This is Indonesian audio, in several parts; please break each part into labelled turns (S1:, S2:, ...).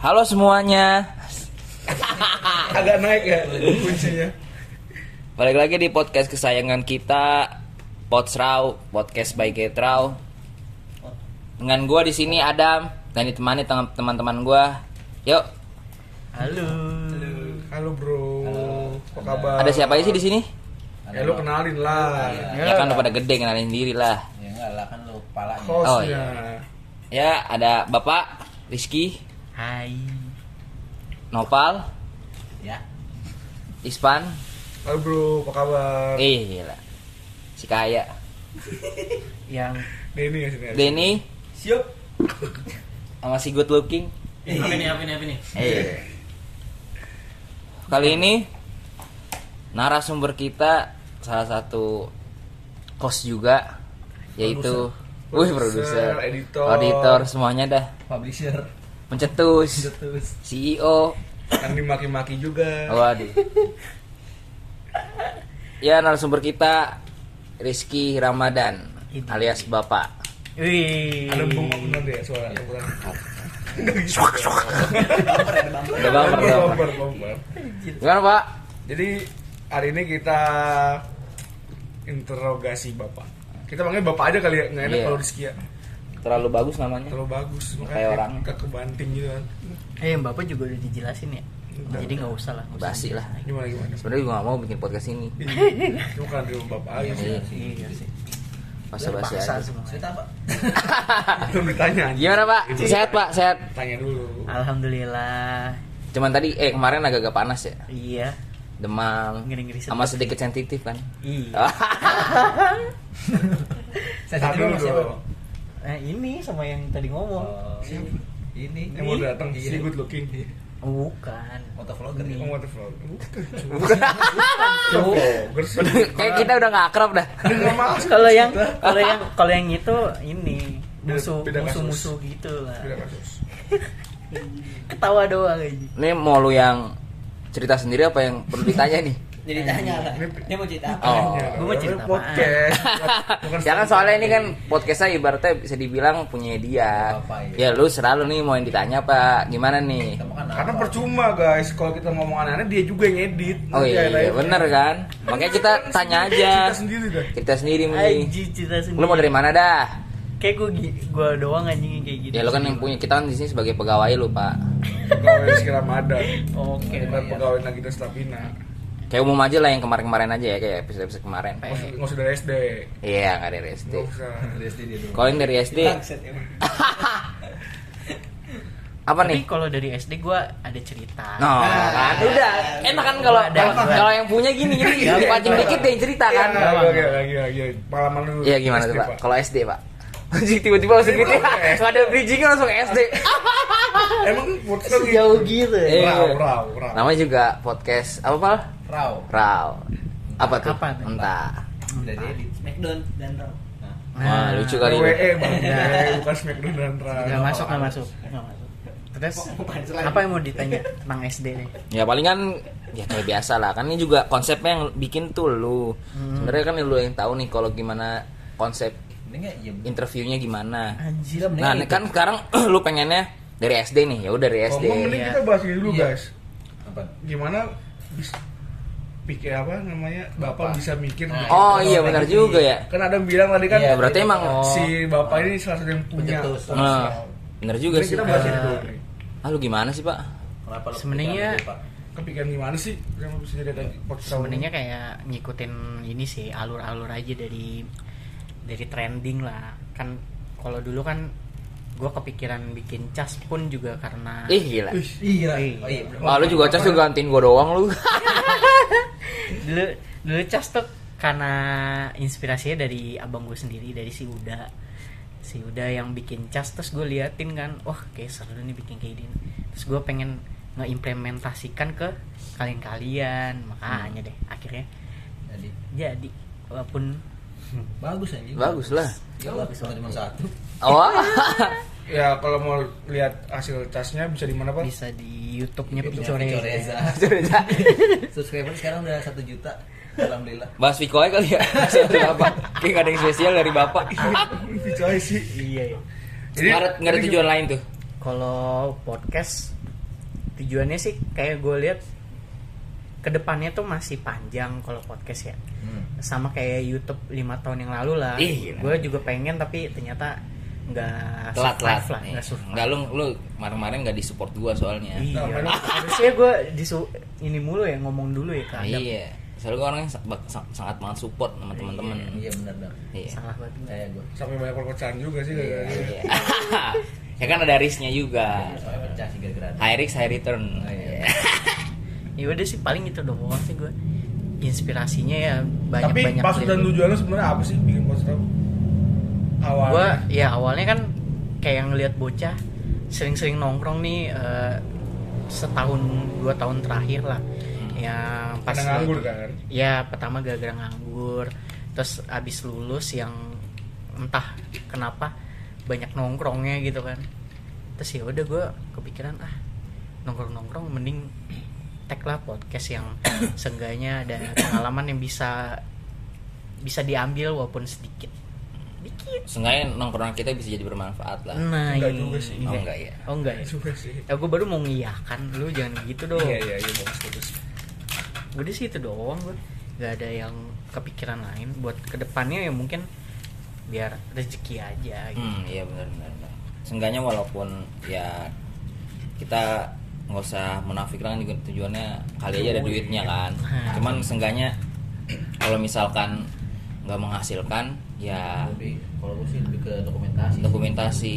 S1: Halo semuanya,
S2: agak naik ya kuncinya
S1: balik lagi di podcast kesayangan kita, Potsrau, podcast by Getrau. Dengan gua di sini Adam dan ditemani teng- teman-teman gua. Yuk,
S3: Halo.
S2: halo bro apa kabar
S1: ada siapa aja sih di sini?
S2: ya lu kenalin lah
S1: Ya kan udah pada gede kenalin diri lah.
S3: Ya enggak lah kan lu palanya.
S2: hostnya
S1: Oh, iya. Ya, ada Bapak Rizky,
S3: Hai.
S1: Nopal,
S3: Ya.
S1: Ispan.
S2: halo bro apa kabar
S1: Eh, gila. Si Kaya,
S3: Yang
S2: Denny ya sini ada.
S1: Denny,
S3: siap.
S1: sama si good looking.
S3: Apa nih? Apa nih? Apa nih?
S1: Eh. Kali ini narasumber kita salah satu kos juga yaitu wih
S2: Produser,
S1: produser,
S2: editor.
S1: auditor semuanya dah
S3: Publisher
S1: pencetus,
S3: terus.
S1: CEO.
S2: kan dimaki-maki juga
S1: Waduh. Ya narasumber kita Rizky Ramadan alias Bapak.
S3: Wih.
S2: ada bengong bener deh suara gitu. ukuran
S1: Udah baper, udah baper.
S2: Bumper, bumper.
S1: Gimana Pak?
S2: gitu. jadi hari ini kita interogasi bapak kita panggil bapak aja kali ya nggak enak
S1: Iya.
S2: kalau Rizky ya
S1: Terlalu bagus namanya.
S2: terlalu bagus makanya
S1: Kayak orang.
S2: ke kebanting gitu kan
S4: Eh Bapak juga udah dijelasin ya.
S2: Udah.
S4: Jadi nggak usah lah. nggak usah
S1: Basi lah.
S4: dijelasin.
S2: gimana gimana
S1: Sebenarnya gue gak mau bikin podcast ini.
S2: Iya. cuma karena di rumah bapak aja sih
S1: Iya,
S4: Iya sih.
S1: basa-basi
S4: Paksa
S1: aja.
S4: semua.
S3: apa?
S2: belum ditanya anjing.
S1: Gimana Pak? Sehat Pak? Sehat.
S2: tanya dulu
S4: Alhamdulillah.
S1: Cuman tadi eh kemarin agak-agak panas ya.
S4: Iya.
S1: Demam.
S4: Ngeri-ngeri
S1: Sama sedikit sensitif kan.
S4: Iya.
S2: Tanya dulu dong.
S4: Nah, ini sama yang tadi ngomong.
S3: Oh, Ini
S2: Yang mau datang si
S4: Iya.
S2: good looking.
S4: Oh, bukan.
S3: Motovlogger
S4: Iya.
S2: Oh,
S3: ini.
S2: what the fuck? Bukan.
S1: Tuh.
S2: Gersel.
S1: Kayak kita udah gak akrab dah.
S2: Udah nggak masuk
S4: Ah, Kalau
S2: kita.
S4: yang kalau yang kalau yang itu ini
S2: Beda-
S4: musuh
S2: beda kasus.
S4: musuh musuh gitu lah.
S2: Tidak kasus.
S4: Ketawa doang aja.
S1: Ini mau lu yang cerita sendiri apa yang perlu ditanya nih?
S3: Jadi tanya lah. Dia mau cerita apa?
S1: Oh.
S2: Tanya.
S4: gua mau cerita apaan?
S2: podcast. Bukan
S1: Ya kan soalnya ini kan podcastnya ibaratnya bisa dibilang punya dia.
S3: Gak apa-apa,
S1: Ya
S3: ya.
S1: lu selalu nih mau yang ditanya apa gimana nih?
S3: Kita makan
S2: karena
S3: apa?
S2: percuma guys kalau kita ngomong aneh-aneh dia juga yang edit.
S1: Oh
S2: Nanti
S1: iya, iya
S2: akhirnya-
S1: bener kan? Makanya kita tanya aja.
S2: Kita sendiri dah.
S1: Kita sendiri nih.
S4: Aji cerita sendiri.
S1: Lu mau dari mana dah?
S4: Kayak gue gue doang anjing kayak gitu.
S1: Ya lu kan yang punya kita kan di sini sebagai pegawai lu, Pak.
S2: Pegawai Rizky Ramadan.
S4: Oke.
S2: Bukan pegawai Nagita Slavina.
S1: Kayak umum aja lah yang kemarin-kemarin aja ya kayak episode-episode kemarin.
S2: Nggak usah- Nggak usah dari SD.
S1: Iya, nggak dari SD.
S2: Nggak usah.
S3: Dari SD dia dulu.
S1: Kalau yang dari SD
S3: Bangsat, emang.
S1: apa nih?
S4: Tapi kalau dari SD gue ada cerita.
S1: No, kan udah enak kan kalau
S4: Ada.
S1: kalau- kalau yang punya gini gini dipancing dikit dia yang cerita kan.
S2: Iya, Lagi, lagi, lagi. Pengalaman dulu.
S1: Iya gimana
S2: SD,
S1: tuh Pak? Kalau SD Pak. tiba-tiba langsung gitu ya. Nggak ada bridging langsung SD.
S2: Emang podcast lagi.
S4: gitu
S1: Eh,
S2: Raw, raw, raw.
S1: Namanya juga podcast apa Pak?
S3: Raw.
S1: Raw. Apa tuh?
S4: Apa tuh?
S1: Entah. Ah.
S3: Udah diedit.
S5: McDonald dan Raw.
S3: Nah,
S1: Wah, lucu kali ini.
S4: E
S2: WWE E, bang, WWE, bukan Smackdown dan Raw.
S4: Gak masuk, gak masuk. Nggak masuk. Terus apa yang mau ditanya tentang SD nih?
S1: Ya palingan ya kayak biasa lah kan ini juga konsepnya yang bikin tuh lu. Sebenarnya kan lu yang tahu nih kalau gimana konsep
S3: ini enggak ya.
S1: interviewnya gimana.
S4: Anjir.
S1: Nah,
S3: Gila, mendingan
S1: ini
S3: itu.
S1: kan sekarang lu pengennya dari SD nih. Ya udah dari SD.
S2: Ngomong mending
S4: ya.
S2: kita bahas ini dulu
S3: Iya.
S2: guys.
S3: apa?
S2: Gimana bis- pikir apa namanya
S3: Bapak.
S2: bapak, bisa mikir?
S3: Nah,
S2: gitu.
S1: Oh iya benar juga ya.
S2: Kan ada yang bilang tadi kan.
S3: Iya,
S1: berarti emang-
S2: si bapak ini salah satu yang punya.
S3: Pencetus.
S1: Nah, benar juga
S2: Mending
S1: sih.
S2: kita bahas
S1: Eh,
S2: ini dulu nih.
S1: Ah, lu gimana sih, Pak?
S3: Kenapa lu
S4: Sebenarnya-
S3: kepikiran gitu, Pak?
S2: Kepikiran gimana sih yang bisa jadi tadi podcast awal?
S4: Sebenarnya kayak ngikutin ini sih alur-alur aja dari dari trending lah. Kan kalau dulu kan gue kepikiran bikin cas pun juga karena
S1: Ih, gila.
S2: Ih,
S3: Iya.
S4: Iya.
S3: Oh, iya.
S1: Ah, lu juga cas lu gantiin gua doang lu.
S4: dulu dulu cas tuh karena inspirasinya dari abang gue sendiri dari si Uda si Uda yang bikin cas terus gue liatin kan wah kayak seru nih bikin kayak gini terus gue pengen ngeimplementasikan ke kalian-kalian makanya deh akhirnya
S3: Jadi
S4: jadi walaupun
S3: bagus anjing.
S1: Bagus lah.
S3: Ya bagus cuma satu.
S1: Oh.
S2: Ya kalau mau lihat hasil casnya bisa di mana pak?
S4: bisa di YouTube-nya
S3: Pico
S4: Picore
S3: Reza. Subscriber sekarang udah 1 juta. Alhamdulillah.
S1: Bahas Viko aja kali ya. Siapa Bapak? Kayak gak ada yang spesial dari Bapak.
S2: Ah, Bisa sih.
S4: iya ya
S1: Nggak ada- nggak ada tujuan lain tuh.
S4: kalau podcast tujuannya sih kayak gue lihat kedepannya tuh masih panjang kalau podcast ya
S3: Hmm.
S4: sama kayak YouTube lima tahun yang lalu lah
S1: Ih, gila.
S4: gue juga pengen tapi ternyata nggak
S1: telat telat
S4: survive lah nggak survive
S1: nggak lu lu kemarin-kemarin nggak disupport gua soalnya
S4: iya
S2: Nah, padahal-
S4: harusnya gue disu ini mulu ya ngomong dulu ya
S1: Nah,
S4: kan
S1: iya soalnya gua orangnya sa- bak- sa- sangat banget support sama teman-teman
S3: Iya benar benar.
S1: iya
S4: salah banget
S3: Kayak gue.
S2: sampai banyak perpecahan juga sih gitu. gara-gara ini.
S1: Iya. ya kan ada risknya juga
S3: Soalnya pecah sih gara-gara.
S1: high risk high return
S3: Oh, iya.
S1: Iya.
S4: ya udah sih paling itu doang sih gue inspirasinya ya banyak
S2: tapi
S4: banyak
S2: maksud dan tujuan lu sebenarnya apa sih bikin podcast awal
S4: gue ya awalnya kan kayak ngelihat bocah sering-sering nongkrong nih eh, setahun dua tahun terakhir lah yang pas
S2: karena Hmm. nganggur kan
S4: ya pertama gara-gara nganggur terus abis lulus yang entah kenapa banyak nongkrongnya gitu kan terus ya udah gue kepikiran ah nongkrong nongkrong mending tag lah podcast yang seenggaknya ada pengalaman yang bisa bisa diambil walaupun sedikit dikit
S1: Seenggaknya nongkrongan kita bisa jadi bermanfaat lah
S4: nah
S2: Enggak
S4: ini.
S2: juga sih.
S1: Oh, enggak ya?
S4: oh enggak ya
S2: juga sih
S4: ya gue baru mau ngiyakan lu jangan gitu dong
S2: iya iya iya bagus bagus
S4: udah sih itu doang gue nggak ada yang kepikiran lain buat kedepannya ya mungkin biar rezeki aja gitu.
S1: Hmm, iya benar benar. benar. Seenggaknya walaupun ya kita nggak usah munafik lah kan juga tujuannya kali aja ada duitnya kan.
S4: Nah.
S1: Cuman seenggaknya kalau misalkan nggak menghasilkan ya
S3: Lebih kalau gue sih lebih ke dokumentasi.
S1: dokumentasi.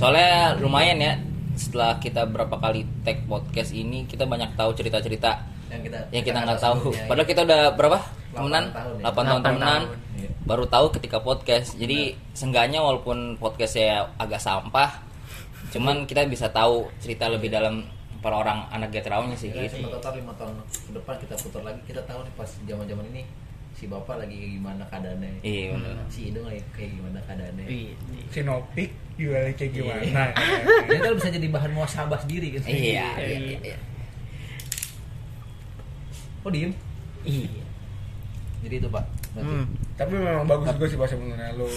S1: Soalnya lumayan ya setelah kita berapa kali tag podcast ini kita banyak tahu cerita-cerita
S3: Yang kita
S1: yang kita nggak tahu.
S3: sebelumnya,
S1: Padahal kita udah berapa?
S3: Iya, Delapan
S1: Temenan?
S3: tahun
S1: 8
S3: ya.
S1: tahun
S4: Delapan
S1: temenan.
S4: tahun.
S3: Iya.
S1: Baru tahu ketika podcast. Jadi seenggaknya walaupun podcastnya agak sampah, cuman kita bisa tahu cerita lebih dalam per orang anak getrawnya sih
S3: Ya,
S1: gitu.
S3: siapa Iya. tahu ntar lima tahun ke depan kita putar lagi kita tahu nih pas zaman zaman ini si bapak lagi kayak gimana keadaannya Hmm.
S1: Iya bener.
S3: si idung lagi kayak gimana keadaannya
S4: Wih,
S2: sinopik juga
S4: Iya.
S2: kayak gimana ya.
S3: jadi ntar kan bisa jadi bahan muasabah sendiri gitu
S1: Iya, iya, iya.
S3: oh diem
S4: iya
S3: jadi itu pak Nanti.
S4: Hmm.
S2: tapi memang bagus juga sih bahasa mengenai lu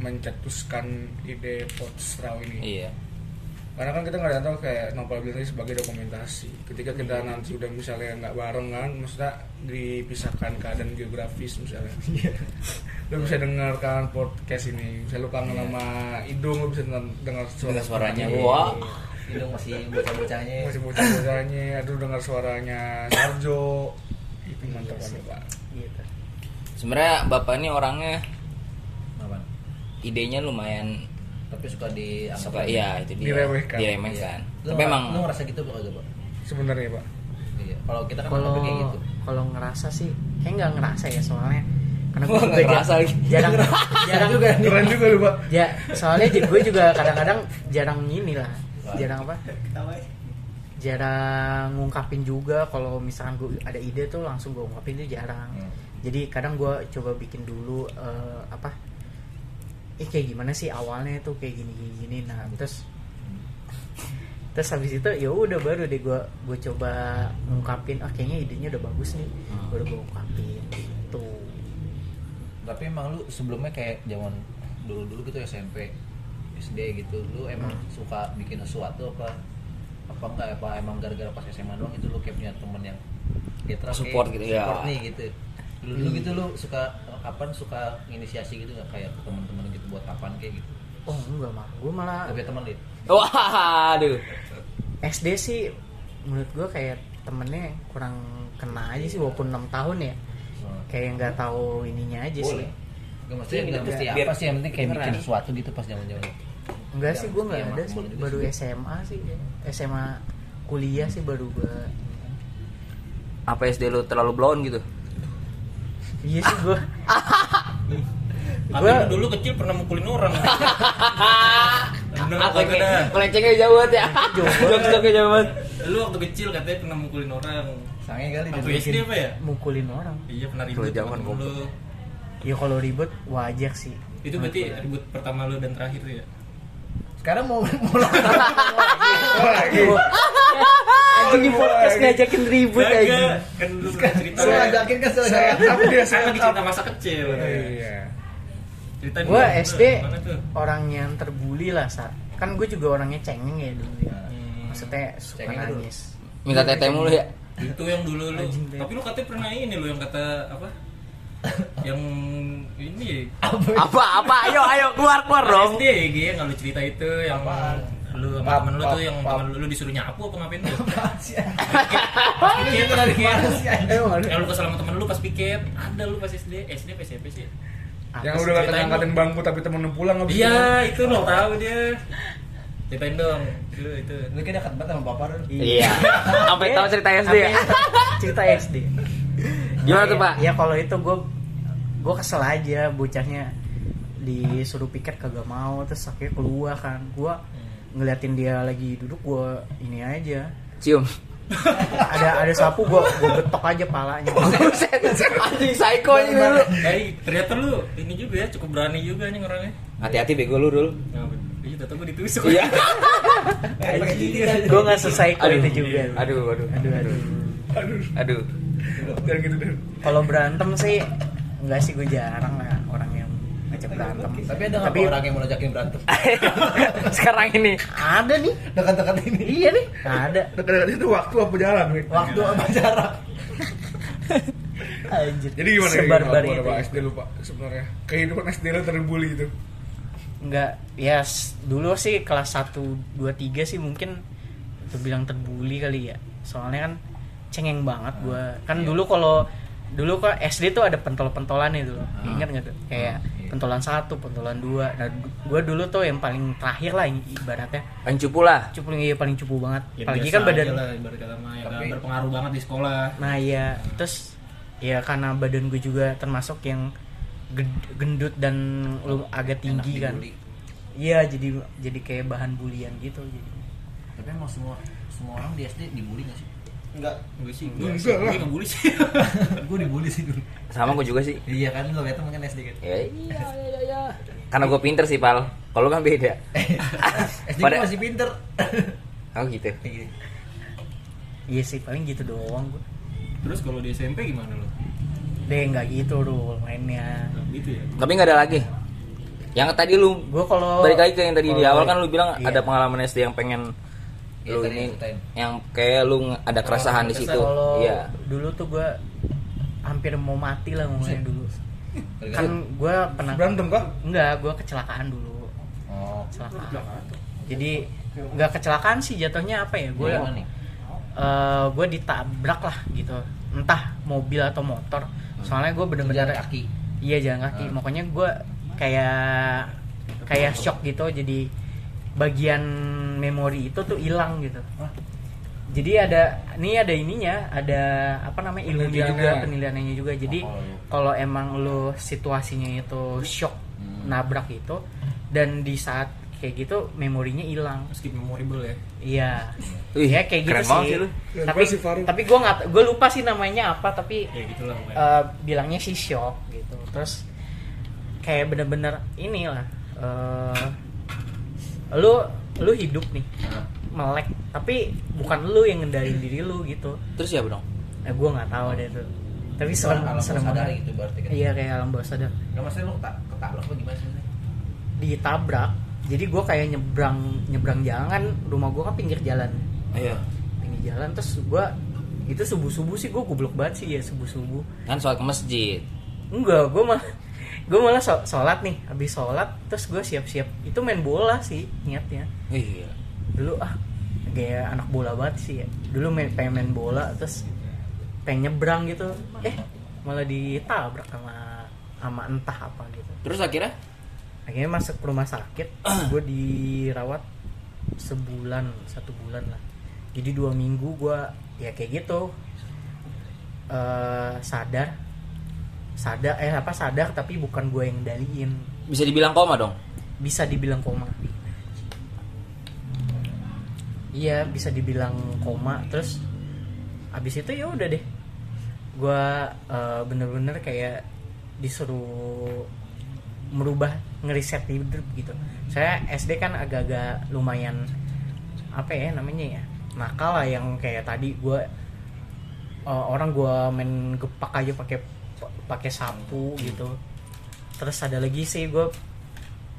S2: mencetuskan ide potsraw ini
S1: Iya.
S2: karena kan kita nggak ada yang tahu kayak nopal bilang tadi sebagai dokumentasi ketika kita nanti udah misalnya nggak bareng kan maksudnya dipisahkan keadaan geografis misalnya lu bisa dengarkan podcast ini misalnya lu kangen sama hidung lu bisa dengar, dengar suara
S1: Dengar suaranya.
S2: temannya.
S1: Wah.
S3: idung masih bocah-bocahnya
S2: masih bocah bocahnya aduh dengar suaranya Sarjo itu mantap banget pak
S4: gitu
S1: Sebenarnya bapak ini orangnya
S3: Apa?
S1: idenya lumayan
S3: tapi suka di Iya.
S1: suka iya itu dia
S2: Diremehkan.
S1: diremehkan.
S3: lu,
S1: Tapi emang
S3: lu ngerasa gitu apa enggak pak
S2: sebenarnya pak
S3: iya kalau kita kan
S4: kalau
S3: kayak gitu
S4: kalau ngerasa sih kayak nggak ngerasa ya soalnya karena
S1: Wah,
S4: gue
S1: nggak ngerasa lagi.
S4: jarang
S3: Iya.
S4: jarang juga
S2: keren juga lu pak
S4: ya soalnya gue juga kadang-kadang jarang ini lah jarang apa jarang ngungkapin juga kalau misalkan gue ada ide tuh langsung gue ungkapin tuh jarang
S3: Hmm.
S4: jadi kadang gue coba bikin dulu eh, apa eh kayak gimana sih awalnya tuh kayak gini gini, gini. nah terus terus habis itu ya udah baru deh gue gue coba ngungkapin ah kayaknya idenya udah bagus nih
S1: Hmm.
S4: baru gue ungkapin gitu
S3: tapi emang lu sebelumnya kayak zaman dulu dulu gitu SMP SD gitu lu emang
S1: Hmm.
S3: suka bikin sesuatu apa apa enggak apa emang gara-gara pas SMA doang itu lu kayak punya temen yang getra
S1: Support gitu, Hmm. ya.
S3: support nih gitu dulu, dulu gitu lu suka kapan suka inisiasi gitu nggak kayak ke teman-teman gitu buat kapan kayak gitu
S4: oh enggak mah gue
S1: Ah.
S4: malah
S3: tapi teman deh
S1: wah aduh.
S4: SD sih menurut gue kayak temennya kurang kena aja sih walaupun 6 tahun ya kayak nggak tahu ininya aja sih
S3: boleh Gak maksudnya
S1: Ini
S3: nggak
S1: juga.
S3: mesti
S1: Biar
S3: apa sih yang penting gitu kayak bikin
S1: beneran.
S3: sesuatu gitu pas zaman zaman
S4: enggak
S3: Ya,
S4: sih gue nggak
S3: iya,
S4: ada
S3: maklum
S4: sih
S3: juga
S4: baru
S3: sih.
S4: SMA sih SMA kuliah sih baru gue
S1: Apa SD lu terlalu blown gitu?
S4: iya sih gue
S5: Tapi
S4: gue
S5: lu dulu kecil pernah mukulin orang. Bener
S1: Ah,
S5: apa enggak?
S1: kayak Melencengnya jauh banget ya. Jokes-jokesnya jauh banget.
S5: Lu waktu kecil katanya pernah mukulin orang.
S3: sange kali
S5: Waktu
S3: dibikin.
S5: SD apa ya?
S4: mukulin orang
S5: Iya pernah
S1: Kalau
S5: ribut
S1: zaman
S5: sama temen lu.
S4: ya kalau ribut wajar sih
S5: Itu berarti ribut pertama lu dan terakhir ya?
S3: sekarang mau mau
S2: oh, lagi
S4: anjing di podcast ngajakin ribut aja
S5: Kagak. Kan lu pernah cerita. Iya,
S3: Lu ngajakin kan
S2: saya
S3: saya
S2: up dia
S5: Saya
S2: saya
S5: lagi
S2: up
S5: cerita masa kecil.
S2: iya
S5: Cerita dulu,
S4: gue
S5: lu
S4: SD
S5: gimana tuh?
S4: orang yang terbuli lah saat kan gue juga orangnya cengeng ya dulu ya
S3: Hmm.
S4: maksudnya suka
S3: Cengeng dulu.
S4: nangis
S1: Minta tete mulu ya.
S5: itu yang dulu lu
S4: Anjing, Beb.
S5: tapi lu katanya pernah ini lu yang kata apa yang ini
S1: Apa apa ayo ayo keluar keluar dong.
S5: SD ya Gi, yang lu cerita itu yang lu sama
S3: Pap,
S5: temen lu
S3: pap,
S5: tuh yang
S3: pap.
S5: temen lu, lu disuruh nyapu apa ngapain lu
S3: sih
S5: pas piket lu lagi
S2: Emang ada?
S5: yang lu kesel sama temen lu pas piket ada lu pas SD SD apa SMP sih
S4: Apa
S2: yang
S4: sih?
S2: udah
S5: ceritain
S2: ngangkatin bangku tapi temen lu
S3: Oh,
S2: pulang abis
S5: iya
S3: gitu.
S5: itu lo tahu dia ceritain dong lu itu
S3: lu kayak dekat banget sama papa Ren.
S1: Iya. Sampai tahu cerita SD ya.
S4: Sampai cerita SD.
S1: Gimana tuh, Pak?
S4: Ya kalau itu gue gue kesel aja bocahnya disuruh piket kagak mau terus akhirnya keluar kan gue ngeliatin dia lagi duduk gue ini aja
S1: Cium.
S4: ada ada sapu gue gue betok aja palanya
S1: Buset. Anjing psycho ini dulu.
S5: eh ternyata lu ini juga ya cukup berani juga nih orangnya
S1: Hati-hati bego lu dulu.
S5: Nah, iya, tetap gue ditusuk.
S1: Iya.
S4: iya, gue nggak selesai
S1: Aduh.
S4: itu juga
S1: Aduh, aduh,
S4: aduh, aduh.
S1: aduh.
S2: Jangan gitu deh
S4: kalau berantem sih nggak sih gue jarang lah orang yang ngajak berantem
S3: tapi ada nggak
S4: tapi
S3: orang yang mau ngajakin berantem
S1: Sekarang ini.
S4: ada nih
S3: dekat-dekat ini
S4: iya nih ada
S2: Dekat-dekat itu waktu apa jalan Wi?
S3: waktu apa jarak
S4: Anjir.
S2: Jadi gimana
S4: Sebarbar gitu ya.
S2: gimana,
S4: itu.
S2: Pak SD lu Pak sebenarnya? Kehidupan SD lu terbuli itu.
S4: Enggak, ya s- dulu sih kelas 1 2 3 sih mungkin terbilang terbuli kali ya. Soalnya kan cengeng banget gua. Kan dulu kalau dulu kok SD tuh ada pentol-pentolan itu loh.
S3: Ah.
S4: Ingat nggak tuh?
S3: Ah,
S4: Kayak
S3: iya.
S4: pentolan satu, pentolan dua. Nah, du- gua dulu tuh yang paling terakhir lah i- ibaratnya.
S1: Pancu pula.
S4: Cupu iya paling cupu banget.
S5: Ya,
S4: Apalagi
S5: biasa
S4: kan badan
S5: aja lah, ibarat kata mah, ya kan,
S3: Tapi-
S5: berpengaruh banget di sekolah.
S4: Nah ya terus ya karena badan gue juga termasuk yang ged- gendut dan lu agak
S3: Enak
S4: tinggi kan.
S3: dibully.
S4: Iya jadi jadi kayak bahan bulian gitu. Jadi.
S3: tapi emang semua semua orang di SD dibully nggak sih
S5: Enggak, gue sih. Gue
S2: Enggak
S5: sih,
S2: lah.
S5: gue enggak bully sih.
S3: gue dibully sih dulu
S1: Sama gua juga sih.
S3: iya kan lo lihat kan SD kan
S1: Ya, iya, iya, iya. Karena gue pinter sih, Pal. Kalau lu kan beda.
S3: SD
S1: Pada-
S3: gua masih pinter
S1: Oh gitu.
S3: Kayak gini.
S4: Iya sih paling gitu doang gue.
S5: Terus kalau di SMP gimana lo?
S4: Deh nggak gitu dulu mainnya.
S5: Nah, gitu ya.
S1: Tapi nggak ada lagi. Yang tadi lu
S4: Gue
S1: Oh.
S4: kalau
S1: balik lagi ke yang tadi di awal
S4: kalau-
S1: kan lu bilang
S4: iya.
S1: ada pengalaman SD yang pengen
S3: Iya,
S1: lu
S3: tadi
S1: ini
S3: ceritain.
S1: yang kayak lu nge- ada keresahan di situ.
S4: Kalau
S1: Iya.
S4: dulu tuh gue hampir mau mati lah ngomongnya dulu. Kan
S3: Kan-
S4: gue pernah
S2: Berantem kah?
S4: Enggak, gue kecelakaan dulu.
S3: oh
S4: Kecelakaan. Jadi nggak kecelakaan sih jatuhnya apa ya? Gue
S3: Dari mana nih?
S4: eh gue ditabrak lah gitu entah mobil atau motor soalnya gue bener-bener
S3: Jalan kaki.
S4: iya jalan kaki
S3: Hmm.
S4: makanya gue kayak kayak shock gitu jadi bagian memori itu tuh hilang gitu
S3: Hah?
S4: jadi ada ini ada ininya ada apa namanya ilmunya
S2: Penelitiannya.
S4: juga penilaiannya juga jadi
S3: Oh, iya.
S4: kalau emang lo situasinya itu shock
S3: Hmm.
S4: nabrak itu dan di saat kayak gitu memorinya hilang
S5: Skip memorable ya.
S4: Iya.
S1: Wih,
S4: ya kayak gitu
S1: keren banget
S4: sih.
S1: sih lu.
S2: Keren
S4: tapi
S2: banget sih, Faru.
S4: tapi gue nggak gue lupa sih namanya apa tapi
S5: Ya gitulah pokoknya.
S4: eh, bilangnya sih shock gitu. Terus kayak bener-bener inilah. eh lu lu hidup nih
S3: Nah,
S4: melek tapi bukan lu yang ngendarin diri lu gitu.
S1: Terus ya, Bro.
S4: Nah, gue nggak tahu deh itu. Tapi serem
S3: alam
S4: serem
S3: sadar
S4: banget.
S3: gitu berarti kan
S4: Iya kayak alam bawah sadar.
S3: nggak maksudnya lo tak ketabrak apa gimana sih
S4: Ditabrak. Jadi gue kayak nyebrang nyebrang jalan rumah gue kan pinggir jalan.
S1: Iya.
S4: pinggir jalan terus gua itu subuh subuh sih gua goblok banget sih ya subuh subuh
S1: Kan soal ke masjid.
S4: enggak gua malah gua malah so- sholat nih habis sholat terus gua siap siap itu main bola sih niatnya
S1: Iya.
S4: dulu ah kayak anak bola banget sih ya dulu main pengen main bola terus pengen nyebrang gitu eh malah ditabrak sama sama entah apa gitu
S1: Terus akhirnya
S4: akhirnya masuk ke rumah sakit gue dirawat sebulan satu bulan lah jadi dua minggu gue ya kayak gitu eh sadar sadar eh apa sadar tapi bukan gue yang daliin
S1: bisa dibilang koma dong.
S4: bisa dibilang koma iya bisa dibilang koma terus abis itu ya udah deh gue bener-bener kayak disuruh merubah ngeriset hidup gitu saya SD kan agak-agak lumayan apa ya namanya ya nakal lah yang kayak tadi gue Eh, orang gue main gepak aja pakai pakai sapu gitu terus ada lagi sih gue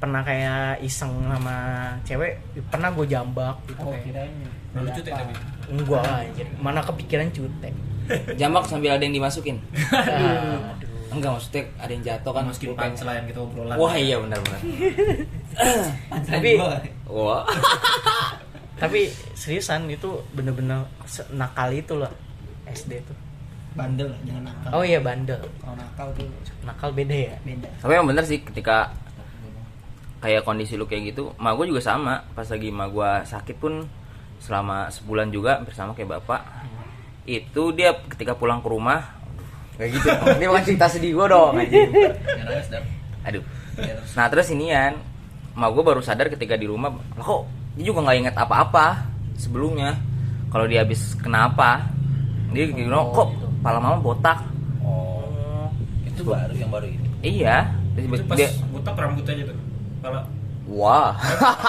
S4: pernah kayak iseng sama cewek pernah gue jambak gitu
S5: Oh,
S4: kayak.
S5: Nah, lucu tuh tapi.
S4: Enggak lah, anjir. Mana kepikiran cutek.
S1: Jamak sambil ada yang dimasukin.
S4: Aduh.
S1: Enggak maksudnya ada yang jatuh kan
S5: masukin
S1: pulpen.
S5: punchline gitu obrolan
S1: Wah iya benar-benar.
S4: Tapi
S1: Wah.
S4: tapi seriusan itu bener-bener se- nakal itu lah SD tuh.
S6: bandel jangan nakal
S4: Oh iya bandel.
S6: kalau nakal tuh
S4: Nakal beda ya.
S6: beda
S1: Tapi emang bener sih ketika kayak kondisi lu kayak gitu, ma gue juga sama. Pas lagi ma gue sakit pun selama sebulan juga hampir sama kayak bapak. Itu dia ketika pulang ke rumah kayak gitu. Ini bukan cerita sedih gue dong anjing.
S3: Jangan nangis dong.
S1: Aduan.
S3: Ya, terus.
S1: Nah terus inian, ma gue baru sadar ketika di rumah, "Lah, kok dia juga nggak inget apa-apa sebelumnya. Kalau dia habis kenapa, dia gitu,
S5: Oh,
S1: kok kepala mama botak.
S3: Oh. Itu baru yang baru ini.
S1: Iya. Terus
S5: itu pas
S1: dia,
S5: botak rambut aja tuh kepala
S1: wah,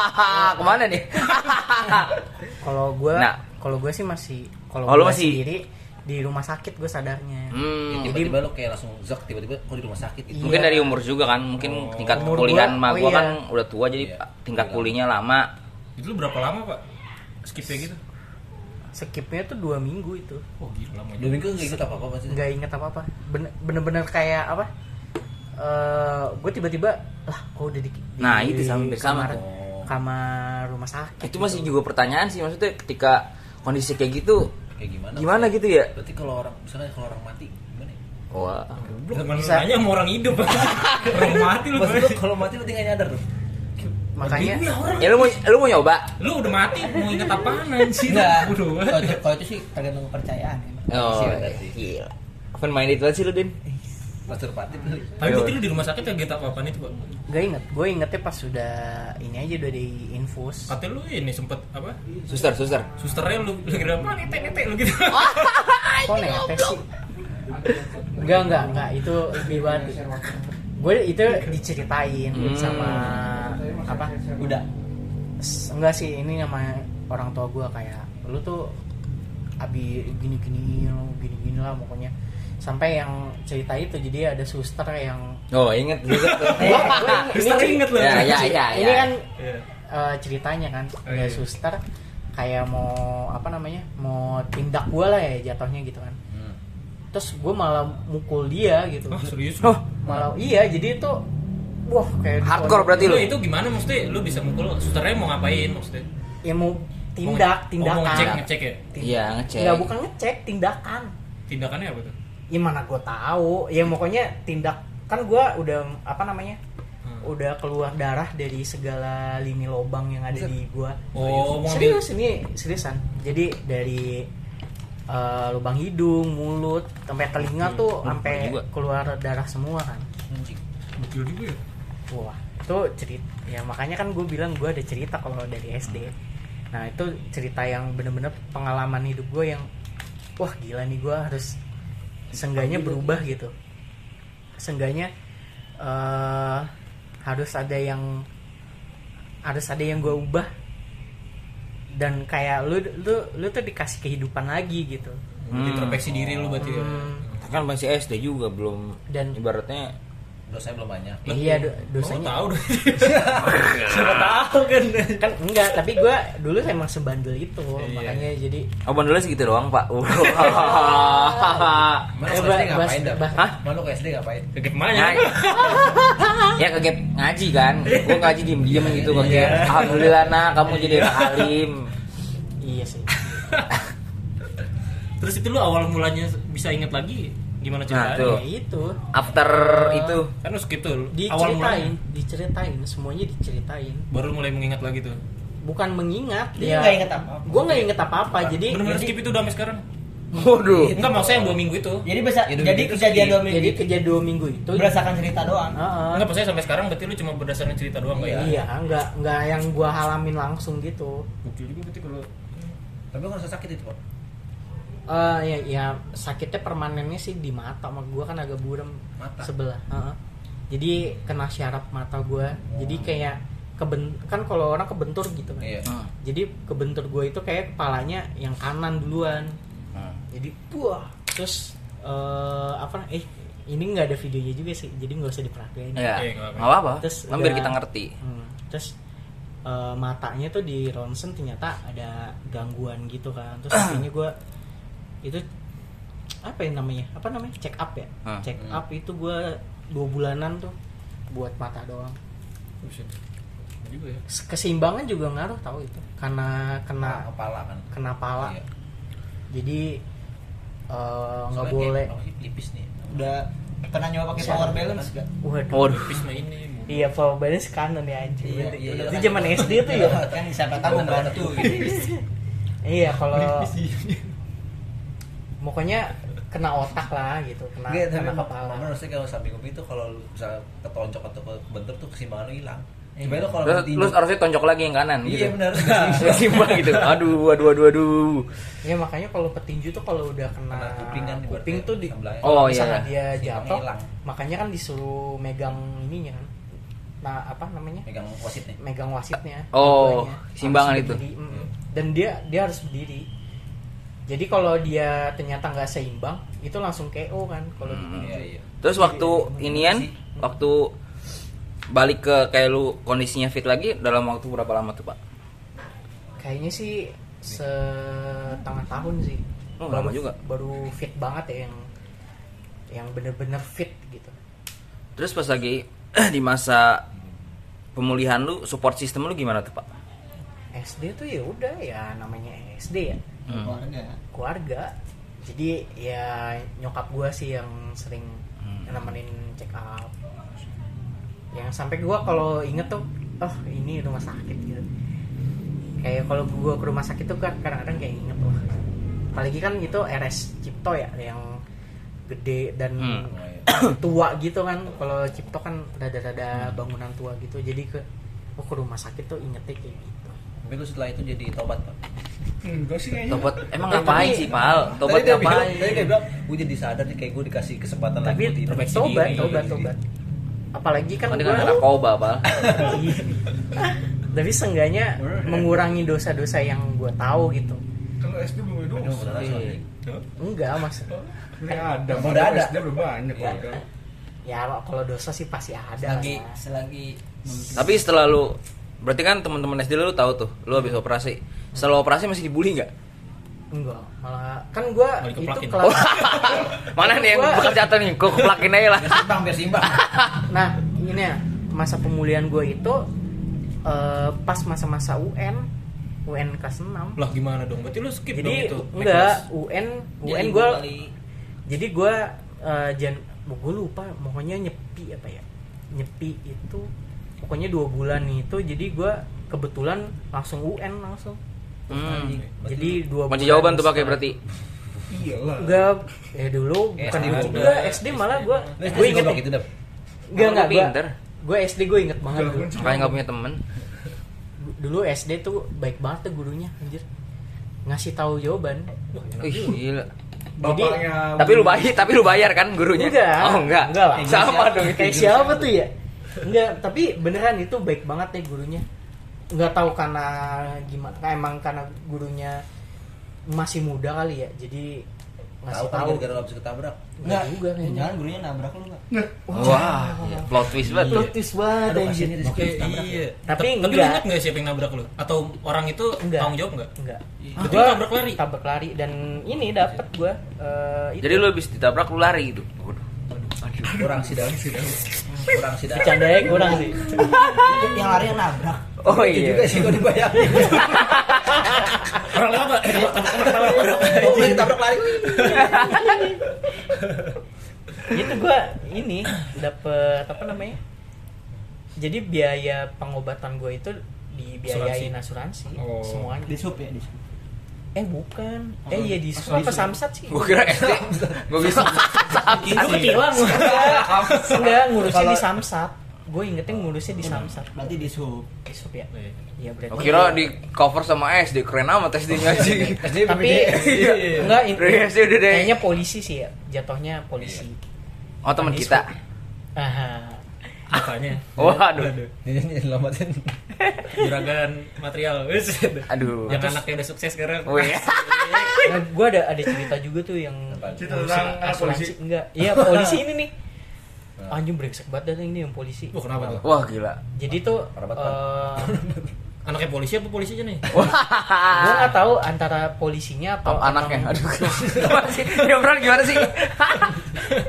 S1: kemana nih?
S4: Kalau gua
S1: Nah.
S4: kalau gua sih masih kalau
S1: Oh, lu
S4: gua
S1: masih-
S4: sendiri di rumah sakit gue sadarnya.
S1: Hmm,
S3: Tiba-tiba lo kayak langsung zak tiba-tiba kok di rumah sakit gitu.
S1: mungkin
S4: Iya.
S1: dari umur juga kan, mungkin tingkat
S4: Umur
S1: kepulihan
S4: gua-
S1: ma
S4: oh
S1: gue
S4: iya.
S1: kan udah tua jadi
S3: Iya.
S1: tingkat pulihnya lama.
S5: itu lu berapa lama pak skipnya gitu
S4: Skipnya tuh dua minggu itu.
S5: oh gila lama
S3: Dua minggu nggak ikut apa-apa pasti.
S4: nggak inget apa apa bener-bener kayak apa gue tiba-tiba lah kok udah di, di-
S1: Nah, itu sama-
S4: di
S1: sama
S4: kamar,
S1: tuh.
S4: kamar rumah sakit
S1: Itu masih juga pertanyaan sih maksudnya ketika kondisi kayak gitu,
S3: Kayak gimana?
S1: gimana gitu ya?
S3: Berarti kalau orang misalnya kalau orang mati gimana? ya?
S1: Wah,
S5: Temen lu nanya sama orang hidup Orang mati lu
S3: Maksud lo kalau mati berarti nggak nyadar tuh?
S4: makanya
S5: Bingung ya orang.
S1: ya lu mau lu mau nyoba?
S5: Lu udah mati mau inget apaan anjir
S6: Enggak.
S5: Bodoh
S6: Kalau itu,
S5: banget.
S6: kalau itu sih tergantung kepercayaan ya.
S1: Oh,
S3: Sih, bener iya sih.
S1: gila. Open minded banget sih lu, Din.
S3: Masturbati tuh.
S5: Tapi berarti lu di rumah sakit kaget apa-apaan itu pak
S4: nggak inget gue ingetnya pas sudah ini aja udah di infus
S5: Katanya lu ini sempet apa
S1: Suster, suster.
S5: Susternya lu lagi apa netek netek lu gitu
S4: Oh. kok netes sih nggak nggak nggak itu lebih banget gue itu diceritain
S1: Hmm.
S4: sama apa
S6: Udah.
S4: S- enggak sih ini sama orang tua gue kayak lu tuh abi gini gini lu gini gini lah pokoknya sampai yang cerita itu jadi ada suster yang
S1: Oh, inget juga tuh.
S5: Eh, Suster inget lu
S1: Ya, ya, ya,
S4: Iya. ini
S1: ya.
S4: kan
S5: Iya.
S4: eh, ceritanya kan
S5: Oh,
S4: ada
S5: iya.
S4: suster kayak mau apa namanya mau tindak gue lah ya jatuhnya gitu kan terus gue malah mukul dia gitu
S5: Oh serius
S1: Oh,
S4: malah iya jadi itu wah kayak
S1: hardcore berarti
S5: Lu
S1: lu.
S5: itu gimana maksudnya lu bisa mukul susternya mau ngapain maksudnya
S4: ya mau tindak
S5: Mau nge- oh,
S4: tindakan
S5: mau ngecek ngecek ya
S4: Tindak-
S1: Iya, ngecek.
S4: nggak bukan ngecek tindakan
S5: tindakannya apa tuh
S4: ya mana gue tahu ya pokoknya tindak kan gue udah apa namanya
S5: Hmm.
S4: udah keluar darah dari segala lini lobang yang ada di gue
S5: Oh, mau ambil
S4: serius ini seriusan jadi dari eh, lubang hidung mulut sampai telinga tuh
S1: Hmm,
S4: sampai
S1: juga.
S4: keluar darah semua kan
S3: Anjing.
S5: Gokil juga ya.
S4: wah itu cerita ya makanya kan gue bilang gue ada cerita kalau dari SD nah itu cerita yang bener-bener pengalaman hidup gue yang wah gila nih gue harus sengganya berubah gitu sengganya eh harus ada yang harus ada yang gue ubah dan kayak lu lu lu tuh dikasih kehidupan lagi gitu
S1: Hmm.
S5: Introspeksi diri lu berarti ya.
S4: Hmm.
S1: Kan masih SD juga belum
S4: Dan-
S1: ibaratnya
S3: Dosanya belum banyak.
S4: iya do-
S5: Dosa
S4: dosanya
S5: tahu dong.
S4: kan enggak tapi gue dulu emang sebandel itu
S5: Iya.
S4: makanya jadi
S1: Oh, bandelnya segitu doang, Pak.
S3: Mana
S4: Eh,
S3: lo
S4: ba-
S3: SD ngapain
S4: bas-
S3: dah?
S4: bas-
S1: Hah?
S3: Mana lo ke SD ngapain?
S5: Kaget mana?
S1: Nah, ya kaget ngaji kan. Gua ngaji diem-diem gitu kaget. Alhamdulillah nak kamu jadi anak alim.
S4: iya sih
S5: Terus itu lu awal mulanya bisa inget lagi gimana
S1: Nah,
S5: ceritanya?
S1: tuh.
S4: ya itu
S1: After itu
S5: Kan harus gitu. Awal mulanya
S4: diceritain diceritain semuanya diceritain
S5: baru mulai mengingat lagi tuh.
S4: bukan mengingat
S6: Dia nggak inget apa-apa.
S4: gue nggak inget apa apa jadi
S5: Benar-benar skip itu udah sampai sekarang.
S1: Waduh.
S5: Enggak maksudnya yang dua minggu itu.
S4: Iya.
S6: Jadi bisa
S3: Ya, dua
S6: jadi
S3: minggu
S6: kejadian
S3: terus
S6: dua minggu
S4: jadi
S6: itu
S4: kejadian dua minggu itu
S6: berdasarkan cerita doang.
S4: Heeh.
S5: Enggak maksudnya sampai sekarang berarti lu cuma berdasarkan cerita doang nggak ya?
S4: iya nggak nggak yang gue halamin langsung gitu
S5: Gokil juga berarti kalau
S3: Tapi lo ngerasa sakit itu, Pak?
S4: Eh ya, ya sakitnya permanennya sih di mata sama gue kan agak buram
S3: Mata?
S4: sebelah Heeh. jadi kena syaraf mata gue jadi kayak keben kan kalau orang kebentur gitu kan
S3: Iya.
S1: Hmm.
S4: jadi kebentur gue itu kayak kepalanya yang kanan duluan jadi buah terus eh apa eh ini nggak ada videonya juga sih jadi nggak usah diperhatiin
S1: Ya,
S5: Iya, nggak apa-apa.
S1: nggak apa-apa.
S4: Terus ya.
S1: Kan biar
S4: udah-
S1: kita ngerti.
S4: Hmm, terus eh, matanya tuh di ronsen ternyata ada gangguan gitu kan terus akhirnya gue itu apa ya namanya apa namanya check up ya
S1: Ah,
S4: check up itu gue dua bulanan tuh buat mata doang
S5: Buset. Oh, Juga ya.
S4: keseimbangan juga ngaruh tahu itu
S3: Nah,
S4: karena kena
S3: kepala kan.
S4: kena pala
S3: Iya.
S4: jadi eh, nggak
S3: Soalnya kayak
S4: boleh
S3: apa sih, Lipis nih.
S6: Udah pernah nyoba pakai power balance gak?
S4: waduh
S1: Waduh.
S5: Habis mah ini. Bu.
S4: iya power balance kanan ya anjing
S3: Iya, iya, iya.
S4: itu zaman SD tuh ya
S6: Kan siapa tahu membantu gitu.
S4: iya kalau
S3: iya.
S4: pokoknya kena otak lah gitu kena,
S3: Nggak, tapi
S4: kena
S3: emang-
S4: kepala
S3: emang maksudnya kalau samping kopi itu kalau lu bisa ketonjok atau kebentur tuh keseimbangan lu hilang.
S6: Iya.
S3: Cuma itu kalau
S1: Terus,
S3: bertindak-
S1: terus harusnya tonjok lagi yang kanan
S3: Iya
S1: gitu.
S3: benar.
S1: Terus timbang gitu. Aduh, aduh, aduh, aduh.
S4: ya makanya kalau petinju tuh kalau udah kena
S3: Kena kuping kan, ibaratnya,
S4: Nah, kuping tuh di
S3: sebelahnya.
S1: Oh, iya,
S4: misalnya
S1: iya.
S4: dia
S3: Simpangnya
S4: jatuh
S3: hilang.
S4: makanya kan disuruh megang ininya kan nah apa namanya
S3: Megang wasit nih.
S4: megang wasitnya
S1: Oh,
S4: keduanya. Harus
S1: simbangan itu.
S4: berdiri, mm. dan dia dia harus berdiri jadi kalau dia ternyata nggak seimbang itu langsung KO kan kalau di-
S3: Iya iya.
S1: Terus waktu inian, waktu balik ke kayak lu kondisinya fit lagi dalam waktu berapa lama tuh, Pak?
S4: kayaknya sih setengah tahun sih
S1: Oh, lama juga.
S4: baru fit banget ya yang yang bener-bener fit gitu
S1: Terus pas lagi di masa pemulihan lu, support sistem lu gimana tuh, Pak?
S4: SD tuh ya udah ya namanya SD ya
S1: Hmm.
S6: Keluarga.
S4: keluarga jadi ya nyokap gua sih yang sering nemenin check up yang sampai gua kalau inget tuh oh ini rumah sakit gitu kayak kalau gua ke rumah sakit tuh kan kadang-kadang kayak inget loh apalagi kan itu RS Cipto ya yang gede dan
S1: Hmm.
S3: Oh, iya.
S4: tua gitu kan kalau Cipto kan rada-rada bangunan tua gitu jadi ke oh ke rumah sakit tuh ingetnya kayak gitu
S3: Tapi lu setelah itu jadi tobat pak.
S2: Enggak Hmm, sih kayaknya.
S1: Tobat emang ngapain sih, Pal? Tobat
S3: Tadi dia bilang-
S1: ngapain?
S3: Tadi dia bilang, gue jadi sadar nih kayak gue dikasih kesempatan
S4: tapi
S3: lagi buat introspeksi
S4: tobat
S3: diri.
S4: tobat tobat apalagi kan
S1: Kan
S4: gua-
S1: dengan narkoba, Pal.
S4: Iya. tapi seenggaknya mengurangi dosa-dosa yang gue tahu gitu
S2: Kalau SD belum ada
S3: Aduh, beneran, sorry.
S4: enggak mas
S2: Ini ada,
S3: Udah
S2: padahal
S3: ada.
S2: SD belum banyak
S3: Iya.
S2: padahal.
S4: ya kalau dosa sih pasti ada
S6: Selagi
S4: lah.
S6: selagi
S1: Tapi setelah lu berarti kan teman-teman SD lu tahu tuh, lu habis operasi. Setelah operasi masih dibully nggak?
S4: enggak malah kan gue
S5: Mau
S4: itu
S5: dikeplakin.
S4: kelas
S1: Oh. Mana nih yang bekerja tuh nih? Kok keplakin aja lah.
S3: Seimbang biar seimbang.
S4: nah ini ya masa pemulihan gue itu eh, pas masa-masa UN UN kelas 6
S5: Lah gimana dong? Berarti lu skip dong
S4: jadi
S5: itu.
S4: enggak UN UN gue
S6: kali-
S4: jadi gue eh jan gue lupa pokoknya nyepi apa ya nyepi itu pokoknya dua bulan itu jadi gue kebetulan langsung UN langsung
S1: Hmm.
S4: jadi dua
S1: Kunci
S4: bulan
S1: jawaban tuh pakai
S4: setelah-
S1: berarti.
S2: Iyalah.
S4: enggak eh dulu bukan
S3: SD
S4: dulu
S3: juga.
S4: enggak SD malah gue
S3: Lu
S4: gue
S3: SD
S4: inget
S3: goblok gitu deh.
S4: enggak enggak
S1: Lu pinter.
S4: gue SD gue inget banget
S2: Enggak,
S4: dulu
S2: kunci.
S1: Makanya nggak punya temen.
S4: dulu SD tuh baik banget tuh gurunya anjir ngasih tahu jawaban
S1: Ih, gila.
S2: Bapaknya
S1: Tapi lu bayar, tapi lu bayar kan gurunya?
S4: Enggak.
S1: Oh, enggak.
S4: Enggak lah.
S1: Sama dong.
S4: kayak siapa tuh ya enggak tapi beneran itu baik banget nih gurunya nggak tahu karena gimana emang karena gurunya masih muda kali ya jadi
S3: Tahu
S4: ngasih
S3: kan
S4: tahu
S3: gara-gara lu habis ketabrak.
S4: Enggak juga kayaknya.
S6: Jangan gurunya nabrak lu enggak?
S1: Wah, iya. plot twist banget.
S4: Lotus
S3: ya?
S4: banget ya,
S3: Aduh,
S4: anjir.
S3: kasihan dia
S5: Oke,
S3: disitu ketabrak.
S5: iya.
S4: Tapi
S5: Ta- tapi lu
S4: enggak.
S5: ingat enggak siapa yang nabrak lu? Atau orang itu
S4: Enggak.
S5: tanggung jawab enggak?
S4: enggak
S3: Ah,
S5: Berarti
S4: Gua
S5: tabrak lari?
S4: tabrak lari dan ini dapat gua eh, itu.
S1: Jadi lu habis ditabrak lu lari gitu. Waduh.
S3: Kurang sidang sidang. Kurang sidang.
S4: bercanda ya kurang sih
S6: Yang lari yang nabrak.
S1: Oh
S3: Itu juga
S1: iya.
S3: sih gue dibayangin.
S5: Orang lewat enggak? Eh, tabrak, tabrak, tabrak, tabrak.
S3: Oh, gue ditabrak lari. wih.
S4: itu Gitu, gua ini dapat apa namanya jadi biaya pengobatan gua itu dibiayain asuransi,
S2: Oh.
S4: semuanya
S6: Di sup ya, di sup.
S4: Eh bukan. Eh iya di Solo apa Samsat sih?
S1: Oh. Gua kira SD. Gua bisa.
S4: Lu ketilang. Enggak, ngurusnya di Samsat. Gue ingetnya ngurusnya di Samsat.
S6: Berarti di sup.
S4: Besok ya. Iya berarti.
S1: Gua kira di cover sama SD keren amat SD-nya sih.
S4: Tapi
S1: Iya,
S4: enggak in-
S1: Dari SD udah deh.
S4: Kayaknya polisi sih ya. Jatuhnya polisi.
S1: Oh, teman kita.
S4: Aha.
S5: Makanya.
S1: Waduh.
S3: Ini ini lombatin.
S5: Juragan material.
S1: Aduh.
S5: Yang anaknya udah sukses sekarang.
S1: Wih.
S4: Nah, gue ada ada cerita juga tuh yang
S3: Apa?
S2: Cerita
S4: ngurusin
S2: tentang ah,
S4: asuransi.
S2: polisi? Ah.
S4: Enggak. Iya, polisi ini nih. Anjing brengsek banget dah ini yang polisi.
S5: Wah, kenapa tuh?
S2: Ah,
S1: Wah, gila.
S4: Jadi tuh
S3: Rabat,
S4: eh,
S5: Anaknya polisi apa polisi aja nih?
S4: Gua nggak tahu antara polisinya atau
S1: Apa Ah. Oh, anaknya?
S4: emang-
S1: Aduh. Gimana sih? Ya, Bro, gimana sih?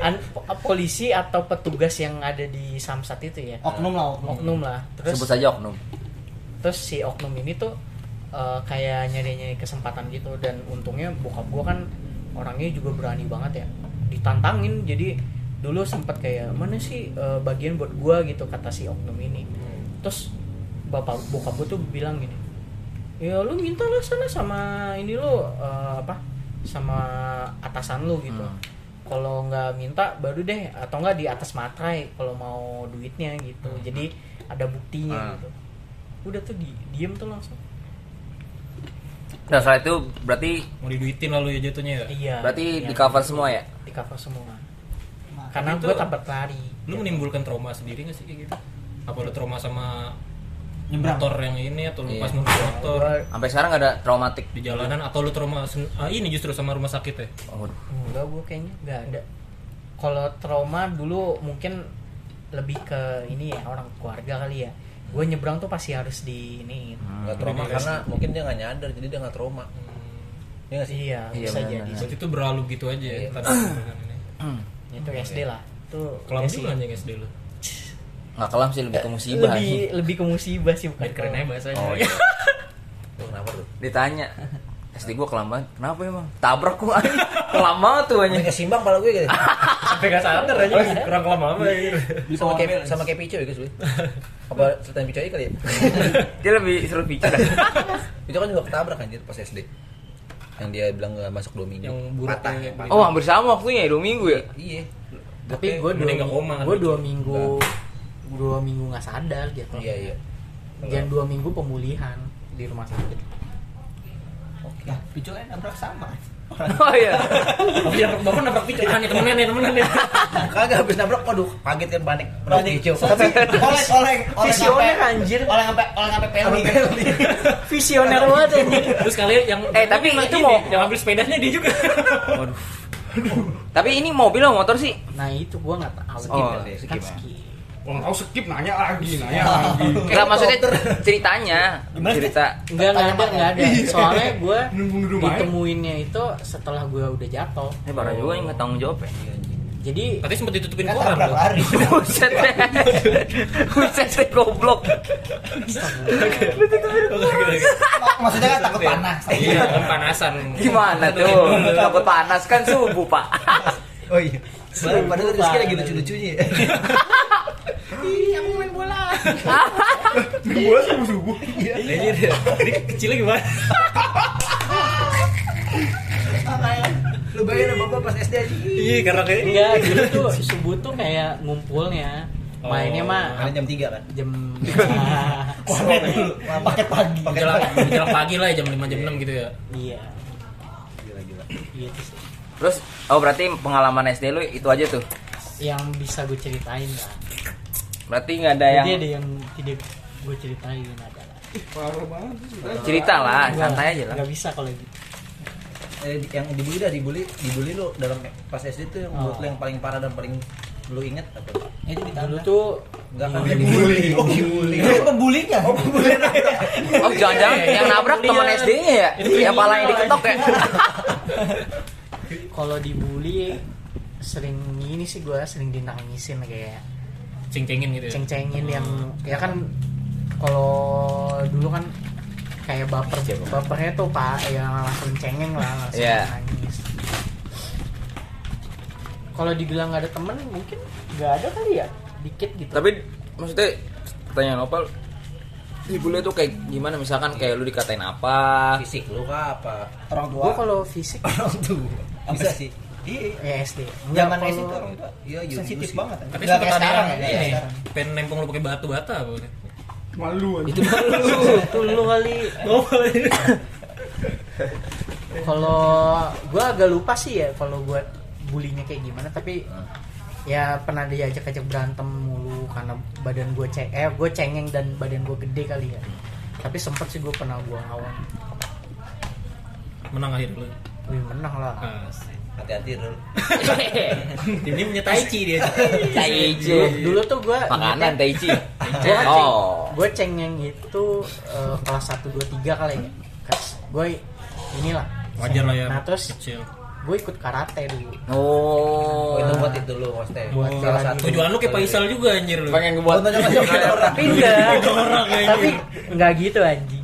S4: An- po- polisi atau petugas yang ada di Samsat itu ya.
S6: Oknum lah, oknum.
S4: Oknum lah. Terus
S1: Sebut saja oknum.
S4: terus si oknum ini tuh eh, kayak nyari-nyari kesempatan gitu dan untungnya bokap gua kan orangnya juga berani banget ya ditantangin jadi dulu sempat kayak mana sih eh, bagian buat gua gitu kata si oknum ini terus bapak bokap gua tuh bilang gini ya lu minta lah sana sama ini lu eh, apa sama atasan lu gitu
S1: Hmm.
S4: kalau nggak minta baru deh atau nggak di atas materai kalau mau duitnya gitu jadi ada
S1: Ah.
S4: buktinya gitu udah tuh di diem tuh langsung
S1: Nah, setelah itu berarti
S5: Mau diduitin lalu ya jatuhnya ya?
S4: iya
S1: berarti
S4: iya.
S1: di cover semua ya?
S4: di cover semua
S6: Nah,
S4: karena
S5: itu-
S4: gue tambat lari
S5: Lu menimbulkan trauma sendiri gak sih kayak gitu? Apa lu trauma sama
S6: Nyebrang.
S5: motor yang ini atau lu
S1: Iya.
S5: pas nunggu motor
S4: Gua-
S1: Sampai sekarang nggak ada traumatik.
S5: di jalanan atau lu trauma sen- ah, ini justru sama rumah sakit ya?
S1: Oh, aduh.
S4: enggak gue kayaknya nggak ada kalau trauma dulu mungkin lebih ke ini ya orang keluarga kali ya gue nyebrang tuh pasti harus di ini
S1: Hmm.
S3: nggak trauma
S5: Jadi dia-
S3: karena mungkin dia nggak nyadar jadi dia nggak trauma ya nggak sih
S4: iya
S1: Iya, benar,
S4: bisa jadi
S1: benar.
S5: Hmm, Berarti itu berlalu gitu aja ya?
S3: Iya.
S5: tanpa perubahan ini.
S4: itu SD lah itu
S5: Kelam
S4: SD.
S5: juga anjing SD lu.
S1: Nggak kelam sih lebih ke musibah.
S4: lebih
S1: sih.
S4: lebih ke musibah sih bukan
S5: Biar keren aja
S4: trauma.
S5: bahasanya.
S1: Oh, iya.
S3: Lu kenapa tuh
S1: Ditanya. SD gua kelam banget. Kenapa emang? Tabrak gua anjing. Kelam banget tuh
S3: Sampai
S1: anjing.
S3: kesimbang pala gue gitu
S5: Sampai gak sadar
S1: Oh,
S5: aja
S1: iya.
S5: kurang kelam apa ya?
S3: sama kayak sama kayak pico ya guys lu. apa ceritain pico aja kali ya
S1: Dia lebih seru pikir.
S3: pico kan juga ketabrak anjir pas SD yang dia bilang nggak masuk dua minggu
S5: Yang buruk
S3: Patah,
S5: ya.
S3: yang patah.
S1: Oh, hampir sama waktunya ya, dua minggu ya?
S3: iya
S4: tapi
S5: Oke,
S4: gue dua,
S5: mending nggak koma kan
S4: gue
S5: gitu.
S4: dua minggu dua minggu nggak sadar gitu
S3: iya iya
S4: dan dua minggu pemulihan di rumah sakit
S6: Nah, picu kan nabrak sama.
S1: Oh iya.
S5: Tapi yang bapak nabrak picu. Ah, nih temenan nih temenan nih.
S3: kagak habis nabrak waduh kaget kan panik Nabrak
S6: Berarti
S3: pico
S6: Sampai- oleng oleng
S2: Oh,
S6: oleng
S4: Visioner,
S6: sampai-
S4: anjir.
S6: Oleng sampai oleng sampai peli.
S4: visioner banget anjir
S5: Terus kalian yang
S1: Eh, tapi
S5: yang
S1: itu
S5: ini,
S1: mau-
S5: yang ambil sepedanya dia juga.
S1: Waduh. Tapi ini mobil atau motor sih?
S4: nah itu gue nggak tahu
S1: Skip
S4: Kan
S1: kali,
S3: skip ya.
S4: skip.
S2: Orang tahu skip nanya lagi, nanya lagi.
S1: Enggak maksudnya ceritanya.
S6: Gimana sih?
S1: Cerita.
S4: Enggak, enggak ada, enggak ada. Soalnya gue
S2: Nunggu di rumah ya?
S4: ditemuinnya itu setelah gue udah jatuh.
S1: Ini Eh, parah juga yang nggak tanggung jawab ya.
S4: Jadi
S5: Tapi sempat ditutupin
S6: Kan
S5: koran
S6: nabrak
S5: loh.
S6: lari.
S1: Buset deh. Buset deh goblok.
S6: Mak- Maksudnya kan takut panas.
S5: Oh, gitu, Iya, kan panasan.
S1: Gimana tuh? Takut panas kan subuh, Pak.
S6: Oh iya.
S3: Padahal padahal Rizky lagi lucu-lucunya ya.
S2: Gue subuh subuh.
S5: Ini dia. Ini kecilnya gimana?
S3: Lu bayangin sama bapak pas SD aja.
S5: Iya, karena kayak
S4: enggak dulu tuh subuh tuh kayak ngumpulnya. Mainnya mah
S3: Karena jam 3 kan.
S4: jam
S6: Sore dulu. Paket pagi.
S5: menjelang menjelang pagi lah ya, jam 5 jam 6 gitu ya.
S4: iya
S3: Gila gila.
S4: gitu sih.
S1: Terus oh berarti pengalaman SD lu itu aja tuh.
S4: yang bisa gue ceritain lah
S1: Berarti nggak ada yang
S4: jadi ada yang tidak gue ceritain adalah
S2: Parah banget.
S1: cerita lah, Ah, santai aja lah.
S4: nggak bisa kalau gitu
S3: Eh, di- yang dibully dah dibully, dibully lu dalam pas SD tuh yang menurut lu
S6: Oh.
S3: yang paling parah dan paling lu inget apa?
S6: Itu
S4: dulu
S6: ditanda.
S4: tuh
S3: Enggak kan
S4: Dibully.
S3: dibully. Oh, dibully.
S6: Itu pembulinya.
S1: Oh jangan-jangan yang nabrak teman SD-nya ya? Yang palanya diketok ya?
S4: kalau dibully sering ini sih gue sering dinangisin kayak
S5: Ceng-cengin gitu ya.
S4: ceng-cengin yang ya kan kalau dulu kan kayak baper bapernya tuh pak ya langsung cengeng lah langsung
S1: Iya.
S4: nangis kalau dibilang nggak ada temen mungkin nggak ada kali ya dikit gitu
S1: Tapi maksudnya pertanyaan Opal Ibu lu tuh kayak gimana misalkan kayak lu dikatain apa
S3: Fisik lu kah apa?
S6: Orang tua.
S4: gue kalau fisik
S3: Orang tua. Bisa sih. Iya.
S4: ya SD Nggak,
S6: Zaman
S4: kalau-
S6: SD itu orang tua.
S3: Iya, iya,
S6: sensitif
S3: iya.
S6: banget.
S5: Tapi
S6: Nggak
S5: sempat
S6: kayak
S5: ada
S6: sekarang
S5: yang
S6: ya.
S5: ini,
S6: sekarang.
S5: pengen nempong lu pakai batu bata apa? gitu.
S2: Malu aja.
S4: itu
S1: kan-
S4: dulu itu dulu kali kalau gue agak lupa sih ya kalau buat bulinya kayak gimana tapi ya pernah diajak-ajak berantem mulu karena badan gue ceng eh gue cengeng dan badan gue gede kali ya tapi sempet sih gue pernah buang lawan
S5: Menang akhir lu.
S4: Wih menang lah
S5: Asik.
S3: hati-hati dulu
S5: Tim ini punya Taichi dia.
S1: Taichi.
S4: dulu, dulu tuh gue
S1: Makanan Taichi.
S4: Gua
S1: Oh.
S4: gue cengeng itu eh, kelas 1, 2, 3 kali ya gue inilah
S5: Wajar lah ya.
S4: nah terus
S5: kecil.
S4: gue ikut karate dulu
S1: Oh.
S3: oh, itu buat itu lu maksudnya
S4: Buat
S3: salah
S4: jalan.
S3: satu
S5: Tujuan lu kayak Faisal juga anjir lu.
S1: pengen gue buat
S4: pindah
S5: orang kayaknya.
S4: tapi nggak gitu anjing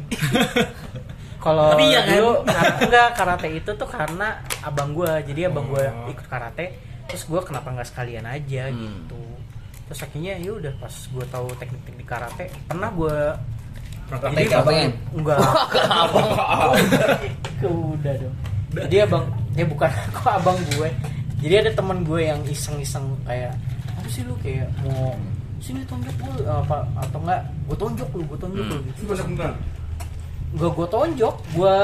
S4: kalau
S5: Tapi iya kan?
S4: dulu kar- enggak karate itu tuh karena abang gua jadi abang gua
S5: Oh.
S4: ikut karate terus gua kenapa nggak sekalian aja
S1: Hmm.
S4: gitu terus akhirnya ya udah pas gua tahu teknik-teknik karate pernah gua
S5: Praktek.
S3: Praktek apa
S1: Pengen.
S4: enggak udah dong jadi abang dia bukan aku abang gue jadi ada teman gue yang iseng-iseng kayak apa sih lu kayak mau sini tonjok gue apa atau enggak gue tonjok lu gue tonjok lu gitu
S2: Itu banyak beneran.
S4: gue gue tonjok gue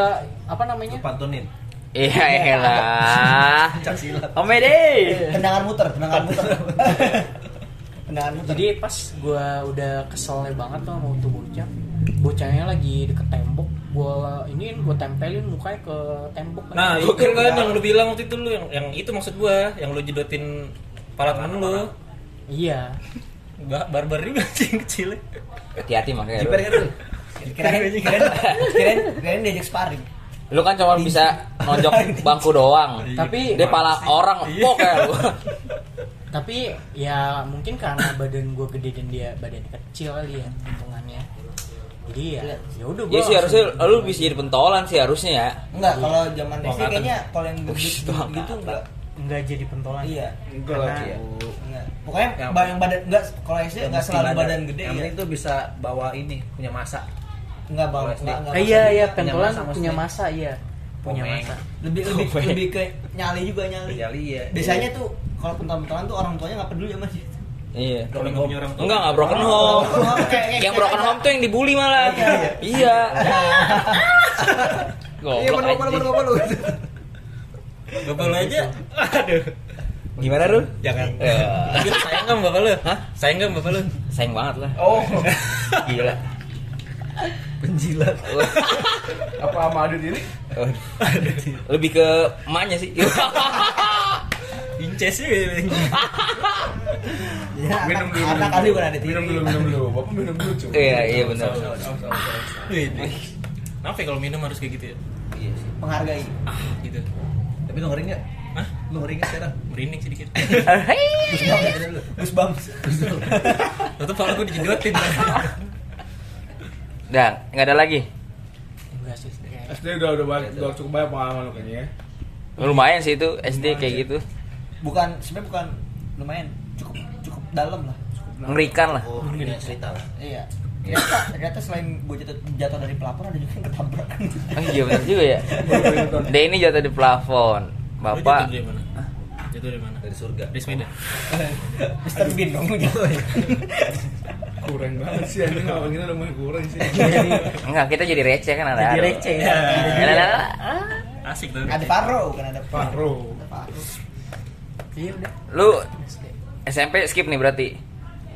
S4: apa namanya
S3: pantunin
S1: Iya elah.
S3: pencak silat
S1: Komedi.
S6: Tendangan muter, tendangan muter. tendangan muter.
S4: jadi pas gue udah keselnya banget tuh mau tuh bocah bocahnya lagi deket tembok gue ini gue tempelin mukanya ke tembok
S5: Nah, itu kan yang lu bilang waktu itu lu yang yang itu maksud gua, yang lu jedotin kepala temen lu.
S4: iya
S5: Ba- Barbar juga sih yang kecil.
S1: Hati-hati makanya.
S3: jiper kan
S1: Lu.
S3: lu kirain kirain kirain kirain diajak sparring
S1: Lu kan cuma bisa nonjok bangku doang.
S4: Tapi-
S1: dia pala orang
S4: Iya.
S1: pok kayak lu.
S4: tapi ya mungkin karena badan gue gede dan dia badan kecil kali ya hitungannya jadi ya
S3: Iya.
S4: ya udah gue
S1: Ya sih harusnya lu bisa jadi pentolan sih harusnya ya.
S6: Enggak, kalau zaman
S3: Oh,
S6: SD
S5: Angkatan.
S6: kayaknya kalau yang gendut
S1: Wih, itu
S6: gendut gitu
S1: angkatan.
S6: enggak.
S4: nggak jadi pentolan
S6: Iya.
S2: Enggak
S4: Karena-
S2: lagi.
S6: Enggak. Pokoknya
S3: Yang-
S6: ba- yang badan enggak kalau SD enggak selalu badan gede
S3: yang
S6: ya.
S3: penting tuh bisa bawa ini punya masa
S6: Enggak bawa
S3: Kalau SD.
S6: enggak enggak
S4: Eh, iya
S6: masalah.
S4: iya
S3: Punya
S4: pentolan
S3: masa
S4: punya
S3: maksudnya.
S4: masa iya punya
S3: Komeng.
S4: masa
S6: Lebih lebih
S1: Kobek.
S6: lebih ke nyali juga nyali.
S3: Nyali, iya.
S6: Biasanya tuh kalau pentolan-pentolan tuh orang tuanya enggak peduli sama sih.
S1: Iya.
S5: Kalau nggak punya orang tua.
S1: Enggak,
S3: Oh,
S1: enggak broken home.
S6: Broken home, kayak- kayak
S1: Yang
S6: kita
S1: broken
S6: aja.
S1: home tuh yang dibully malah. Iya. Goblok anjing.
S5: Bapak lu aja. Aduh.
S1: Gimana lu?
S5: Jangan.
S1: Ya,
S5: Gitu, sayang enggak bapak lu? Hah? Sayang enggak bapak lu?
S1: sayang banget lah.
S3: oh
S1: Gila.
S3: penjilat
S2: Apa sama adu diri?
S1: Waduh. Lebih ke emaknya sih.
S5: Inces sih kayaknya.
S6: Ya,
S2: Minum dulu.
S6: Anak kali bukan ada TV.
S2: Minum dulu, minum dulu. Bapak minum dulu, cuy.
S1: Iya, iya benar.
S5: Wih. Kenapa ya kalau minum harus kayak gitu ya?
S3: iya sih
S6: Menghargai.
S5: Ah, gitu.
S3: tapi lu ngeri nggak
S5: Hah?
S3: lu ngeri nggak sekarang
S5: Merinding sedikit.
S1: Eh,
S6: Gus Bam, tanya dulu. Gus Bam.
S5: Tutup kalau gue dijedotin.
S1: Dan nggak ada lagi.
S4: enggak sih kayak-
S2: SD udah udah banyak, udah cukup banyak pengalaman lo kayaknya. ya.
S1: Lumayan sih itu SD kayak gitu.
S6: Bukan sebenarnya bukan lumayan cukup cukup dalam lah.
S1: Mengerikan lah.
S3: oh ini cerita lah
S6: Iya. Ternyata, ternyata selain gue jatuh, jatuh dari pelapor ada juga yang ketabrak.
S1: Oh, iya benar juga ya. Dia ini jatuh di plafon.
S5: Lu jatuh
S1: Bapak
S5: dari mana? Jatuh dari mana?
S3: dari surga
S5: Dari sepeda.
S6: Mister Bean dong jatuh.
S2: Kurang banget sih, anjing apa kita udah mulai kurang sih.
S1: enggak kita jadi receh kan ada.
S4: jadi receh
S6: Iya.
S4: Ah, ya.
S1: Ada- ada- ada.
S5: Asik tuh.
S6: Ada Faro bukan ada Faro.
S2: Paro.
S6: Ada Faro.
S4: iya udah
S1: Lu SMP skip nih berarti.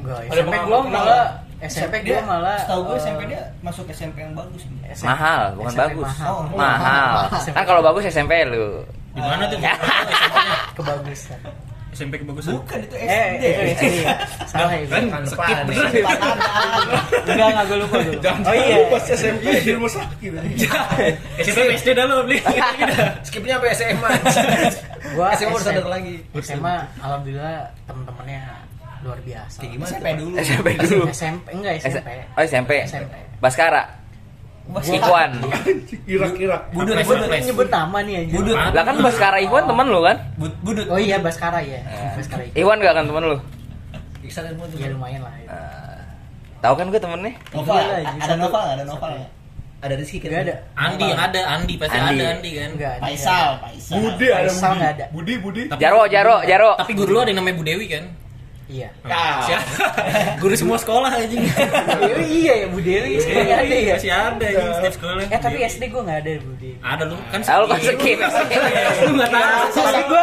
S4: Enggak,
S5: Ada
S4: SMP
S5: pengalaman
S4: gue
S5: kenal
S4: malah
S6: Dia-
S4: SMP gue malah
S6: Setahu gue SMP
S4: eh,
S6: dia masuk SMP yang bagus.
S4: SMP
S1: Mahal, bukan
S4: SMP
S1: bagus.
S4: mahal.
S6: Oh.
S1: Mahal.
S6: Mahal.
S1: Kan kalau bagus SMP lu.
S5: Di mana tuh?
S4: kebagusan
S5: SMP kebagusan.
S6: Bukan itu SD.
S4: eh itu SD salah ya
S5: Kan
S4: gua.
S5: skip nih.
S4: enggak enggak gue lupa gue lupa oh iya
S2: Pas SMP di rumah sakit.
S5: SMP SD dah lu beli.
S3: skipnya sampai SMA
S4: Gua
S3: SMA udah
S4: SM.
S3: sadar lagi
S4: SMA alhamdulillah temen-temennya luar biasa
S3: kayak gimana
S6: SMP
S3: tuh?
S6: dulu.
S1: SMP dulu.
S4: SMP enggak SMP
S1: Oh SMP.
S4: SMP.
S1: Baskara. Ikuan.
S2: Irak-irak.
S6: Budut,
S5: Apres,
S6: budut,
S5: apres.
S4: Ini nyebut nama nih anjir
S6: budut,
S5: Apres.
S1: Lah kan Baskara Iwan teman lu kan?
S6: bud- budut.
S4: oh iya Baskara ya
S5: Eh.
S4: Baskara itu
S1: Iwan gak kan teman lu?
S3: Iksan ilmu tuh
S4: ya lumayan lah itu.
S5: Eh.
S1: Tahu kan gue temennya?
S6: Nova,
S4: Iya, iya.
S6: ada Nova nggak? Ada Nova nggak?
S3: ada Rizky kan
S4: enggak ada
S5: Andi ada Andi pasti
S1: Andi.
S5: ada Andi kan.
S4: enggak ada
S6: Faisal, Faisal.
S2: Budi ada
S4: Faisal
S2: Budi.
S4: nggak ada.
S2: Budi, Budi.
S5: Tapi-
S1: Jaro, Jaro, Jaro.
S5: Tapi guru lu ada yang namanya Bu Dewi kan?
S4: iya
S2: Ah.
S5: Siapa? Guru semua sekolah anjing.
S4: Dewi iya ya Bu Dewi sebenarnya ada ya
S5: Masih ada anjing setiap sekolah.
S4: eh tapi SD gue nggak ada Bu Dewi Iya,
S5: ada lu kan
S1: Ah, lu kan skip.
S5: Lu enggak tahu.
S4: Tapi gue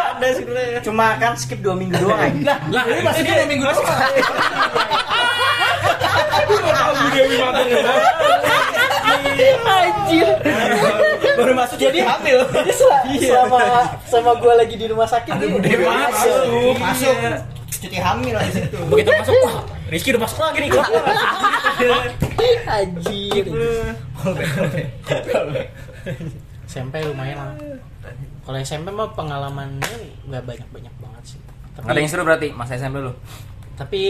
S4: ada cuma kan skip dua minggu doang aja
S5: Lah, ini pasti ada minggu depan.
S2: Tahu Budi yang dimakan ya.
S4: Anjir.
S5: Baru masuk jadi hamil. Iya.
S4: Jadi sel- selama sama gue lagi di rumah sakit dia-
S5: Dia masuk.
S6: Masuk.
S5: Iya.
S6: Cuti hamil lah di situ.
S5: Begitu masuk, wah, Rizky udah masuk lagi nih.
S4: Anjir.
S3: ya?
S4: SMP lumayan lah. Kalau SMP mah pengalamannya nggak banyak-banyak banget sih. Tapi,
S1: Nggak ada yang seru berarti masa SMP dulu.
S4: tapi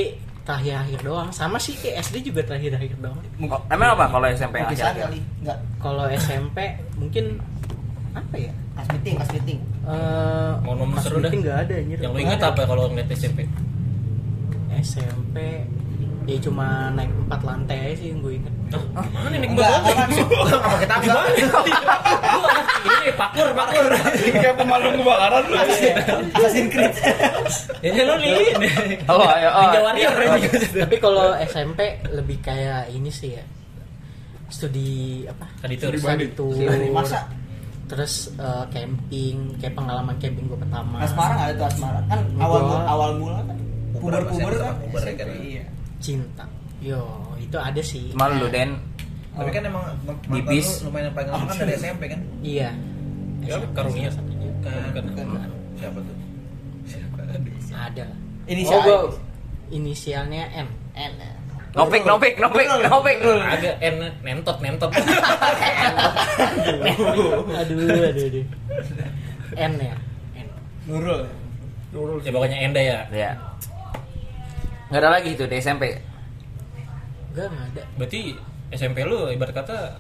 S4: terakhir-akhir doang. Sama sih kayak SD juga terakhir-akhir doang.
S1: Oh, emang apa kalau SMP
S6: Mungkin
S1: akhir-akhir?
S6: saat kali. Enggak.
S4: Kalau SMP mungkin apa ya?
S6: As meeting, as meeting.
S4: Eh,
S5: Mau nomor
S4: pas
S5: seru dah.
S4: meeting nggak ada anjir.
S5: Yang lu
S4: Nggak
S5: ingat
S4: ada.
S5: apa kalau ngeliat SMP?
S4: SMP ya cuma naik empat lantai aja sih yang gue inget.
S5: Ah, mana nih
S6: Enggak,
S5: kebakaran?
S6: kan. Enggak pakai tangga.
S5: Ini nih, pakur, pakur.
S2: Kayak pemalung kebakaran lu.
S3: ya?
S6: Assassin's Creed.
S5: Ini lu nih.
S1: Oh, ayo. Oh.
S5: Ninja Warrior.
S4: Tapi kalau SMP lebih kayak ini sih ya studi apa?
S5: Tadi itu
S2: Studi
S4: Studi
S2: bandit.
S4: tour.
S6: Studi masa.
S4: Terus eh, camping, kayak pengalaman camping gue pertama.
S6: Asmara nggak ada tuh asmara. Kan awal
S4: Enggak.
S6: awal mula kan.
S3: Puber sama
S6: Puber-puber kan.
S3: sama puber ya kan.
S6: Iya.
S4: Cinta. Yo, itu ada sih.
S1: Malu lu, Den.
S3: Tapi kan emang
S1: Bibis.
S3: mantan lu lumayan yang paling lama kan dari SMP kan?
S4: Iya.
S5: Ya,
S4: SMP
S5: karunia.
S3: Bukan.
S5: Bukan.
S3: Kan. Siapa tuh? Siapa?
S4: Ada lah.
S6: Inisial.
S4: Oh, gua- inisialnya M.
S6: N.
S1: Nopik, nopik, nopik, nopik.
S5: Agak en- nentot, nentot.
S4: aduh, aduh, aduh. N ya. N.
S6: Nurul.
S5: Ya pokoknya Enda ya.
S1: Ya. Nggak ada lagi itu di SMP.
S4: Enggak, enggak ada.
S5: Berarti SMP lu ibarat kata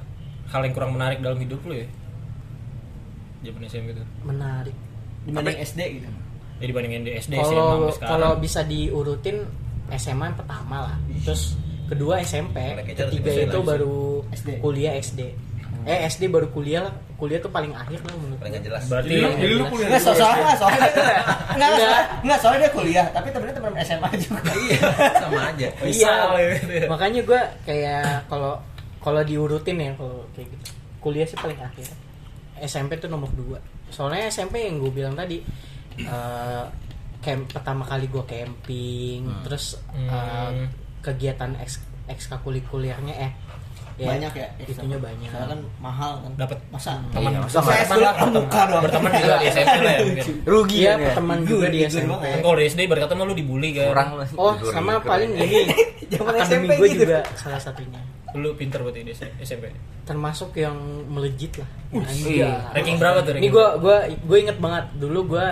S5: hal yang kurang menarik dalam hidup lu ya. Zaman SMP itu.
S4: Menarik.
S6: Dibanding SD gitu.
S5: Ya dibandingin di SD, SMA
S4: Kalau
S5: sampai
S4: kalau
S5: sekarang.
S4: bisa diurutin SMA yang pertama lah. Terus kedua SMP,
S3: Mereka jalan
S4: ketiga
S3: tipis
S4: itu
S3: lagi.
S4: baru
S6: SD.
S4: kuliah SD. Eh SD baru kuliah lah. Kuliah tuh paling akhir lah menurut.
S3: Paling
S4: gua.
S3: gak jelas.
S5: Berarti
S2: Jadi lu- jadi lu kuliah.
S6: Enggak, Iya. so- soalnya soalnya enggak
S4: Enggak.
S6: enggak enggak soalnya dia kuliah, tapi temennya teman SMA juga.
S3: Iya, sama aja.
S4: Iya.
S6: gitu ya.
S3: Iya.
S4: Makanya gue kayak kalau kalau diurutin ya kalau kayak gitu. Kuliah sih paling akhir. SMP tuh nomor dua. Soalnya SMP yang gue bilang tadi eh camp pertama kali gue camping, terus eh,
S5: Hmm.
S4: kegiatan eks ekstrakurikulernya eh
S6: Banyak ya.
S4: Itunya banyak.
S6: Soalnya kan mahal kan.
S5: Dapat.
S6: masa
S1: Teman
S5: Iya,
S1: sama.
S6: saya sekolah pramuka doang.
S5: Berteman juga di SMP lah ya. mungkin. Kan
S1: Rugi
S4: Iya,
S1: ya. Nia?
S4: teman juga di
S6: Jujur
S4: SMP.
S6: banget.
S5: Kalau di SD ibarat kata mah lu dibully kan.
S1: Kurang lu.
S4: Oh, sama paling
S1: ya.
S4: ini
S6: Zaman
S4: akademi
S6: SMP
S4: gue
S6: gitu.
S4: juga salah satunya.
S5: Lu pinter berarti di SMP.
S4: Termasuk yang melejit lah. Anjay.
S1: iya.
S5: Ranking berapa
S4: Ini
S5: tuh? ranking?
S4: gue gua gue inget banget dulu gue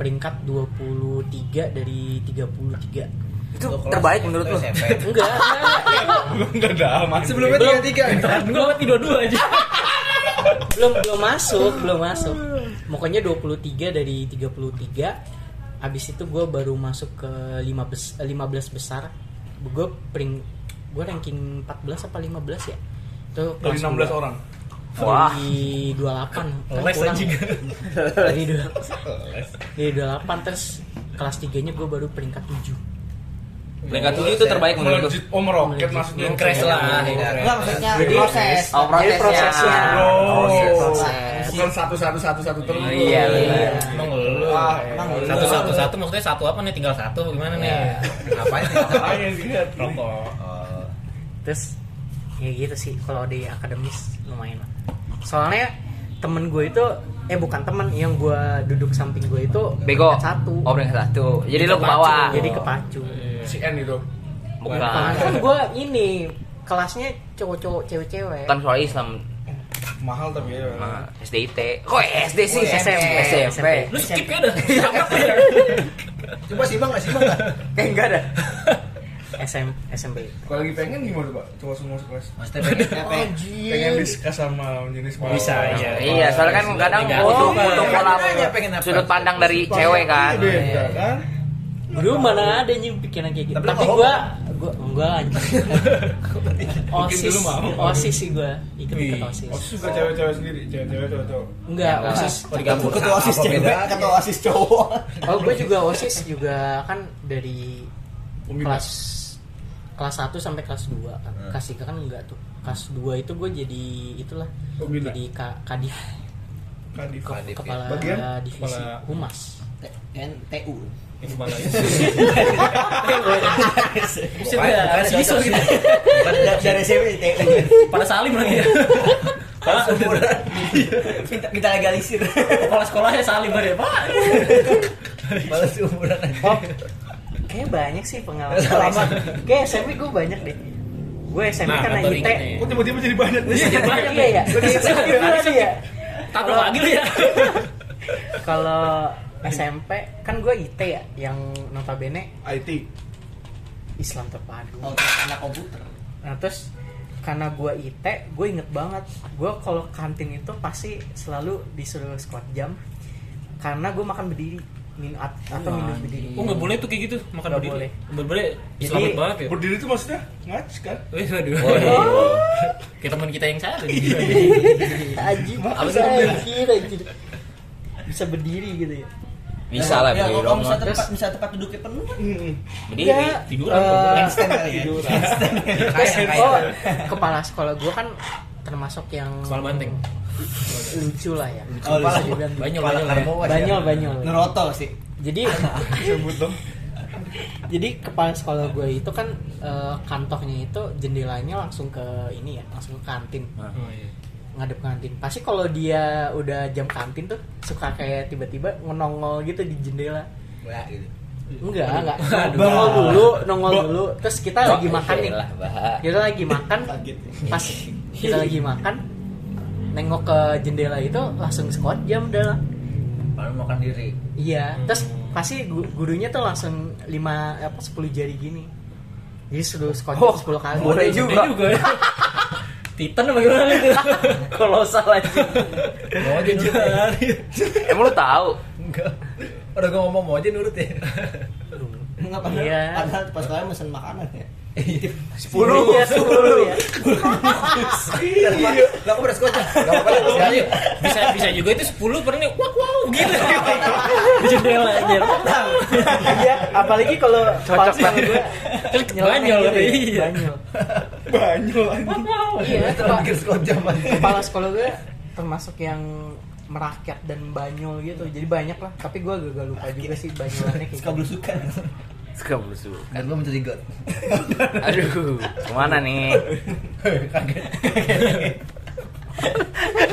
S4: peringkat 23 dari 33.
S1: Itu
S3: Kalau kelas
S1: terbaik
S3: itu
S1: menurut lu.
S3: SMP.
S4: Enggak, enggak,
S2: Enggak ada aman.
S3: Sebelumnya tiga tiga.
S5: Gue mati dua-dua aja.
S4: belum belum masuk, belum masuk. Pokoknya 23 dari 33. Abis itu gue baru masuk ke 5 bes, 15 besar. Gue pering gue ranking 14 apa 15 ya? Itu
S2: Dari 16
S4: kelas dua.
S2: orang.
S1: Wah.
S4: Dari 28 kan
S5: Les
S4: kurang.
S5: anjing.
S4: Dari dua- Dari 28 terus kelas 3-nya gue baru peringkat 7
S1: Peringkat tujuh itu terbaik menurut lu.
S2: Melejit, oh meroket maksudnya.
S5: Crash lah.
S6: Enggak maksudnya
S2: Jadi
S6: proses.
S1: Oh, prosesnya.
S2: ya,
S4: prosesnya.
S1: Proses,
S2: Oh,
S1: proses.
S2: bukan satu satu satu satu terus.
S1: Iya,
S2: Iya.
S1: benar.
S5: Oh, Ah, Emang lu.
S2: Wah, Ah, emang
S6: lu.
S5: Satu satu satu maksudnya satu apa nih tinggal satu gimana nih?
S2: Iya.
S3: Ngapain?
S2: Ayo lihat.
S5: Rokok.
S3: Oh,
S4: terus ya gitu sih kalau di akademis lumayan lah. soalnya temen gue itu eh bukan temen yang gue duduk samping gue itu
S1: Bego.
S4: peringkat satu
S1: Oh, peringkat satu. Ah. Jadi lu ke
S5: Kepacu.
S1: bawah.
S4: jadi kepacu
S2: Si N itu.
S1: Bukan.
S4: Nah, kan gue ini kelasnya cowok-cowok cewek-cewek
S1: Kan soal Islam.
S2: Mahal tapi ya.
S1: Nah, SDIT. Kok SD sih?
S4: Oh, SMP.
S1: SMP.
S5: Lu skip ya dah. Siapa ya?
S3: coba simak nggak simak nggak?
S1: Eh, enggak ada.
S4: SM, SMP
S2: Kalau lagi pengen gimana pak? Coba semua masuk kelas.
S3: Maksudnya pengen
S6: Oh,
S3: apa?
S2: Pengen diskus sama jenis kepala.
S5: Bisa, iya.
S1: Iya, soalnya kan kadang
S5: Enggak.
S1: butuh
S5: Oh,
S1: butuh
S5: iya.
S1: pola
S3: Nanya pengen apa?
S1: sudut pandang dari cewek kan.
S2: Beda kan?
S4: dulu mana ada yang pikiran kayak gitu
S3: Tapi
S4: tapi,
S3: lu mau
S4: gue gue enggak aja osis
S2: dulu mau.
S4: osis sih gue ikut-ikut
S5: Wih,
S4: osis
S2: Oh suka cewek-cewek sendiri, cewek-cewek cowok-cowok.
S4: enggak
S1: Ya,
S4: osis
S5: Oh,
S3: digabung
S6: Ketua OSIS cewek, ketua OSIS cowok.
S4: Oh, gue juga OSIS juga kan dari
S2: Pembina.
S4: kelas kelas 1 sampai kelas 2. Kan. Kelas 3 kan enggak tuh. Kelas 2 itu gue jadi itulah
S2: Pembina.
S4: jadi ka, kadif
S2: Kadif.
S4: ke-
S3: Kadif, ya.
S4: kepala
S2: Bagian?
S4: divisi
S2: Kepala-
S4: humas.
S6: NTU.
S5: Sudah,
S2: Iya.
S3: Bukan,
S5: Yesus gitu.
S6: Dari SMP NTU.
S5: Pada salim lagi ya. Karena
S6: Minta, minta legalisir.
S5: kepala sekolahnya salim ya pak.
S3: Malah seumuran aja.
S4: Oh, kayak banyak sih pengalaman.
S3: Selama.
S4: Kayak SMP gue banyak deh. Gue SMP
S5: Nah,
S4: kan
S5: kan baru
S4: IT.
S5: ingat
S1: Iya.
S5: nih.
S2: Kok tiba-tiba jadi banyak nih?
S4: Iya ya. SMP dulu tadi ya.
S5: Tapi lagi lu ya.
S4: Kalau SMP kan gue IT ya, yang notabene
S2: IT.
S4: Islam terpadu.
S6: Oh, terus anak komputer.
S4: Nah terus karena gue IT, gue inget banget. Gue kalau kantin itu pasti selalu disuruh squat jam. Karena gue makan berdiri, min at- atau minum berdiri.
S5: Oh nggak boleh tuh kayak gitu makan
S4: Nggak
S5: berdiri.
S4: boleh.
S5: Nggak boleh.
S4: Jadi-
S5: Selamat banget ya.
S2: Berdiri itu maksudnya ngac kan?
S5: Wih, waduh. Kayak teman kita yang satu.
S4: Anjing,
S5: Apa
S4: maksa
S5: sih?
S4: anjir, anjir. Bisa berdiri gitu ya.
S1: Bisa lah beli
S3: Iya,
S6: Ya, kalau kamu
S1: dong.
S6: bisa tempat bisa tempat duduknya penuh kan?
S5: Berdiri, tiduran.
S4: eh,
S6: Handstand kali ya.
S4: Terus,
S6: Kayak
S4: oh,
S6: kayak.
S4: kepala sekolah gue kan termasuk yang
S5: Kepala banteng.
S4: lucu lah ya.
S6: Oh,
S4: Kepala
S6: lucu.
S4: juga
S5: Banyak
S3: Kepala
S5: banyak.
S3: karbo aja.
S4: banyol banyol.
S6: Ngerotol sih.
S4: Jadi Jadi kepala sekolah gue itu kan eh, kantornya itu jendelanya langsung ke ini ya, langsung ke kantin.
S5: Oh, iya.
S4: Ngadep kantin. Pasti kalau dia udah jam kantin tuh suka kayak tiba-tiba nongol gitu di jendela.
S6: Wah, gitu.
S4: Enggak, enggak. Nongol dulu, nongol dulu. Terus kita lagi makan nih.
S1: ya Lah, bah.
S4: Kita lagi makan
S6: Kaget.
S4: pas kita lagi makan nengok ke jendela itu langsung squat jam udah lah.
S3: Malah makan diri.
S4: Iya,
S5: Hmm.
S4: terus pasti gu- gurunya tuh langsung 5 apa 10 jari gini. Jadi suruh squat
S1: Oh,
S4: 10 kali. Iya.
S1: boleh juga.
S5: Boleh ya. Titan apa gimana itu?
S1: Kolosal aja.
S3: Mau aja nurut. ya.
S1: Emang lu tahu?
S3: Enggak. Udah gua ngomong mau aja nurut ya.
S6: Enggak
S4: Iya.
S6: padahal padahal pas kalian mesen makanan ya.
S4: Sepuluh ya, 10 ya.
S3: Iya. Lah aku beres kota. Enggak apa-apa.
S5: Oh, iya. Bisa bisa juga itu 10 pernah nih. Wow, wow gitu. Di jendela aja.
S4: Iya, apalagi kalau
S1: Cocok
S4: kalau
S1: banget. Kan
S4: gua
S5: Terus
S4: nyeleneh
S5: Banyol.
S4: gitu ya,
S5: Iya.
S4: Banyol.
S2: Banyak anjing.
S4: Iya,
S3: Iya,
S4: kepala-
S3: terakhir sekolah zaman.
S4: kepala sekolah gue termasuk yang merakyat dan banyol gitu. Jadi banyak lah, tapi gue agak lupa juga sih banyolannya kayak
S6: Suka
S4: gitu.
S6: belusukan.
S1: Suka belusu.
S3: Dan gua mencuri god.
S1: Aduh, kemana nih?
S3: Kaget.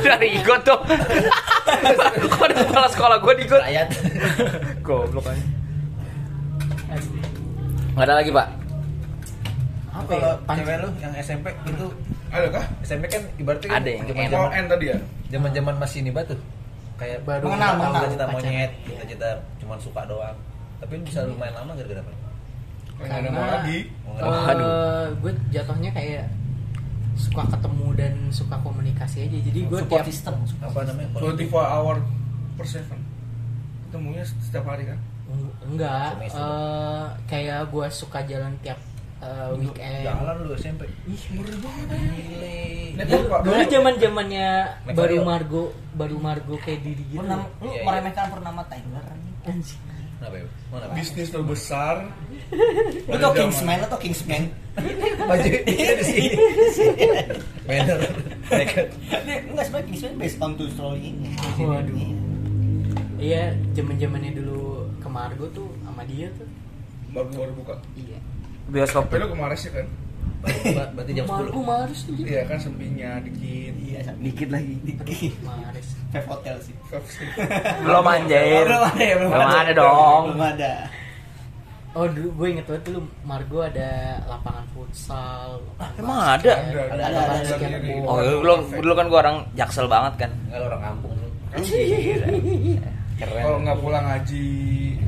S1: Dari ikut dong. Kok ada kepala sekolah gue di ikut?
S3: Rakyat.
S1: Goblok aja.
S4: Aduh,
S1: Nggak ada lagi pak?
S4: Apa ya?
S3: Kalau
S4: Pan-
S3: cewek lu yang SMP itu
S2: Ada kah?
S3: SMP kan ibaratnya
S1: Ada yang
S2: Oh, N tadi ya?
S3: zaman-zaman masih ini batu kayak
S4: Baru
S3: mengenal
S4: tahu
S3: mengenal cita
S4: pacaran.
S3: monyet
S6: Iya.
S3: cita-cita cuman suka doang tapi lu
S6: Hmm.
S3: bisa lumayan lama gara-gara apa
S2: Nggak ada mau lagi.
S1: Oh, aduh.
S4: gue eh, jatuhnya kayak suka ketemu dan suka komunikasi aja jadi gue
S6: Support
S4: tiap
S6: system.
S3: apa namanya
S2: 24 hour per 7. Ketemunya setiap hari kan?
S4: Eng- enggak
S3: Semester.
S4: eh, kayak gue suka jalan tiap eh, weekend
S3: jalan lu SMP
S2: Ih, murah banget.
S3: Gile.
S2: Network, Pak.
S4: dulu zaman zamannya
S3: Make
S4: baru
S3: Mario.
S4: Margo baru Margo kayak diri gitu
S6: Pernah
S3: Iya,
S6: lu
S3: iya.
S6: meremehkan pernama Tyler.
S4: Anjing.
S3: kenapa ya mana bis
S2: Bisnis terbesar.
S6: Lu tau Kingsman, lu tau Kingsman. Iya,
S3: baju dia di sini banner dekat
S6: Dia enggak sebenarnya Kingsman based on true story ini.
S4: Waduh.
S6: Iya.
S4: iya zaman zamannya dulu ke Margo tuh sama dia tuh
S2: Baru baru buka.
S4: iya
S1: Bioskop.
S2: Tapi lu kemarin sih kan?
S3: Ber- berarti jam
S4: Margo
S3: 10
S4: Maris tuh dia.
S2: Iya kan sempinya dikit.
S6: Iya, dikit lagi, dikit.
S4: Maris
S6: Five Hotel sih.
S1: Belum
S3: Iya,
S1: anjir.
S6: Belum ada ya,
S1: Belum ada dong.
S6: Belum ada.
S4: Oh dulu gue inget banget dulu Margo ada lapangan futsal lapangan
S1: Ah, Emang
S4: basket.
S1: ada?
S2: Ada,
S4: Ada
S6: ada,
S4: lapangan
S6: ada.
S4: skateboard.
S1: Oh, dulu, dulu kan gue orang jaksel banget kan.
S3: nggak lu orang kampung lu
S4: Iya,
S1: iya,
S2: Kalau
S1: Keren.
S2: nggak pulang ngaji,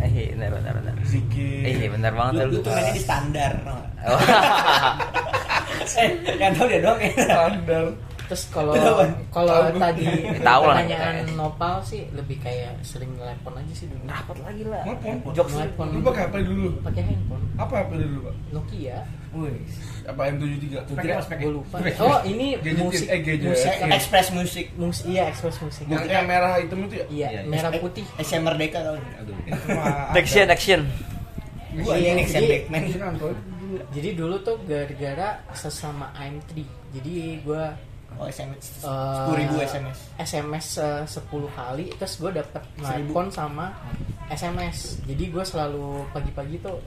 S1: Eh, bentar, bentar, bentar. Eh,
S2: zikir.
S1: bentar banget
S6: Lu,
S1: lu. Oh.
S6: lu tuh mainnya di standar. tau nggak? Eh, yang tau dia doang ya.
S2: Standar.
S4: Terus kalau
S6: Ketahuan.
S4: kalau
S2: Tahu.
S4: tadi
S1: Tahu lah.
S4: pertanyaan Nopal sih lebih kayak sering nelpon aja sih dulu.
S1: Rapat lagi lah.
S2: Nelpon.
S1: Jokes.
S4: Nelpon.
S2: Lu pakai apa dulu?
S4: Pakai handphone
S2: Apa apa dulu, Pak?
S4: Nokia.
S6: Wih.
S2: Apa M73?
S6: Kira pas pakai
S4: Gue lupa. Oh ini
S2: Gadgetin.
S4: musik.
S2: Eh, gadget.
S4: musik.
S2: Eh,
S4: Ex-
S6: Express Music.
S4: mus- iya ekspres musik.
S2: Yang yang merah hitam itu ya?
S4: Iya
S3: Iya,
S4: merah putih.
S6: SM Merdeka tau nggak?
S3: aduh
S1: Action, action.
S6: Gua
S4: Iya,
S6: ini
S4: jadi-
S6: SM Backman.
S4: Jadi dulu tuh gara-gara sesama AM3. Jadi gue
S6: Oh, SMS.
S4: eh,
S6: 10.000 SMS.
S4: SMS eh, 10 kali terus gue dapet
S6: Seribu.
S4: nelpon sama SMS jadi gue selalu pagi-pagi tuh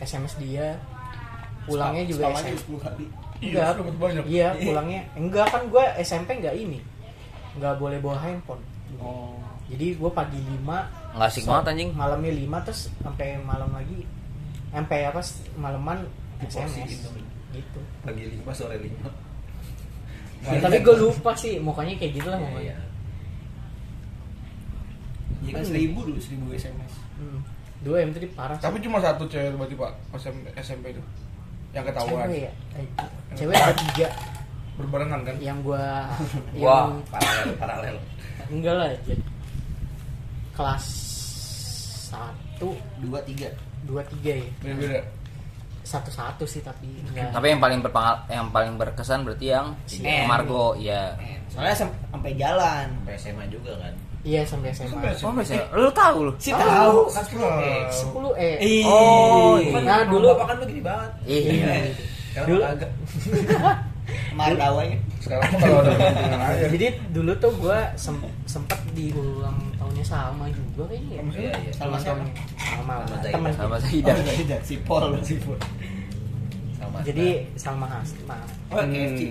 S4: SMS dia pulangnya juga
S6: Spam aja
S4: SMS
S6: 10 kali.
S2: Iya, terus dapat banyak.
S4: Iya, pulangnya enggak kan gue SMP enggak ini. Enggak boleh bawa handphone. Oh. Jadi gue pagi 5
S1: Nggak asik banget, anjing.
S4: Malamnya 5 terus sampai malam lagi sampai apa s- malaman SMS
S3: gitu.
S4: gitu.
S3: Pagi lima sore lima.
S4: Ya, tapi gue lupa sih mukanya kayak gitu lah
S3: Iya.
S4: mukanya.
S6: Iya kan seribu dulu seribu SMS.
S4: Hmm. Dua M tadi parah. sih.
S2: Tapi cuma satu cewek berarti Pak pas SMP, SMP itu. Yang ketahuan.
S4: Cewek ya? Iya. Eh, Cewek ada tiga
S2: Berbarengan kan?
S4: yang gue
S1: Wah.
S4: yang
S3: Paralel paralel.
S4: enggak lah jadi kelas satu
S3: Dua tiga.
S4: dua tiga ya
S2: Beda-beda.
S4: satu satu sih tapi
S6: Iya.
S4: enggak.
S1: Tapi yang paling berpengal- yang paling berkesan berarti yang si
S6: Eh.
S1: Margo, ya.
S6: Soalnya sam- sampai jalan.
S3: Sampai SMA juga kan.
S4: iya sampai SMA
S2: Sampai
S1: Oh, masih lu tahu lu.
S6: Si tahu.
S2: Kan sepuluh.
S4: sepuluh eh
S6: Ih.
S1: Oh, iya.
S4: Nah, dulu-
S3: apa kan begini banget.
S1: Iya.
S3: Eh, Sekarang
S4: Dulu-
S3: agak
S6: Kemarin awalnya.
S2: Sekarang mah kalau ada hubungan aja.
S4: jadi dulu tuh gue sempet di ulang tahunnya sama juga kayaknya ya.
S3: Iya iya.
S6: Sama siapa?
S4: sama lah,
S3: Sama Zaida.
S4: temen
S1: Sama
S6: Tidak,
S1: Zaidan.
S6: tidak. Si Paul, si Paul.
S3: Sama.
S4: jadi Salma Hasma
S6: Oh, KFC.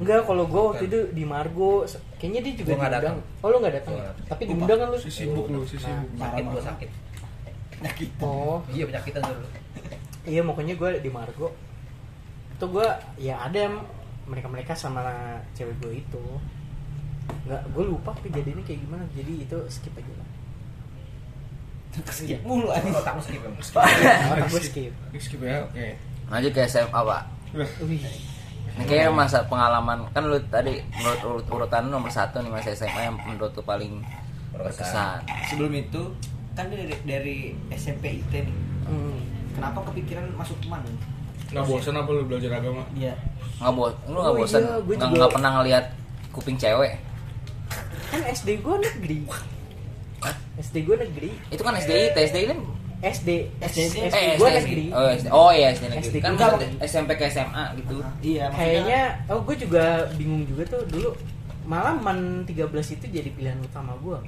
S4: enggak kalau gue waktu itu di Margo se- kayaknya dia juga
S3: Gua nggak
S4: diundang
S3: datang.
S4: oh lu nggak datang
S3: Gua
S4: ya?
S3: nggak datang.
S4: tapi diundang kan lu
S2: Si sibuk lu, si sibuk.
S3: sakit gua sakit.
S6: Nah, gitu.
S4: oh
S3: Iya penyakitan dulu.
S4: iya pokoknya gue di Margo itu gue ya ada yang mereka mereka sama cewek gue itu nggak gue lupa kejadiannya kayak gimana jadi itu skip aja lah
S6: Skip mulu anjing.
S3: Kalau takut skip emang.
S4: Otak gue skip
S2: Skip ya, oke.
S1: Lanjut ke SMA, Pak.
S4: Wih.
S1: Ini kayak
S6: Iya.
S1: masa pengalaman kan lu tadi menurut urut- urutan lu nomor satu nih masa SMA yang menurut lu paling berkesan.
S6: Sebelum itu kan dia dari, dari SMP IT nih.
S4: Hmm.
S6: Kenapa kepikiran masuk teman?
S2: Nggak bosan apa lu belajar agama?
S6: Iya.
S1: Nggak bos, lu nggak
S4: Oh
S1: bosan,
S4: iya, gua
S1: nggak
S4: juga.
S1: nggak pernah ngelihat kuping cewek.
S4: kan SD gue negeri SD gue negeri
S1: Itu kan SDI, SDI kan
S4: SD
S6: SD,
S4: SD gue negeri
S1: Oh, SD. Oh iya, SD negeri.
S4: SD
S1: Kan
S4: gua
S1: maksudnya SMP ke SMA gitu.
S6: Iya, maksudnya.
S4: kayaknya oh gue juga bingung juga tuh dulu malaman 13 itu jadi pilihan utama gue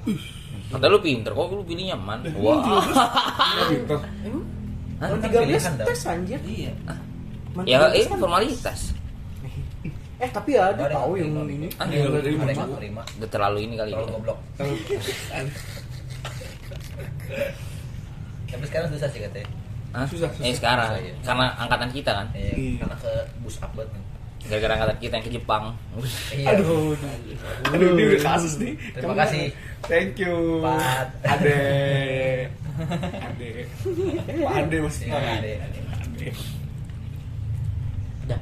S1: Kata lu pinter, kok lu pilih nyaman? Wah.
S2: Iya, gitu.
S1: Hah?
S4: Malam
S3: Kan
S4: 13
S3: pilihan dong.
S4: tes anjir
S6: Iya.
S4: Malam
S1: Ya
S4: 13
S1: itu
S4: kan
S1: formalitas.
S4: Eh tapi ya ada
S3: Ada
S4: tahu
S3: yang
S4: yang
S3: terima.
S4: ini.
S1: Ah,
S2: Iya, lu
S3: Ada
S2: dari
S3: yang
S2: mana?
S3: nggak terima.
S1: Udah terlalu ini kali
S3: Terlalu
S1: ya.
S3: goblok. Tapi sekarang susah sih katanya.
S1: Hah?
S2: Susah, susah.
S1: Eh sekarang
S3: Susah, iya.
S1: karena angkatan kita kan.
S3: Eh,
S2: Iya.
S3: Karena ke bus abad kan.
S1: Gara-gara angkatan kita yang ke Jepang.
S3: Iya.
S4: Aduh.
S2: Aduh, ini kasus nih.
S3: Terima kasih.
S2: Thank you.
S3: Pak.
S2: Ade. Ade. Pak Ade masih.
S3: Iya, ada, ada.
S4: Dah.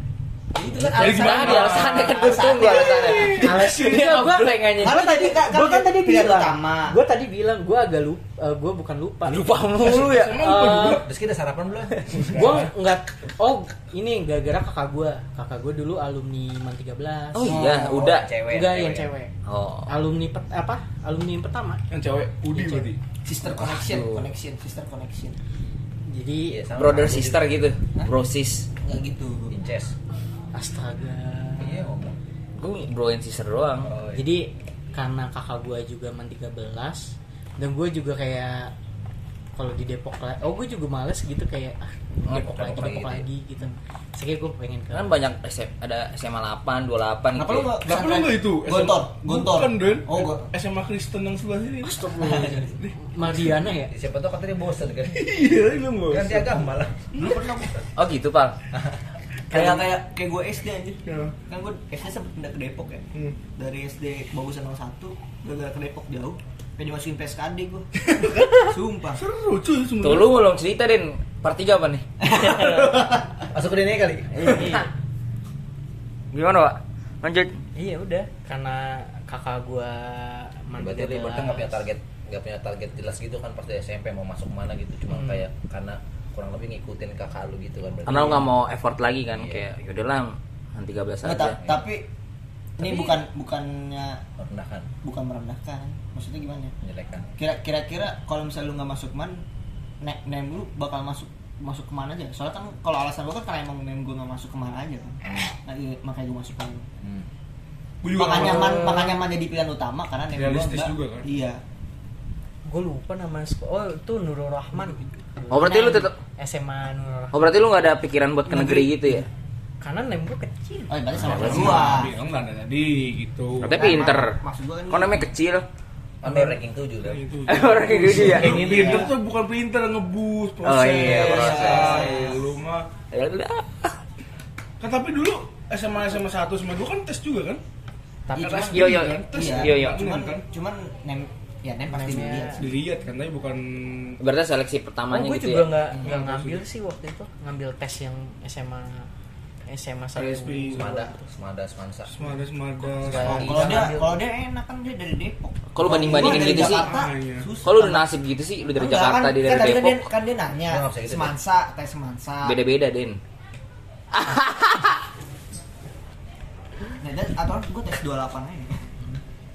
S3: Gitu
S6: Itu kan
S2: Jadi gimana
S1: Tadi alasannya kan gue tunggu alasannya.
S4: Alasannya apa pengennya?
S6: Karena tadi kan
S4: Gue kan Iya, tadi
S6: pilihan
S4: bilang.
S6: utama.
S4: Gue tadi bilang gue agak lupa. gue bukan lupa.
S1: Lupa mulu ya.
S4: Eh,
S3: Terus kita sarapan belum?
S4: gue nggak. Oh ini gara-gara kakak gue. Kakak gue dulu alumni man 13.
S1: Oh iya, udah.
S3: cewek.
S4: Enggak yang cewek.
S1: Oh.
S4: Alumni pet, apa? Alumni yang pertama.
S2: Yang cewek Udi berarti.
S6: sister connection,
S1: Aduh.
S6: connection, sister connection.
S4: Jadi
S3: Iya, sama.
S1: Brother
S3: Aku
S1: sister gitu. Bro sis.
S6: Enggak gitu.
S3: juga. Inces.
S4: astaga.
S3: Iya,
S6: oh,
S3: ngomong.
S1: Gue bro and sister doang.
S3: Oh, iya.
S4: Jadi karena kakak gue juga man 13 dan gue juga kayak kalau di Depok lagi, oh gue juga males gitu kayak ah, Depok,
S6: Oh,
S3: Depok lagi
S4: lagi, Depok
S3: gitu ya.
S4: lagi gitu. Sekarang gue pengen ke
S1: Kan banyak SM, ada SMA 8, 28
S6: Kenapa
S1: gitu.
S6: lu
S1: ya.
S6: nggak-
S2: Kenapa lu nggak itu?
S6: Gontor, gontor.
S2: Bukan, Den.
S6: Oh, gontor.
S2: SMA Kristen yang sebelah sini.
S4: Mariana ya.
S3: Siapa tau katanya bosen kan?
S2: Iya, lu mau.
S3: Ganti agama lah.
S1: Oh gitu, Pak.
S6: Kayak kayak kayak gue SD anjir.
S2: Ya.
S6: Kan gue SD sempet pindah ke Depok ya.
S2: Hmm.
S6: Dari SD bagusan nomor satu, gara-gara ke Depok jauh. Pengen dimasukin PSKD gue. Sumpah.
S2: Seru cuy
S1: Tuh
S2: sebenarnya.
S1: lu belum cerita, Den. Part 3 apa nih?
S3: Masuk ke DNA kali?
S1: Iya.
S6: Iya.
S1: Gimana, Pak? Lanjut.
S4: Iya udah karena kakak gue man
S3: Berarti lu
S4: 13.
S3: ibaratnya nggak
S6: ya
S3: punya target nggak punya target jelas gitu kan pas dari SMP mau masuk mana gitu cuma kayak karena kurang lebih ngikutin kakak lu gitu kan berarti
S1: Karena lu nggak mau effort lagi kan,
S3: Iya.
S1: kayak yaudah lah, nanti 13
S6: Nggak,
S1: aja.
S2: ya.
S6: ta- tapi ini bukan bukannya
S3: merendahkan
S6: bukan merendahkan. Maksudnya gimana? ya?
S3: menjelekan
S6: Kira- Kira-kira kalau misalnya lu nggak masuk man, nek name lu bakal masuk masuk kemana aja? Soalnya kan kalau alasan gue kan karena emang name gue nggak masuk kemana aja kan. Nah, iya, makanya gue masuk kan.
S3: hmm.
S2: Gua juga
S6: Makanya
S2: nggak
S6: man,
S2: mau.
S6: makanya man jadi pilihan utama karena name gua
S2: Realistis
S6: nggak-
S2: juga kan?
S6: Iya.
S4: Gue lupa nama sekolah. Oh itu Nurul Rahman.
S1: Oh berarti lu tetap
S4: SMA Nurul Rahman.
S1: Oh berarti lu nggak ada pikiran buat ke negeri gitu ya?
S4: Karena name gue kecil.
S6: Oh, berarti sama
S1: Nah,
S6: kayak gua.
S2: Bilang nggak ada tadi gitu.
S1: Tapi pinter.
S6: Maksud gua kan
S1: Kok namanya kecil?
S3: Ambil ranking 7 dah.
S2: Itu.
S1: Orang kayak gitu ya.
S2: Lu pinter tuh bukan pinter ngebus proses.
S1: Oh, iya, proses.
S2: Ay, Lu mah.
S1: Ya
S2: Kan tapi dulu SMA SMA 1 SMA 2 kan tes juga kan?
S4: Tapi
S6: Iya,
S4: kan
S2: Kelas
S1: Yo, yo.
S2: gini kan? Tes
S6: iya.
S1: Iya, iya.
S6: Cuman
S2: kan?
S6: cuman name ya name pasti
S4: Name-nya-
S6: dilihat. sih.
S2: Dilihat kan tapi bukan
S1: Berarti seleksi
S4: oh,
S1: pertamanya
S4: gue
S1: gitu ya.
S4: juga
S6: Hmm.
S4: nggak nggak ngambil sih waktu itu ngambil tes yang SMA SMA satu.
S2: PSP.
S3: Semada, semada, semansa.
S2: semada semada.
S4: Semada.
S6: Kalau dia
S4: Ngambil.
S6: kalau dia enak kan dia dari Depok.
S1: Kok lu banding-bandingin
S6: Gua dari
S1: gitu sih?
S6: Jakarta,
S2: Ah, iya.
S6: susah.
S1: Kalau udah nasib gitu sih, lu dari
S6: Enggak,
S1: Jakarta,
S6: kan,
S1: dia
S6: kan
S1: dari
S6: tadi kan
S1: Depok.
S6: dia- Kan dia nanya
S3: Gua nggak bisa gitu,
S6: semansa, tes semansa.
S1: Beda-beda, Den.
S6: Nah, dan- atau gue tes 28 aja.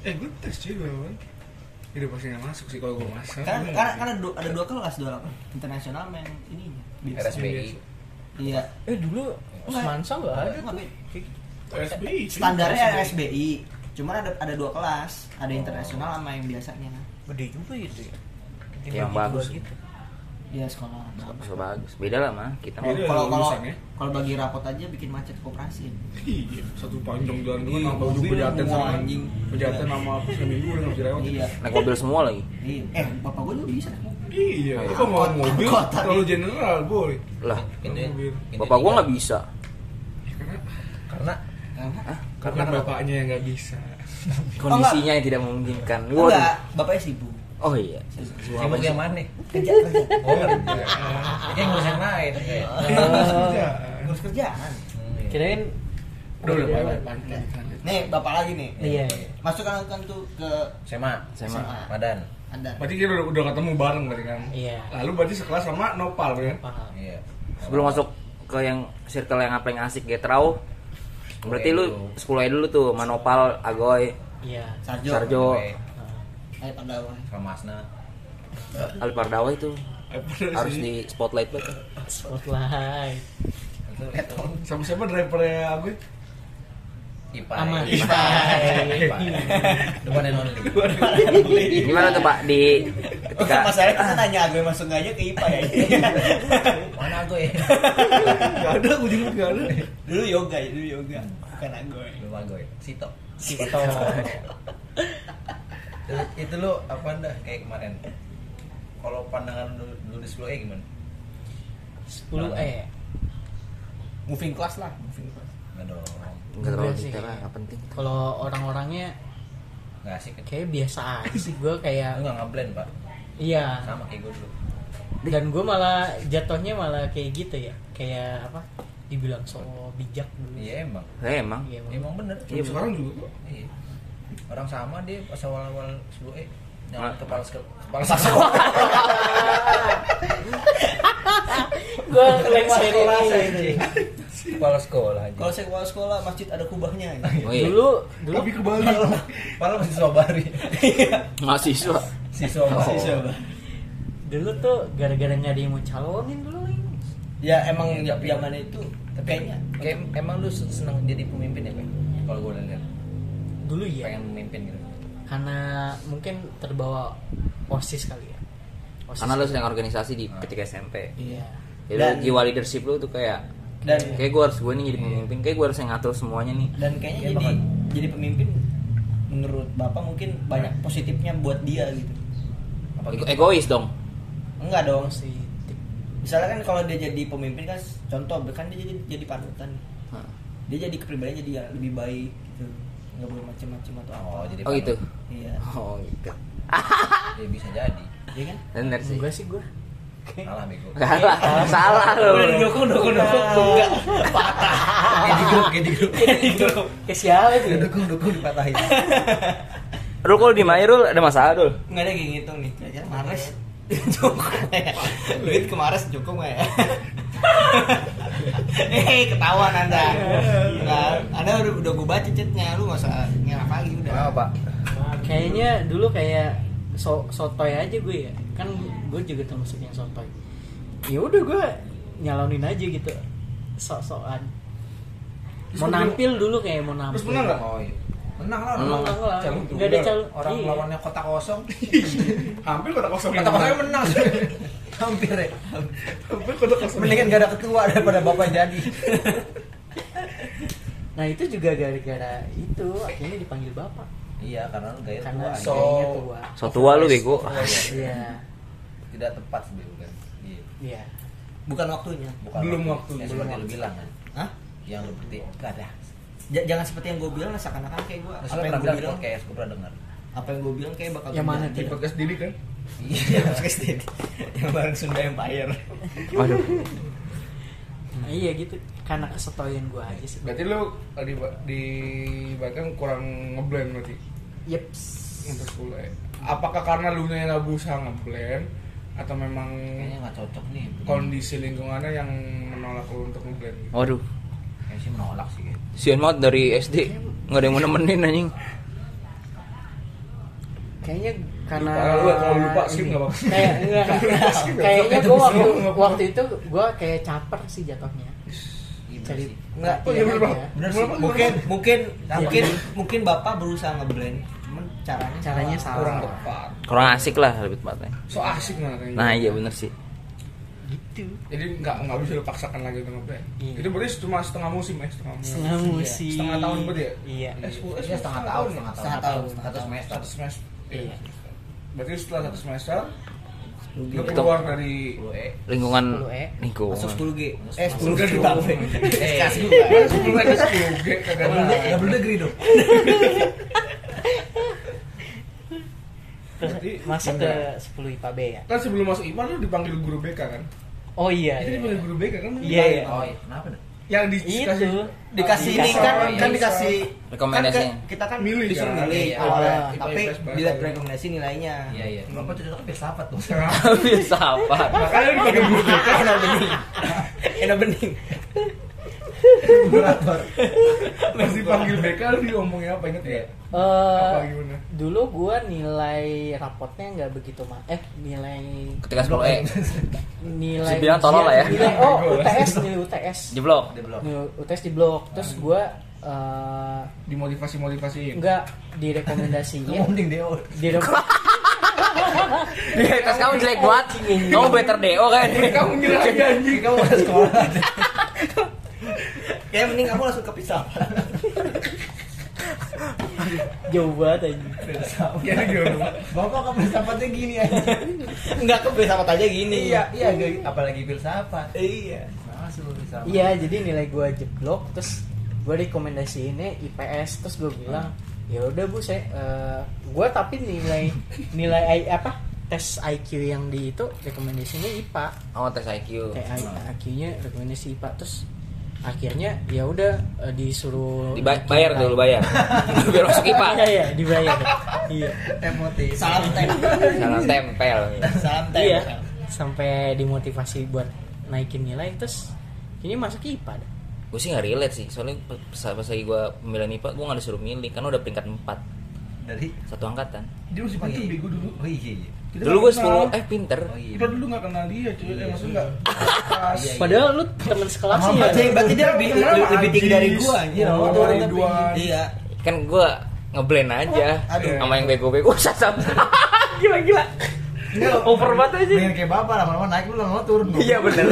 S2: Eh gue tes juga kan. Itu pasti nggak masuk sih kalau gue masuk.
S6: Karena
S2: Gua
S6: karena
S2: nggak
S6: karena du- ada dua kelas 28 internasional main ini.
S3: RSBI.
S6: Iya.
S4: Eh dulu Semansa nggak ada
S6: Nggak,
S4: tuh.
S6: Bi.
S2: SBI.
S6: Standarnya RSBI. Cuman ada ada dua kelas, ada internasional sama yang biasanya.
S4: Gede juga itu ya. Gede
S1: Yang
S4: bagi dua
S1: bagus.
S4: gitu.
S6: Iya sekolah.
S1: Bagus, bagus. Beda lah mah kita. mah.
S6: Kalau
S2: Beda
S6: kalau kalau-
S2: lulusannya.
S6: kalau bagi rapot aja bikin macet koperasi.
S2: Iya, satu panjang jalan dulu
S6: Iya,
S2: nambah ujung
S6: mobil,
S2: pejaten
S6: semua
S2: sama
S6: anjing.
S2: anjing. Pejaten
S6: Iya.
S2: sama apa seminggu udah nggak bisa lewat.
S6: Iya.
S1: Naik mobil semua lagi.
S6: Iya. Eh, bapak gue juga bisa.
S2: Iya, itu kok mau
S6: Angkot,
S2: mobil
S6: angkot, tapi-
S2: terlalu general boy.
S1: Lah,
S3: Ini,
S2: Mobil.
S1: bapak gua nggak bisa.
S3: Karena
S6: Karena
S2: Karena bapaknya yang nggak bisa.
S1: Kondisinya yang tidak memungkinkan. Waduh.
S6: enggak, bapaknya sibuk.
S1: Oh iya.
S3: sibuk yang mana?
S6: Kerja kerja.
S3: Oh, kerja. Yang ngurus yang lain. kayak.
S2: Oh. Kerjaan.
S6: Ngurus kerjaan.
S3: Hmm, iya.
S4: Kirain
S2: Udah udah bye, bye, lanjut, lanjut.
S6: Nih, bapak lagi nih.
S4: Iya.
S6: Masuk kan kan tuh ke
S3: Sema,
S1: Sema.
S3: Madan.
S6: Anda.
S2: Berarti kita udah, udah ketemu bareng berarti kan?
S4: Iya.
S2: Lalu berarti sekelas sama Nopal ya?
S4: paham.
S3: Iya.
S1: Sebelum masuk ke yang circle yang apa yang asik getrau. Berarti lu sekolah dulu tuh Manopal, Agoy,
S4: Iya. Ah,
S6: Sarjo. Eh,
S1: Sarjo,
S3: Oke,
S6: Ayo Pandawa.
S3: sama Asna.
S1: Alpardawa itu harus
S2: Harus di
S1: di spotlight banget.
S4: Spotlight.
S3: Itu itu
S2: sama siapa drivernya aku?
S3: Ipa.
S4: Aman.
S3: Ipa. Ipa. The one and only.
S1: Gimana tuh Pak di
S6: Oh,
S1: ketika
S6: masalahnya kita nanya gue masuk nggak aja ke IPA ya.
S3: Mana aku ya?
S2: Gak ada, aku juga gak ada.
S6: dulu yoga, ya, dulu yoga. Bukan gue.
S3: Belum aku ya. Sito.
S4: Sito.
S3: Itu- Itu lu apa dah kayak kemarin? Kalau pandangan lu lu di 10 e gimana?
S4: 10 eh
S6: Moving class lah.
S3: Enggak dong.
S1: Enggak terlalu
S4: Enggak Iya sih.
S1: detail lah, enggak penting.
S4: kalau orang-orangnya
S3: Enggak asik.
S4: kayak biasa aja sih gue
S3: Lu
S4: kayak
S3: enggak ngeblend, Pak.
S4: iya
S3: Sama kayak gue dulu.
S4: dan gue malah jatuhnya malah kayak gitu ya kayak apa dibilang so bijak dulu
S3: Iya emang.
S1: Ya emang.
S4: Iya, emang.
S3: Emang bener.
S2: Cuma sekarang juga kok.
S3: Iya. Orang sama dia pas awal-awal 10 e
S1: Ah.
S3: nyampe kepala sek- kepala sekolah.
S4: gue klaim seri ini.
S3: Kepala sekolah aja.
S6: Kalau saya kepala sekolah, masjid ada kubahnya. Ya.
S1: Oh iya.
S4: dulu dulu
S2: Tapi kebalik.
S3: Padahal masih sobari.
S1: Mahasiswa.
S3: Siswa
S1: Oh.
S6: Masih coba.
S4: dulu tuh gara-gara nggak ada yang mau calonin dulu Ling.
S6: Ya emang
S3: Iya, tapi-
S6: zaman itu
S3: Tapi
S6: kayaknya
S3: kayak emang lu senang jadi pemimpin ya, Pak? Kalau gue lihat
S4: dulu ya
S3: pengen memimpin gitu.
S4: karena mungkin terbawa osis kali ya osis
S1: Karena lu sedang organisasi di ketika SMP.
S4: iya
S1: Jadi
S6: Dan-
S1: jiwa leadership lu tuh kayak
S6: dan
S1: kayak gue harus gue nih jadi pemimpin, kayak gue harus yang ngatur semuanya nih.
S6: dan kayaknya
S3: Iya,
S6: jadi
S3: bakal-
S6: jadi pemimpin menurut bapak mungkin banyak positifnya buat dia gitu.
S1: Ego-
S3: Apa gitu?
S1: Egois dong.
S6: Enggak dong.
S4: osis
S6: Misalnya kan kalau dia jadi pemimpin kan contoh kan dia jadi jadi panutan.
S1: Hah.
S6: Dia jadi kepribadiannya dia lebih baik gitu. Enggak boleh macem-macem atau apa.
S3: Oh, jadi
S1: Oh gitu.
S6: Iya.
S1: Oh gitu.
S3: Ya bisa jadi.
S6: Iya kan?
S1: Bener sih.
S4: enggak sih gue
S3: Salah bego.
S1: Salah, salah lu.
S6: Dukung, dukung, dukung. Enggak.
S3: Kayak di grup, kayak di grup.
S4: kayak siapa
S3: Ya,
S4: sih
S3: Dukung, dukung dipatahin.
S1: Rul kalau di Mairul ada masalah Rul?
S6: Enggak ada kayak ngitung nih. Kayaknya Mares. Joko ya. Duit ke Mares Joko nggak ya? Eh, ketahuan Anda. Enggak. Anda udah udah gue baca chatnya lu enggak usah ngelak lagi udah.
S3: Kenapa, Pak?
S4: Nah, kayaknya dulu kayak so sotoy aja gue ya kan gue juga termasuk yang sotoy ya udah gue nyalonin aja gitu sok-sokan mau nampil dulu kayak mau nampil
S2: Terus menang nggak?
S3: Oh iya. Menang lah,
S1: Menang.
S3: menang lah. Calon
S4: Nggak ada
S3: tunggal.
S4: calon.
S3: Orang
S4: Iya.
S3: lawannya kota kosong.
S2: Hampir kota kosong.
S3: Kota kosongnya menang. Hampir ya.
S2: Hampir kota kosong.
S3: Mendingan gak ada ketua daripada bapak jadi.
S4: Nah itu juga gara-gara itu akhirnya dipanggil bapak
S3: Iya, karena lu gaya
S4: karena
S3: tua.
S2: so-
S4: gayanya tua.
S1: So tua lu bego.
S4: Iya,
S3: Tidak tepat sebenarnya bukan. Iya.
S4: iya.
S6: bukan waktunya
S3: Bukan
S2: Belum waktunya.
S3: Ya,
S2: Belum
S3: seperti lu bilang kan.
S6: Hah?
S3: Yang seperti enggak ada.
S6: J- jangan seperti yang gue bilang lah, seakan-akan kayak gue apa
S3: Apa
S6: yang
S3: pernah
S6: gue
S3: bilang
S6: bilang
S3: podcast, gue pernah dengar.
S6: apa yang gue bilang kayak bakal
S4: Yang mana
S2: di
S6: terjadi.
S2: podcast diri kan
S6: iya podcast ini yang bareng Sunda Empire
S1: Waduh.
S4: Nah, iya gitu karena kesetoyan gua aja sih.
S2: berarti lu eh, di di bahkan kurang ngeblend berarti
S4: Yeps.
S2: untuk kuliah apakah karena lu nya nggak berusaha ngeblend atau memang
S3: Kayaknya nggak cocok nih.
S2: kondisi lingkungannya yang menolak lu untuk ngeblend
S1: Waduh.
S3: Kayaknya sih menolak sih. kayaknya.
S1: Sian banget dari SD. Nggak ada yang mau nemenin anjing.
S4: Kayaknya karena
S2: Lupa, lu ya, kalau lupa skip
S4: ini.
S2: nggak apa-apa.
S4: Kayak enggak.
S2: Skip nggak
S4: Kayaknya
S2: apa-apa.
S4: gua waktu
S2: Nggak apa-apa.
S4: waktu itu gua kayak caper sih jatuhnya.
S3: Iya, bener
S4: Cari
S3: sih.
S6: Nggak,
S2: Oh, iya,
S4: perhatian
S2: bener, Bang.
S4: aja.
S6: Bener sih.
S2: Kenapa?
S6: Mungkin mungkin
S4: Iya.
S6: mungkin mungkin bapak berusaha ngeblend, cuman caranya
S4: Caranya salah.
S2: kurang tepat
S1: Kurang asik lah lebih tepatnya.
S2: so asik malah kayaknya.
S1: Nah iya bener sih.
S4: Gitu.
S2: jadi nggak nggak bisa dipaksakan lagi untuk ngeblend
S4: Iya.
S2: itu berarti cuma setengah musim ya setengah musim
S4: Setengah musim.
S2: setengah tahun berarti ya
S4: Iya.
S2: SUS
S3: Iya, setengah tahun, setengah tahun,
S6: Setengah tahun, setengah
S3: satu
S6: tahun.
S2: ya?
S3: semester.
S2: satu semester
S4: Iya.
S2: berarti setelah satu semester lu
S1: Itu.
S2: keluar dari Nah,
S3: Lu eh,
S1: Lingkungan
S4: 10E.
S1: lingkungan.
S6: masuk 10 G.
S3: Masuk
S6: Eh 10
S2: sepuluh.
S6: G kita.
S3: Eh. Iya,
S6: Kasih gua.
S2: sebelum itu sebelum kan G kagak ada
S4: Iya,
S3: double degree dong.
S4: Terus
S2: Berarti
S4: masuk ke
S2: enggak.
S4: 10 IPA B ya.
S2: kan sebelum masuk IPA lu dipanggil guru BK kan
S4: Oh iya.
S2: itu
S4: iya.
S2: dipanggil guru BK kan
S4: Iya, iya.
S3: Oh, iya. kenapa dah?
S2: yang
S4: Itu.
S2: dikasih
S6: Dikasih ini kan
S3: Iya.
S6: kan dikasih
S1: Rekomendasi.
S6: kan ke- kita kan
S2: Milih
S6: disuruh
S2: kan?
S6: milih
S3: Iya.
S6: awalnya,
S4: Ah.
S6: tapi
S2: IPS bahasa.
S6: dilihat rekomendasi nilainya.
S3: Iya, iya. Kenapa cocoknya filsafat tuh?
S2: Iya.
S1: Biasa apa?
S2: makanya dipanggil guru BK
S6: Enak bening. Enak bening.
S2: masih panggil BK lu diomongin apa inget ya
S4: Eh,
S2: apa gimana
S4: dulu gua nilai rapotnya nggak begitu mah eh nilai
S1: Ketika eh, 10E.
S4: nilai
S1: Bisa bilang tolol lah ya.
S4: nilai- oh UTS nilai UTS
S1: Jeblok.
S3: Dia belum.
S4: nilai UTS di blok terus
S1: Nah.
S4: gue eh
S2: dimotivasi motivasiin
S4: nggak direkomendasiin
S3: Ngomong dia.
S4: direkom
S1: Tes kamu jelek banget. Kamu better DO kan?
S2: kamu nyerah janji kamu harus sekolah
S6: Ya mending kamu langsung ke pisau.
S4: jauh banget aja
S2: jadi gimana
S3: Bapak ke filsafatnya gini aja.
S6: Enggak ke filsafat aja gini.
S3: Iya, iya, gak- apalagi filsafat.
S6: Iya.
S3: Masa lu filsafat?
S4: iya jadi nilai gue jeblok terus gue rekomendasiinnya IPS terus gue bilang ya udah bu saya gue tapi nilai nilai I- apa tes IQ yang di itu rekomendasinya IPA
S1: Oh tes IQ.
S4: kayak IQ-nya rekomendasi IPA terus akhirnya ya udah eh, disuruh
S1: Dibayar bayar dulu bayar. Biar masuk IPA.
S4: Iya iya dibayar. iya.
S3: Emotif.
S6: Salam tem.
S1: Salam tempel.
S6: Salam tem.
S4: Iya. Sampai dimotivasi buat naikin nilai terus ini masuk IPA dah.
S1: Gue sih nggak relate sih. Soalnya pas, pas lagi gue pemilihan IPA gue nggak disuruh milih karena udah peringkat 4
S3: Dari
S1: satu angkatan.
S2: dia masih
S3: Oh,
S2: pancing
S3: iya.
S2: bego dulu
S3: Oh iya iya.
S2: Kita
S1: Dulu gue
S2: nggak kenal.
S1: 10 eh pinter.
S3: Oh iya.
S2: kita dulu nggak kenal dia cuy eh, maksudnya nggak pas
S3: Iya, iya.
S4: Padahal lu teman sekelas sih ya.
S6: Berarti
S2: Iya,
S6: berarti dia lebih
S2: Kenapa,
S6: lebih lebih tinggi dari gua iya. anjir.
S2: Oh,
S6: Itu orang
S2: Ridwan.
S6: tertinggi. Iya.
S1: Kan gue ngeblend aja
S2: Aduh.
S1: sama yang bego-bego sasam gila gila over banget aja
S3: Pengen Iya. kayak bapak lama-lama naik lu lama-lama turun. dong.
S1: iya bener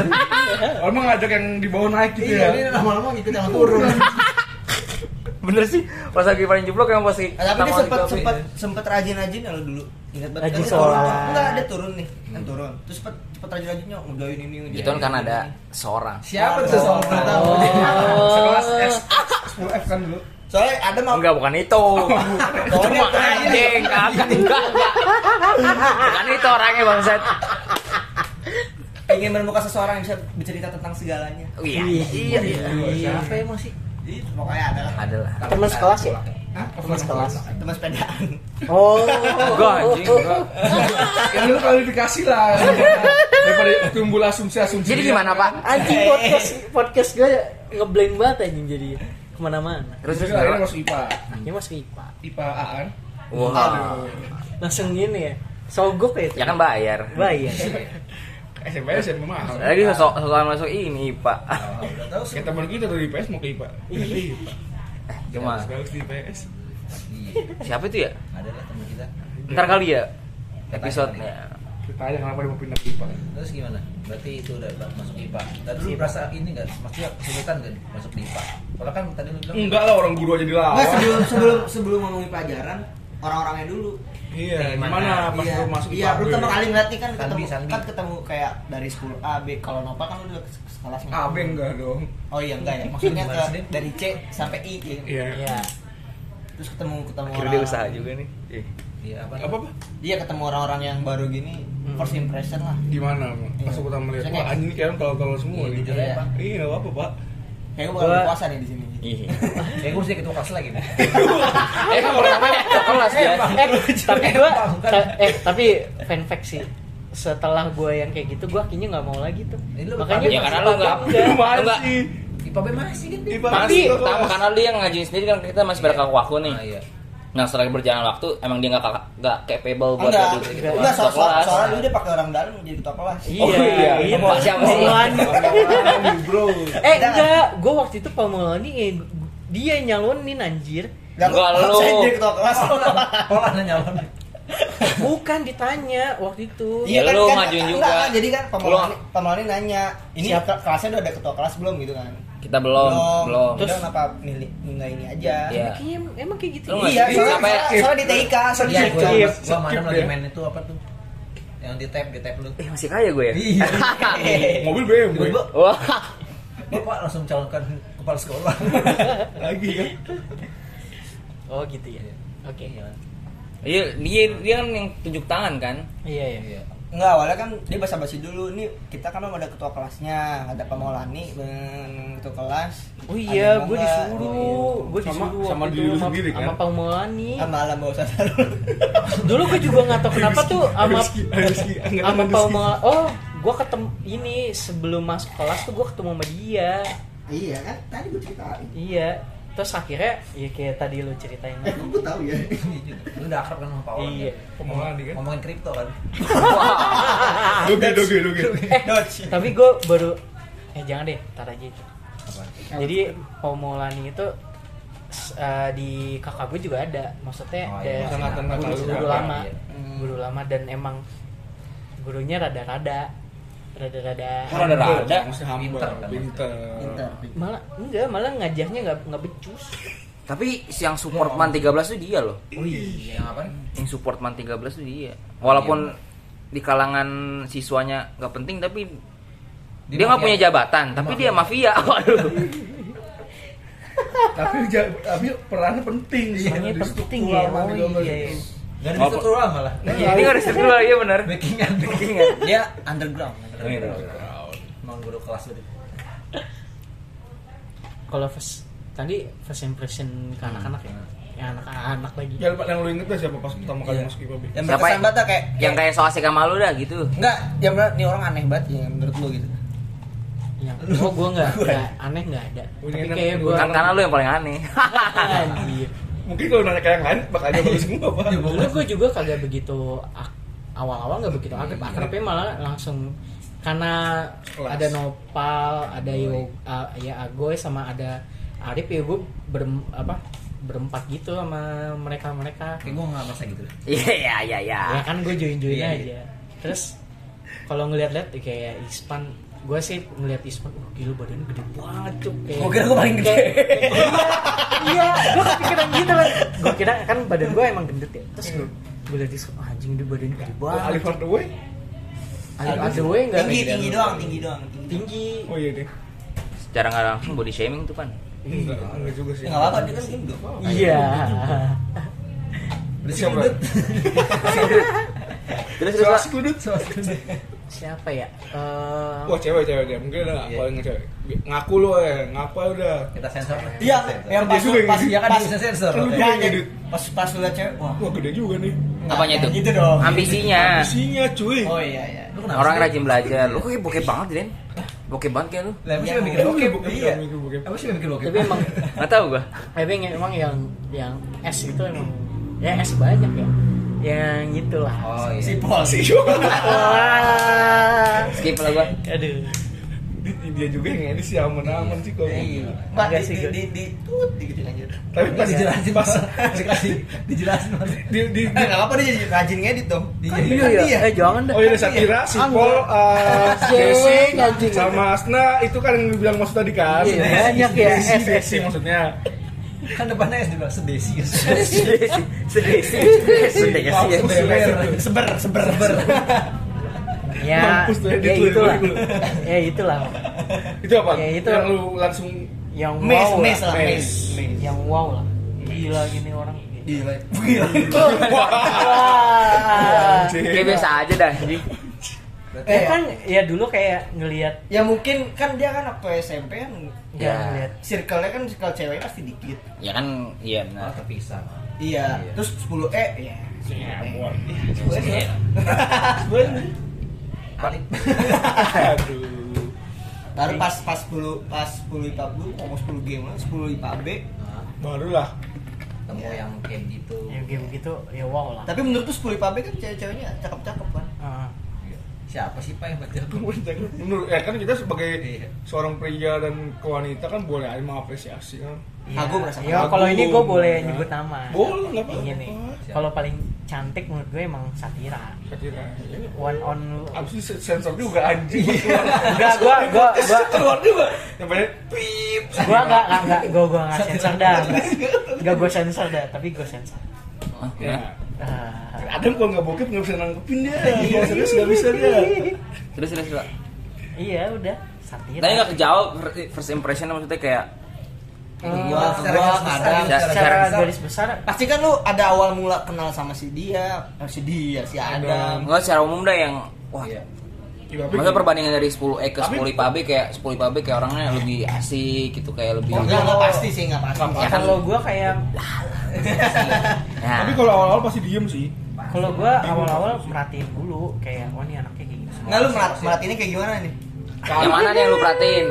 S2: Orang mah ngajak yang di bawah naik gitu
S3: Iya,
S2: ya.
S3: ini lama-lama ngikut sama turun.
S1: bener sih pas lagi paling jeblok yang pasti
S6: Eh, tapi dia
S1: pertama
S6: sempat
S1: kali
S6: sempat sempat rajin-rajin ya lo dulu. Ingat banget.
S4: Rajin
S6: Kan dia turun,
S4: sholat.
S6: tuh. Enggak, dia turun nih. Kan turun. Terus cepet cepet rajin-rajinnya ngegain ini ngegain.
S1: itu kan
S6: ini,
S1: karena ada
S6: ini.
S1: seorang
S3: Siapa tuh soal
S6: Oh.
S3: tahu? Oh.
S2: Sekelas S 10 F kan dulu.
S6: Soalnya ada mau
S1: enggak bukan itu cuma anjing kagak enggak enggak bukan itu orangnya bangsat
S6: ingin menemukan seseorang yang bisa bercerita tentang segalanya.
S1: Oh, iya iya iya.
S3: Siapa emang sih?
S6: Jadi pokoknya ada lah.
S1: adalah
S4: Teman sekelas ya?
S2: Hah?
S4: Teman sekelas.
S6: Teman sepedaan.
S4: Oh.
S1: enggak anjing enggak.
S2: Ya lu klarifikasi lah. Daripada timbul asumsi-asumsi.
S1: jadi gimana pak
S4: Anjing podcast podcast gue ngeblend banget anjing jadi kemana-mana.
S1: terus terus
S2: Jadi akhirnya
S1: gimana?
S2: masuk IPA.
S4: Ini masuk IPA.
S2: IPA A kan.
S1: wah
S4: Langsung gini ya. Sogok
S1: Oh.
S4: ya. iya.
S1: ya kan bayar
S4: Bayar.
S2: SMP SMP mahal.
S1: lagi sosok sosokan masuk ini pak
S6: Oh,
S3: Udah tahu
S2: Kayak teman kita dari IPS mau ke IPA.
S6: Iya,
S1: Eh, cuma
S2: Harus di IPS.
S3: Iya,
S1: siapa itu ya
S3: ada lah teman kita.
S1: ntar kali ya episode-nya
S2: Tanya kenapa dia mau pindah pipa.
S3: Terus gimana? Berarti itu udah ba- masuk IPA. Tadi lu merasa ini nggak? Maksudnya kesulitan nggak masuk di IPA? Kalau kan tadi lu bilang
S2: Enggak lah orang guru aja
S6: Nggak,
S2: dilawan.
S6: sebelum sebelum sebelum ngomongin pelajaran orang-orangnya dulu
S1: Eh,
S2: Iya, gimana pas lu masuk ya. IPA
S6: iya, lu
S2: gue?
S6: pertama kali ngeliat nih kan
S3: Sandi,
S6: ketemu
S3: Sandi.
S6: kan ketemu kayak dari 10 A B kalau Nopal kan lu udah ke kelas
S2: Ah, B enggak dong.
S6: oh iya enggak ya maksudnya
S3: Gimana
S6: ke
S3: sih, Din?
S6: dari C sampai I ya.
S2: Iya.
S4: Iya.
S6: terus ketemu ketemu
S1: Akhirnya dia usaha juga nih. Ih.
S3: Iya apa?
S2: Apa apa?
S6: dia ketemu orang-orang yang baru gini
S4: Hmm.
S6: first impression lah
S2: Gimana? Bang? Pas
S6: Iya.
S2: aku pertama lihat,
S6: Misalnya-
S2: wah anjing kalian kalau-kalau semua
S3: Iya,
S2: nih.
S6: gitu
S3: jujur
S6: ya,
S3: aja, Pak.
S2: Iya, enggak apa-apa, Pak.
S6: kayak gue bakal
S4: Gua-
S6: puasa nih di sini
S1: Ih.
S3: Ya gue mesti ketua kelas lagi nih.
S1: Eh, orangnya kelas ya? dia.
S4: eh tapi gua
S1: kan?
S4: ta- eh tapi fun fact sih setelah gua yang kayak gitu gua akhirnya nggak mau lagi tuh
S3: Eh, lu
S4: makanya
S1: Ya karena lu enggak
S2: Lu
S1: lu enggak
S2: masih.
S3: IPA B masih kan? Din?
S2: IPA
S1: tapi
S2: masih lu
S1: pertama
S2: kelas.
S1: karena lu yang ngajuin sendiri kan kita masih berkaku-kaku nih.
S3: Ah, iya.
S1: Nah setelah berjalan waktu emang dia nggak kak- nggak capable buat
S6: enggak
S1: jadi
S6: enggak,
S1: ketua
S6: soal soal
S1: kelas. nah.
S6: soalnya dulu dia pakai orang dalam jadi ketua kelas
S1: Oh, iya.
S4: iya
S1: Pak siapa sih?
S4: Pamulan.
S2: Apaan, Iya, Bro.
S4: eh enggak gua waktu itu pamulani eh, dia yang nyalonin anjir
S1: Enggak,
S6: gua-
S1: lu.
S6: saya jadi ketua kelas
S2: Oh,
S3: Kalau Oh, ada nyalon.
S4: bukan ditanya waktu itu
S1: Iya, lu ngajuin juga.
S6: kan, enggak, enggak, jadi kan
S1: Belum.
S6: pemelani, pemelani nanya, ini ke- kelasnya udah ada ketua kelas belum gitu kan?
S1: Kita belum, belum.
S6: Terus kenapa milih enggak ini aja?
S1: Iya.
S4: Ya, kayaknya em- emang kayak gitu
S1: Lu
S4: ya?
S1: nggak
S6: Iya,
S1: sih?
S6: soalnya,
S1: Sampai-
S6: soalnya- soalnya di TIK, soalnya
S3: Iya
S6: di
S3: gue
S2: Skip,
S3: gue kemarin
S2: skip
S3: lagi
S2: ya.
S3: main itu apa tuh? Yang di tap di tap lu.
S1: Eh masih kaya gue ya?
S3: Iya.
S2: Mobil BMW.
S6: Iya,
S3: Tiba-tiba
S1: Wah.
S3: bapak langsung calonkan kepala sekolah.
S2: Lagi kan.
S4: oh gitu ya oke
S3: Iya.
S1: Iya, dia dia kan yang tunjuk tangan kan?
S4: iya iya
S3: Iya.
S6: Enggak, awalnya kan dia basa-basi dulu. Ini kita kan belum ada ketua kelasnya, ada pemelani, ben- ketua kelas.
S4: Oh
S6: ada
S4: iya,
S6: yang
S4: gue
S6: enggak.
S1: Oh,
S4: disuruh,
S1: iya.
S4: gue
S2: Sama-
S4: disuruh
S2: sama
S4: waktu
S2: diri
S4: itu
S2: lu
S4: sama-
S2: sendiri, kan?
S4: sama Pak Maulani.
S6: Sama alam bawah sadar.
S4: Dulu gue juga nggak tahu kenapa tuh sama
S2: Rizky, Rizky, angkatan
S4: sama
S2: Rizky.
S4: Pak Maulani. Oh, gue ketemu ini sebelum masuk kelas tuh gue ketemu sama dia.
S6: Iya kan? Tadi gue ceritain.
S4: Iya. Terus akhirnya ya kayak tadi lu ceritain.
S6: Kamu gue tahu ya.
S3: Iya juga. Lu udah akrab kan sama Pak Wawan?
S4: Iya.
S2: Pemelani kan.
S3: Ngomongin kripto kan?
S2: Doge, doge, doge.
S6: Dodge.
S4: Eh, Tapi gue baru eh jangan deh, tar aja itu.
S3: Apa?
S4: Jadi Pak Maulani itu s- eh, di kakak gue juga ada. Maksudnya
S3: Oh,
S4: ada
S3: iya.
S2: Angkatan kakak
S4: guru,
S2: lu
S4: guru
S2: berapa?
S4: lama.
S3: Iya.
S4: Guru lama dan emang gurunya rada-rada rada-rada
S1: Orang ada ada.
S2: Masih hamba,
S3: Pinter kan,
S2: Kan pinter.
S6: Pinter.
S4: malah enggak malah ngajarnya nggak nggak becus
S1: Tapi yang support man 13 tuh dia loh.
S4: oh iya
S3: Yang apa?
S1: Yang support man 13 tuh dia. Walaupun di kalangan siswanya nggak penting tapi
S3: Dia
S1: dia nggak
S3: mafia.
S1: punya jabatan, tapi dia mafia. Waduh.
S2: Tapi ja- tapi perannya penting.
S3: Iya,
S4: Perannya
S2: Di struktur
S4: penting ya,
S2: lama
S4: oh
S2: di gambar
S4: iya,
S2: itu.
S4: iya.
S3: Gak ada
S1: Apa?
S3: bisa keluar malah.
S1: Ini nggak ada struktural, iya benar.
S3: Backingan, backing.
S6: Dia underground.
S3: Emang guru kelas lu. gitu. Dit.
S4: kalau first tadi first impression ke anak-anak ya yang anak-anak lagi
S2: Ya, Pak, yang lu inget gak siapa pas pertama kali
S6: Iya.
S2: masuk IPB?
S6: Yang
S1: Siapa
S6: berkesan
S1: yang-
S6: banget lah, kayak
S1: Yang kayak so asik sama lu dah gitu.
S6: Enggak, yang bener, ini orang aneh banget ya menurut lu gitu.
S4: yang oh gue nggak
S2: ya.
S4: nggak aneh nggak ada
S2: Punya
S4: tapi
S2: anak
S4: kayak
S2: juga.
S4: gue
S1: Kan karena lu yang paling aneh.
S4: anjir
S2: Mungkin kalau nanya kayak yang lain bakal aja bagus semua, Pak.
S4: Iya. dulu gue juga kagak begitu ak- awal-awal nggak begitu akrab akrabnya malah langsung karena
S2: Iya. Kelas.
S4: ada Nopal ada Yo- A- ya Agoy sama ada Arif ya gue berem, apa berempat gitu sama mereka mereka
S3: Kayak gue gak merasa gitu.
S1: Iya iya iya
S6: Ah.
S1: iya.
S4: ya kan gue join join
S3: Iya,
S4: aja terus kalau ngeliat-liat eh, kayak Ispan gue sih ngeliat Ispan oh gila badannya gede banget cuk kayak
S6: Gua kira gua paling gede.
S4: Kayak- iya gue kepikiran gitu lah gue kira kan badan gue emang gendut ya terus gue gue liat Ispan oh, anjing dia badannya gede banget
S2: Alif Hardaway?
S4: ada ada gue nggak
S6: Tinggi, tinggi doang, tinggi doang. Tinggi.
S4: tinggi
S2: Oh iya deh.
S1: Secara nggak langsung body shaming tuh pan.
S2: Enggak, enggak juga
S3: Ya
S2: sih.
S6: Enggak apa-apa, dia kan gendut.
S4: iya
S2: Berarti siapa?
S1: Terus terus
S2: Kelas
S1: Pak.
S2: kudut.
S4: siapa ya Eh,
S2: Wah, cewek cewek dia. Mungkin ada
S3: Iya.
S2: paling cewek. Ngaku lo ya, ngaku aja udah.
S3: Kita sensor.
S6: Iya, yang pas
S2: juga yang
S6: pas
S2: gede.
S6: ya
S3: Iya kan
S6: kan pas
S3: bisa sensor. iya.
S2: Lu
S3: Oke.
S2: juga.
S6: Jangan, jangan. pas pas lu liat cewek, wah.
S2: Wah, gede juga nih.
S1: Apanya
S6: Jangan
S1: itu?
S6: Gitu dong.
S1: Ambisinya.
S2: Isinya cuy.
S6: Oh iya iya.
S3: Lu kenapa
S1: Orang
S3: sih, Dit?
S1: rajin belajar. Lu kayak bokeh banget, Den. Bokeh banget kayak lu.
S3: Lah, apa sih
S6: Iya,
S3: yang mikir
S2: Lu
S3: bokep?
S2: bokep,
S3: Iya.
S2: bukan mikir bokep.
S3: Apa sih yang mikir bokep?
S4: tapi emang
S1: Enggak tahu gua.
S4: tapi yang- emang yang yang S itu emang ya S banyak ya yang itulah
S3: Oh iya.
S6: Si Paul.
S2: Sih, cuy.
S4: Wah.
S1: Skip lah gua.
S4: Aduh.
S2: Dit, dia juga yang edit sih aman-aman sih kalau
S6: Iya.
S2: gua.
S6: Pak,
S4: Enggak
S6: di,
S4: sih,
S6: di,
S4: gue.
S6: di, di, tut, digituin aja.
S2: Tapi pas
S3: Iya, dijelasin
S2: pas
S3: pas dikasih dijelasin mas
S2: di di
S6: Nah, nggak apa-apa dia jadi rajin ngedit dong.
S3: Iya,
S6: Kan
S4: Iya
S6: dia.
S4: ya, eh jangan deh.
S2: Oh iya, Satira, si
S4: Ah,
S2: Paul, eh, Jesse,
S4: Cewek, anjing.
S2: sama Asna itu kan yang bilang maksud tadi kan?
S4: Iya, banyak ya,
S2: Desi,
S4: S, S,
S2: Desi
S4: ya.
S2: maksudnya.
S3: kan depannya S juga sedesi ya.
S4: Sedesi,
S1: ya,
S4: sedesi,
S2: Mampus,
S4: sedesi.
S2: seber.
S3: iya. seber seber seber
S4: Ya,
S2: Mampus tuh, edit
S4: ya
S2: lu,
S4: itulah.
S2: edit lu.
S4: Ya itulah.
S2: Itu apa?
S4: Ya, itu.
S2: Yang lu langsung
S4: Yang
S6: Mes,
S4: wow
S6: mes
S4: lah.
S6: lah, mes. Iya.
S2: Mes.
S4: Yang wow lah. Gila gini orang.
S2: Iya.
S6: Gila.
S4: Wah.
S1: Kayak biasa aja dah anjing.
S4: Ya kan ya dulu kayak ngelihat
S6: Ya mungkin kan dia kan waktu SMP kan
S4: ya
S1: Ya.
S4: ngelihat
S6: circle-nya kan circle cewek pasti dikit.
S1: Ya kan iya benar.
S3: Oh, terpisah
S6: Iya. Terus 10 E ya. 10 E.
S1: Iya.
S3: Alip
S2: Aduh.
S6: Baru pas pas 10 pas 10 IPA bu, ngomong 10 game lah, 10 IPA B.
S2: Barulah.
S3: temu yang kayak gitu
S4: ya kayak begitu ya wow lah.
S6: Tapi menurut tuh 10 IPA B kan cewek-ceweknya cakep-cakep kan.
S4: Heeh.
S3: Iya. siapa sih pak yang baca
S2: Menurut ya kan kita sebagai
S3: Iya.
S2: seorang pria dan wanita kan boleh aja mengapresiasi kan.
S4: Ya,
S6: Kagum rasanya.
S4: Ya kalau ini gue
S2: Kagum,
S4: boleh
S2: kan?
S4: nyebut nama.
S2: Boleh, nggak apa-apa.
S4: Ini nih. Kalau paling cantik menurut gue emang Satira.
S2: Saya kira.
S4: One on lu.
S2: Abis itu sensor juga anjing.
S4: Enggak, Iya. gua gua gua
S2: keluar juga. Yang banyak pip.
S4: gua enggak enggak enggak gua gua enggak sensor dah. Enggak gua sensor dah, tapi gua sensor.
S1: Hah,
S2: Ya.
S1: gimana?
S4: Ah.
S2: Adam kalau nggak bokep nggak bisa nangkepin dia. Kalau serius nggak bisa dia.
S1: Terus terus terus.
S4: Iya udah Oh, Satira.
S1: Tapi nggak kejawab first impression maksudnya kayak
S3: Oh,
S6: Gua gua kadang
S1: Secara-
S4: secara
S6: secara-
S4: garis besar
S6: Pasti kan lu ada awal mula kenal sama si dia, eh, si dia, si Adam.
S1: nggak secara umum dah yang wah
S2: Iya, tapi-
S1: Maksudnya perbandingan dari 10 E ke
S2: Tapi-
S1: 10 IPAB kayak 10 IPAB kayak orangnya lebih asik gitu kayak lebih
S6: Oh, enggak, enggak pasti sih, enggak pasti.
S1: Ya kan?
S4: kalau gua kayak
S1: Nah,
S2: Tapi kalau awal-awal pasti diem sih.
S4: kalau gua awal-awal merhatiin dulu kayak oh nih anaknya kayak gini.
S6: Enggak lu merat, merat ini kayak gimana nih?
S1: yang mana nih yang lu perhatiin?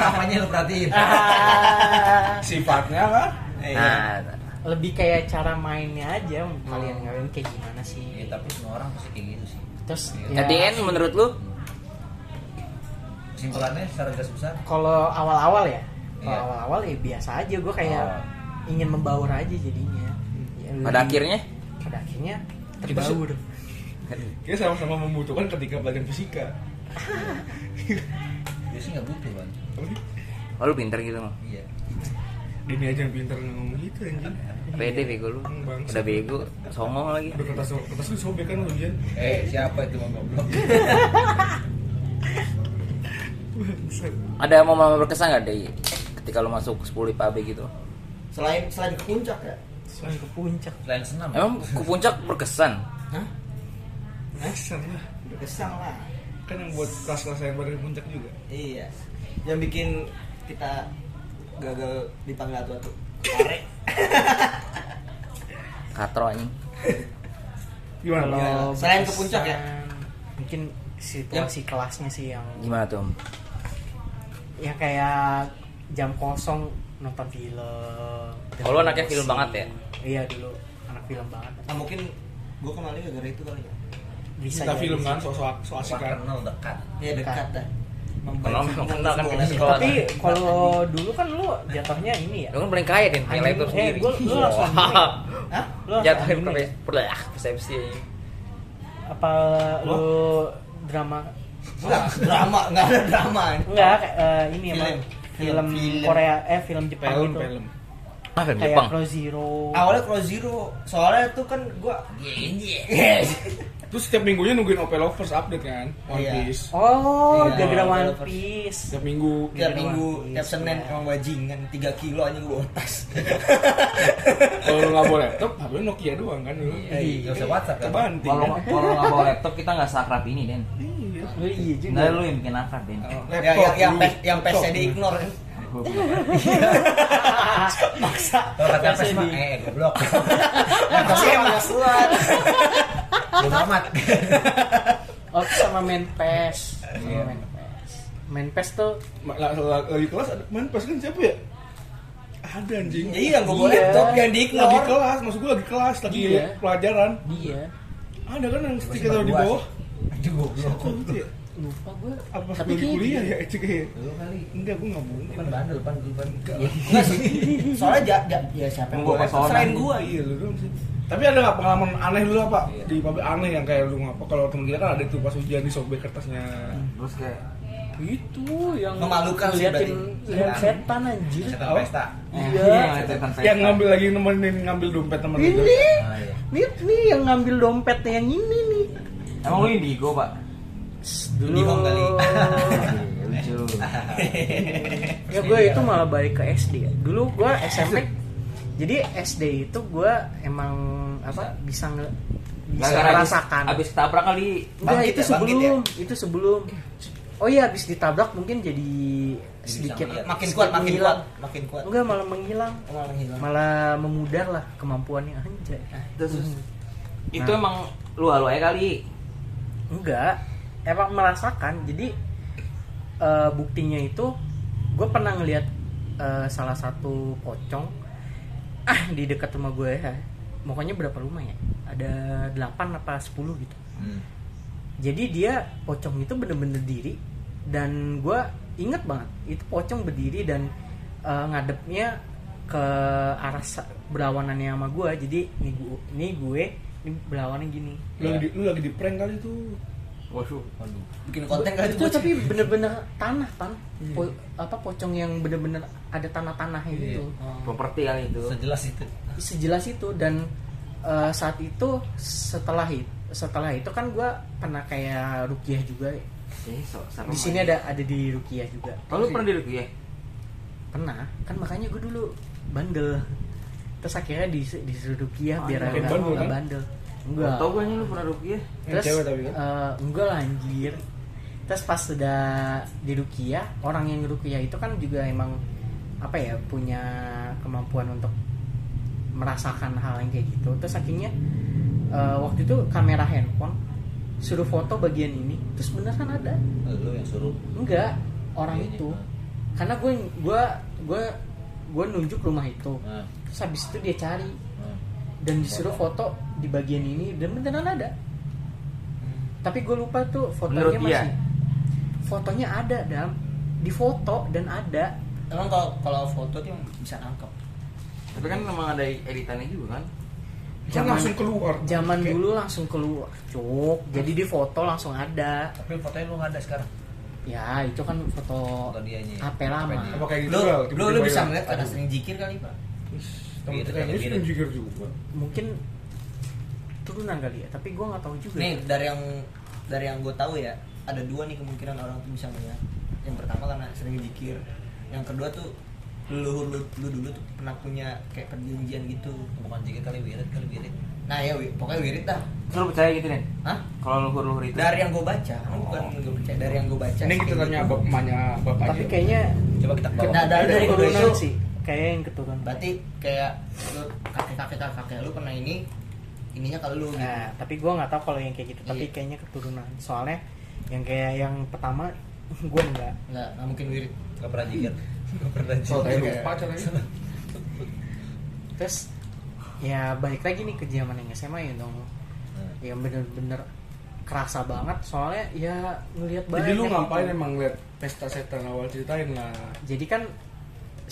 S3: namanya lu perhatiin
S4: Ah,
S2: Sifatnya kan.
S1: nah,
S4: lebih kayak cara mainnya aja kalian kalian kayak gimana sih
S3: Iya, tapi semua orang pasti kayak gitu sih
S4: terus
S6: iya.
S4: ya,
S1: jadi N menurut lu
S4: Hmm.
S3: kesimpulannya secara garis besar
S4: kalau awal-awal ya kalau
S3: Iya.
S4: awal-awal ya biasa aja gue kayak ingin membaur aja jadinya Ya,
S1: pada
S4: lebih-
S1: akhirnya
S4: pada akhirnya
S2: Kita se-
S4: terbaur
S2: Kita sama-sama membutuhkan ketika belajar fisika.
S3: dia sih nggak butuh kan
S2: Apa sih?
S1: oh lu pinter gitu mah
S3: iya
S2: Dini aja yang pintar ngomong gitu anjing.
S4: Iya.
S1: pede bego lu
S2: Bangsa.
S1: udah bego songong lagi
S2: Udah kertas kertas lu sobek kan ujian.
S3: eh siapa itu mau goblok
S1: ada momen berkesan nggak dari ketika lu masuk 10 IPAB gitu
S6: Selain selain ke puncak ya?
S4: Langsung ke puncak
S3: selain senam
S6: Oh.
S3: ya?
S1: emang ke puncak berkesan
S2: Dasar lah.
S6: Berkesan lah.
S2: Kan yang buat kelas-kelas yang pada di puncak juga.
S6: Iya. Yang bikin kita gagal dipanggil tua tuh.
S1: katro anjing
S2: Gimana?
S4: kalau
S6: Selain ke puncak ya?
S4: berkesan, mungkin situasi kelasnya sih yang
S1: gimana tuh Om?
S4: yang kayak jam kosong nonton film
S1: Oh, lu anaknya film banget ya?
S4: iya dulu anak film banget
S6: Nah, mungkin gua kenalnya gara-gara itu kali ya.
S4: bisa
S2: Kita
S4: jadi
S2: film
S4: sih.
S2: kan soal soal asik kan.
S3: kenal dekat
S6: Iya dekat dah.
S1: Kalau memang kenal kan kita sekolah.
S4: tapi kalau dulu kan lu jatuhnya ini ya
S1: lu kan paling kaya din
S4: Anjing,
S1: paling laptop
S4: eh,
S1: sendiri
S4: gua- lu langsung
S1: Wah.
S6: Hah?
S4: lu langsung
S1: jatuhin
S4: ini
S1: ke
S4: ya?
S1: perlah ah, persepsi anjing.
S4: apa lu drama
S6: Enggak, drama, enggak ada drama.
S4: enggak eh, ini
S6: Film.
S4: apa film,
S6: Film, film.
S4: Korea eh film Jepang
S2: Film
S4: gitu
S2: film.
S1: ah film
S4: kayak
S1: Jepang
S4: Crow Zero
S6: Awalnya Crow Zero, soalnya tuh kan gua
S2: Terus setiap minggunya nungguin OP Lovers update kan. One
S6: Iya.
S2: Piece.
S4: oh
S6: Iya,
S4: gara-gara
S6: Awalnya
S4: One
S6: first.
S4: Piece
S2: Setiap minggu.
S6: tiap
S4: Iya,
S6: minggu,
S4: iya.
S6: tiap Senin emang bajingan 3 kilo anjing gua bawa tas.
S2: Kalau lu nggak boleh laptop, HP lu Nokia doang kan
S4: Iya,
S2: dulu.
S3: eh nggak usah whatsapp kan
S2: Kebanting.
S1: kalau kalau nggak bawa laptop kita nggak seakrab ini den
S2: Iya. Oh.
S4: Oh, iya juga
S1: nggak lu yang bikin akrab den
S6: Ya, yang yang
S2: dulu.
S6: pes yang pesnya
S2: Laptop.
S6: di ignore kan. Maksa.
S3: kalau kata apa sih Mak? eh goblok
S6: Maksa emang suat.
S3: lu amat
S4: Oh sama main PES
S6: Iya.
S4: Sama main PES Main PES tuh
S2: Ma- la- la- Lagi kelas ada main pas kan siapa ya? Ada anjing.
S6: Ya iya, gua bawa laptop yang di
S2: Lagi
S6: ignore. gitu.
S2: kelas, maksud gue lagi kelas, lagi
S4: Iya.
S2: pelajaran.
S4: Dia
S2: Ada kan yang stiker taruh di bawah?
S3: aduh goblok
S2: Kok gitu ya?
S4: lupa gue
S2: Apa
S4: Oh, tapi
S2: Tapi
S4: kayak
S2: kuliah ya itu kayak
S3: Lu kali
S2: enggak gue nggak mungkin.
S3: depan bandel depan depan.
S6: Enggak Iya, sih. Soalnya ja, ja, ya siapa yang
S2: Gua
S6: gua
S2: pesona.
S6: selain gua.
S2: iya lu dong sih. Tapi ada nggak pengalaman aneh dulu apa di pabrik aneh yang kayak lu ngapa? Kalau temen kita kan ada tuh pas ujian disobek kertasnya.
S3: Terus kayak
S4: itu gitu yang
S6: Memalukan sih Iya.
S4: liatin
S6: berarti.
S4: liat setan anjir
S3: setan
S2: Apa?
S3: pesta.
S4: iya
S3: Setan pesta.
S2: Yang ngambil lagi nemenin ngambil dompet temen
S6: Oh,
S2: itu.
S4: Oh, ini
S3: Ah, iya.
S4: nih nih yang ngambil dompetnya yang ini nih
S3: Emang lu indigo, Pak?
S4: dulu
S6: Di Hong kali. iya,
S3: Lucu.
S4: ya gue itu malah balik ke SD ya. dulu gue SMP jadi SD itu gue emang apa bisa nge bisa merasakan
S1: Abis tabrak kali
S4: Enggak,
S6: Bangkit
S4: itu
S6: ya, bangkit
S4: sebelum itu sebelum oh iya habis ditabrak mungkin jadi sedikit
S3: ngeliat.
S6: Makin kuat,
S4: sedikit
S6: makin kuat,
S4: menghilang.
S6: makin kuat.
S4: enggak malah menghilang
S6: Malah menghilang.
S4: malah memudar lah kemampuannya anjay
S6: Nah,
S1: Terus
S4: Hmm.
S1: itu
S4: Nah.
S1: emang lu halu aja kali.
S4: enggak emang merasakan jadi eh, buktinya itu gue pernah ngelihat eh, salah satu pocong ah di dekat rumah gue ya pokoknya berapa rumah ya ada 8 apa 10 gitu jadi dia pocong itu bener-bener diri dan gue inget banget itu pocong berdiri dan eh, ngadepnya ke arah sa- berlawanannya sama gue jadi ini gue ini gue ini berlawannya gini
S2: Lu lagi di- lu lagi di prank kali tuh.
S1: Waduh.
S3: Waduh.
S6: Bikin konten kali
S4: itu tapi bener-bener tanah tan Po- apa pocong yang bener-bener ada tanah-tanahnya
S3: Iya.
S4: gitu
S1: Oh. Properti kali itu.
S3: Sejelas itu.
S4: sejelas itu dan eh, saat itu setelah itu setelah itu kan gue pernah kayak rukiah juga
S1: Eh, so- serem
S4: di sini
S1: aja.
S4: ada ada di rukiah juga
S1: Oh, lu pernah diri ya?
S4: pernah kan makanya gue dulu bandel terus akhirnya di disuruh
S1: Ah,
S4: rukiah biar
S2: makin
S4: nggak
S2: bandel,
S4: nggak
S2: kan?
S4: bandel enggak
S1: Tau gue nih lu pernah rukiah.
S2: Yang
S4: terus
S2: cewek tapi kan?
S4: eh, enggak lah anjir terus pas sudah di rukiah orang yang rukiah itu kan juga emang apa ya punya kemampuan untuk merasakan hal yang kayak gitu terus akhirnya eh, waktu itu kamera handphone suruh foto bagian ini terus beneran ada
S3: Lu yang suruh.
S4: enggak orang
S3: Dianya.
S4: itu karena gue gue gue gue nunjuk rumah itu
S3: Nah,
S4: terus habis itu dia cari
S3: nah.
S4: dan disuruh foto di bagian ini dan beneran ada tapi gue lupa tuh fotonya
S1: Menurut dia?
S4: masih fotonya ada dam di foto dan ada
S6: Emang kalau kalau foto tuh bisa nangkep.
S1: Tapi kan emang ada editannya juga kan.
S2: Kan langsung keluar.
S4: zaman
S2: Kayak-
S4: dulu langsung keluar cuk jadi di foto langsung ada
S3: Tapi fotonya lu nggak ada sekarang.
S4: ya itu kan foto
S3: Foto dianya.
S4: HP lama
S3: Apa dia?
S2: Apa kayak gitu
S6: Lu
S2: Bal?
S6: lu,
S2: Tiba-tiba
S6: lu bisa
S2: yang-
S6: ngeliat karena
S2: Aduh.
S6: sering jikir kali, Pak.
S2: Wih, Temen
S3: Iya,
S2: kita ini
S3: iya.
S2: sudah jikir juga.
S4: mungkin turunan kali ya tapi gue nggak tahu juga
S6: Nih, dari yang dari yang gue tahu ya, ada dua nih kemungkinan orang tuh bisa ngeliat. Yang pertama karena sering jikir. Yang kedua tuh leluhur lu, lu dulu tuh pernah punya kayak perjanjian gitu.
S3: Bukan jikir kali wirid kali wirid.
S6: Nah, ya wi- pokoknya wirid dah.
S1: Terus lu percaya gitu nih.
S6: Hah?
S1: Kalau luhur-luhur itu.
S6: Dari yang gue baca, kan
S3: Oh.
S6: bukan gue percaya dari yang gue baca.
S2: Ini kita tanya bap emaknya bapak
S4: tapi kayaknya
S3: Coba kita ke bawah.
S6: Nah, dari dari kedua
S4: keturunan
S6: itu
S4: sih kayak yang keturunan
S6: berarti kayak lu kakek kakek kakek kakek lu pernah ini ininya kalau lu gitu.
S4: nah tapi gue nggak tahu kalau yang kayak gitu tapi
S6: Iya.
S4: kayaknya keturunan soalnya yang kayak yang pertama gue enggak
S6: nggak nggak mungkin wirid
S3: Nggak pernah jikir. Nggak pernah
S2: Kalau
S3: jikir.
S2: tadi lupa caranya.
S4: terus ya balik lagi nih ke zaman yang SMA ya dong
S3: Nah.
S4: yang bener-bener kerasa banget soalnya ya ngelihat banget
S2: Jadi lu ngapain emang lihat pesta setan awal ceritain lah.
S4: jadi kan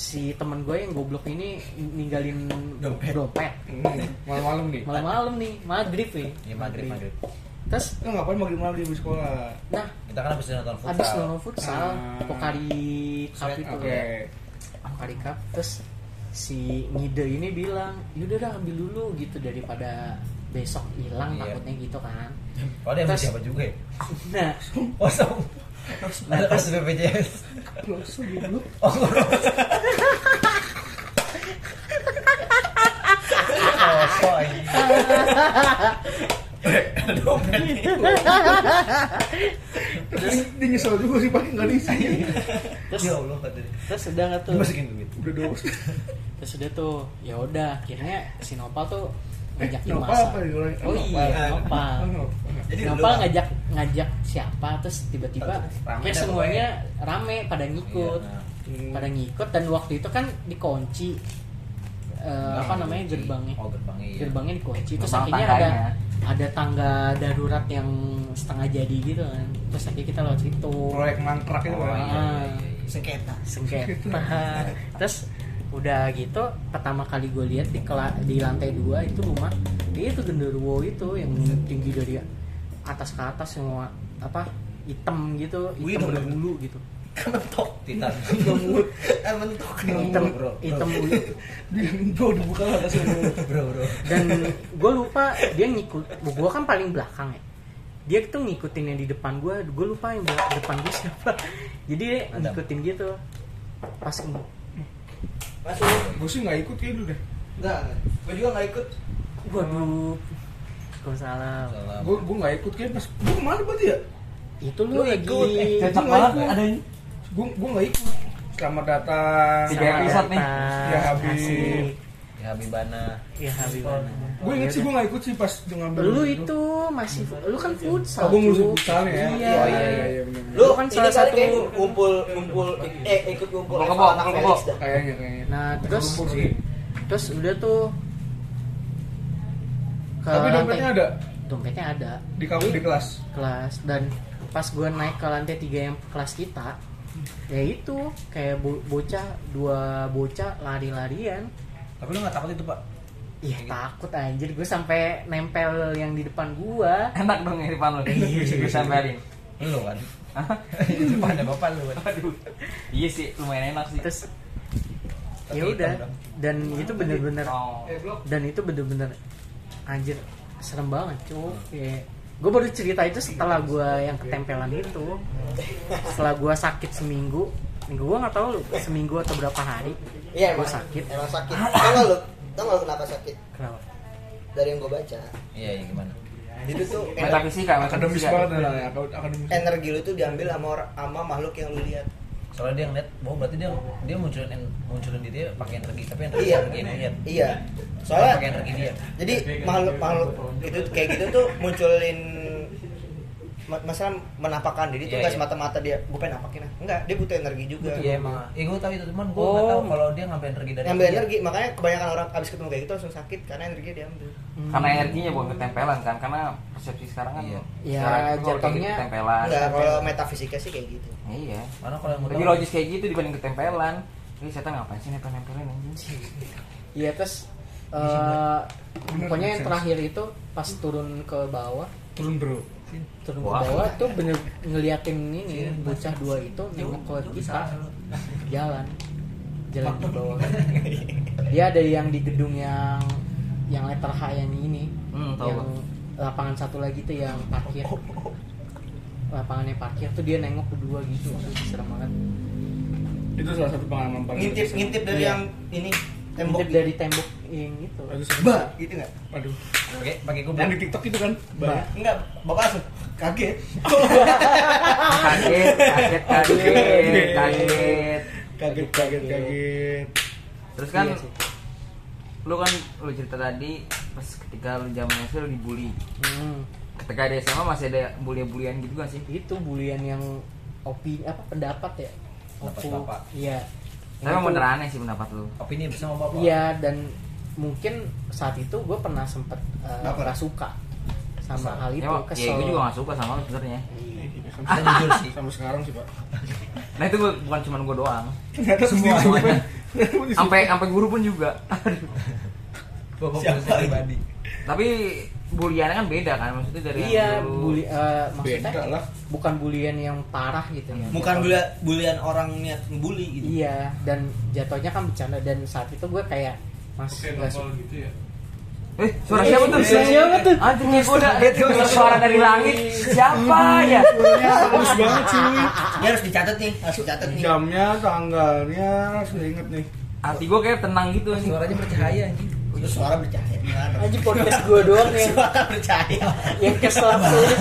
S4: si temen gue yang goblok ini ninggalin
S6: Dompet.
S4: dompet
S2: Hmm, Malam-malam nih.
S4: malam-malam nih maghrib nih
S3: Iya maghrib maghrib.
S4: terus
S2: Lu ngapain malam-malam di sekolah?
S4: nah
S3: Kita kan habis nonton futsal.
S4: abis nonton futsal
S2: Ah.
S4: pokari cup itu
S2: Oke.
S4: Pokari Cup terus si ngide ini bilang yaudah dah ambil dulu gitu daripada besok hilang
S3: Iya.
S4: takutnya gitu kan
S3: Oh dia
S4: Terus-
S3: masih siapa juga ya?
S4: nah
S3: Oh sama.
S4: Nah,
S3: Ada kasus BPJS.
S2: Langsung goblok.
S3: Oh, soy. Dompet nih.
S2: Terus dia nyesel juga sih paling enggak diisi.
S4: terus
S3: Ya Allah kata dia.
S4: terus udah nggak tuh
S3: Dimasukin duit.
S2: Udah dos.
S4: terus udah tuh ya udah akhirnya si Nopal tuh ngajakin
S2: Nopal
S4: masa
S2: apa Oh, ya?
S4: oh iya
S3: Nopal.
S4: Nopal
S3: Jadi
S4: Nopal
S3: dulu-
S4: ngajak ngajak siapa terus tiba-tiba
S3: Rame
S4: kayak
S3: dah
S4: semuanya rame pada ngikut
S3: Iya, nah.
S2: Hmm.
S4: pada ngikut dan waktu itu kan dikunci eh, apa namanya gerbangnya
S3: Oh, gerbangnya. Iya. ya.
S4: gerbangnya dikunci terus
S1: Gerbang
S4: akhirnya ada
S1: tangganya.
S4: ada tangga darurat yang setengah jadi gitu kan terus akhirnya kita lewat situ
S2: proyek mangkrak itu kan.
S4: Ah,
S6: sengketa
S4: sengketa terus udah gitu pertama kali gue lihat di kela- di lantai dua itu rumah dia itu genderuwo itu yang tinggi dari atas ke atas semua apa hitam gitu
S6: Wih,
S4: hitam
S6: dong.
S4: berbulu gitu
S6: kan mentok
S3: Titan.
S6: ngemut eh mentok nih
S4: hitam hitam bulu
S6: bilang bro dibuka lah atas lu bro bro
S4: dan gue lupa dia ngikut gue kan paling belakang ya dia tuh ngikutin yang di depan gue gue lupa yang di depan gue siapa jadi dia
S3: Adam.
S4: ngikutin gitu pas
S6: masuk
S2: Gue sih nggak ikut kayak lu deh.
S6: enggak gue juga nggak ikut
S4: waduh Waalaikumsalam
S3: Salam.
S2: Gue gue nggak ikut kayak pas gue kemana berarti ya?
S4: Itu lu, Eh, lagi
S2: cocok banget ada Gue gue nggak ikut. Selamat datang.
S4: Selamat
S2: Kayak-
S4: datang.
S2: Ya habis.
S4: Asik.
S3: Ya, Habibana.
S4: Ya Habibana.
S2: Gue inget sih gue nggak ikut sih pas ngambil.
S4: Iya, Lu itu masih lu kan futsal.
S2: Oh, gue ngurusin
S4: Cuk.
S2: futsal ya.
S4: Iya.
S2: Oh, iya, iya, iya, bener-bener.
S6: lu
S4: Lu
S6: kan
S4: kan
S6: ini
S4: salah
S6: salah
S4: satu-
S6: kali
S2: ya?
S6: satu ngumpul ngumpul eh ikut ngumpul
S1: Kebo,
S6: level anak
S1: kebo.
S6: Felix dah
S2: Kayaknya kayaknya.
S4: Nah, terus
S2: Ngumpul sih.
S4: terus udah tuh ke
S2: Tapi
S4: lantai-
S2: dompetnya ada
S4: Dompetnya ada
S2: di kamu di kelas.
S4: kelas dan pas gue naik ke lantai tiga yang kelas kita ya itu kayak bo- bocah dua bocah lari-larian
S3: Tapi lu nggak takut itu pak?
S4: Iya takut anjir gue sampai nempel yang di depan gua
S1: Enak dong di depan lu. Gue samperin.
S3: Lu kan? Itu pada bapak lu kan?
S1: Aduh. Iya sih, lumayan enak sih.
S4: terus
S3: Tapi
S4: ya
S3: hitam
S4: udah
S3: dong.
S4: dan itu bener-bener
S1: Oh.
S4: dan itu bener-bener anjir serem banget cuy gue baru cerita itu setelah gue yang ketempelan itu setelah gue sakit seminggu minggu gue nggak tahu seminggu atau berapa hari
S6: iya
S4: gue
S6: emang
S4: sakit
S6: emang sakit tau gak lu tau gak lu kenapa sakit
S4: kenapa
S6: dari yang gue baca
S3: Iya, iya gimana?
S6: itu tuh ener-
S1: Metafisika,
S2: Akademis
S6: Iya.
S1: metafisika.
S2: banget lah ya. akad- Akademis.
S6: energi lu tuh diambil sama or- sama makhluk yang lu lihat
S3: Soalnya dia ngeliat, bahwa berarti dia dia munculin en- munculin dirinya pakai energi, tapi energi
S6: Iya.
S3: energi ini lihat.
S6: iya
S3: Soalnya pakai
S6: soalnya
S3: energi dia.
S6: jadi makhluk makhluk itu kayak gitu tuh munculin ma- masalah menampakkan diri tuh
S3: Iya,
S6: nggak
S3: iya.
S6: semata-mata dia gue pengen nampakin ah enggak dia butuh energi juga
S3: Iya emang. Iya gue tahu itu teman, gue nggak
S4: Oh.
S3: tahu kalau dia ngambil energi dari
S6: ngambil
S3: dia.
S6: energi makanya kebanyakan orang abis ketemu kayak gitu langsung sakit karena energinya diambil
S1: Hmm. Karena energinya bukan ketempelan kan, karena persepsi sekarang kan.
S3: Iya.
S4: Ya,
S1: sekarang itu kalau kayak gitu
S4: jatuhnya- Iya,
S1: ketempelan.
S3: Ah,
S6: enggak kalau metafisika sih kayak gitu
S1: Iya.
S3: Karena kalau yang gua
S1: Lebih
S3: tahu-
S1: logis kayak gitu dibanding ketempelan. Ini setan ngapain sih nempel-nempelin anjing?
S4: Iya terus eh,
S2: Bener,
S4: pokoknya yang
S2: sense.
S4: terakhir itu pas turun ke bawah
S2: Turun bro.
S4: turun
S1: Wah. Iya,
S4: ke bawah tuh bener ngeliatin ini bocah dua itu nengok ke kita jalan jalan ke bawah dia ada yang di gedung yang yang letter H yang ini
S1: Hmm, tahu
S4: yang
S1: gua.
S4: lapangan satu lagi tuh yang parkir lapangannya parkir tuh dia nengok kedua gitu serem banget
S2: Itu salah satu pengalaman paling.
S6: ngintip ngintip dari
S4: Iya.
S6: yang ini tembok
S4: tembok dari tembok yang itu
S2: Bagus.
S6: bah gitu nggak
S2: Aduh.
S3: Pakai pakai gue
S2: Yang di TikTok itu kan. Bah.
S6: enggak bapak langsung kaget
S4: Ah.
S1: Kaget, kaget,
S4: Iya,
S1: kaget, kaget.
S2: Kaget kaget kaget.
S1: Terus kan
S4: Iya sih.
S1: lu kan lu cerita tadi pas ketika lu zaman SD lu dibully.
S4: Hmm.
S1: Ketika di SMA masih ada bully-bullyan gitu gak sih?
S4: itu bulian yang opi apa pendapat ya
S3: Pendapat
S4: Opo-
S3: bapak.
S4: iya
S1: Tapi
S4: Itu-
S1: emang bener aneh sih pendapat lu.
S3: Opini bersama bapak.
S4: iya dan mungkin saat itu gue pernah sempet eh,
S6: Baper.
S4: nggak suka sama hal itu
S1: Emang-
S4: kesel Iya.
S1: Ya, gue juga gak suka sama lu sebenarnya.
S3: Kita jujur sih.
S2: Sampai sekarang sih pak.
S1: Nah itu gua- bukan cuma gue doang.
S2: Ternyata semua.
S1: Sampai sampai guru pun juga. Aduh.
S3: Bapak
S6: Siapa
S3: polisi
S6: ini?
S3: pribadi.
S1: Tapi buliannya kan beda kan maksudnya dari yang
S4: iya
S1: dulu.
S4: bully eh, maksudnya
S2: Beda lah.
S4: bukan bulian yang parah gitu ya
S6: bukan bulian bulian orang niat bully gitu
S4: iya dan jatuhnya kan bercanda dan saat itu gue kayak mas nggak suka
S1: Eh, suara siapa tuh?
S4: Suara siapa tuh?
S1: Anjing kayak gua udah dengar suara dari langit. Siapa ya?
S2: Halus banget sih lu.
S6: ini harus dicatat nih harus dicatat nih
S2: Jamnya, tanggalnya, sudah inget nih.
S1: Hati gua kayak tenang gitu anjing.
S3: Suaranya bercahaya anjing.
S6: Itu suara bercahaya gimana
S4: aja podcast gue doang yang
S6: suara bercahaya
S4: yang kesel sulit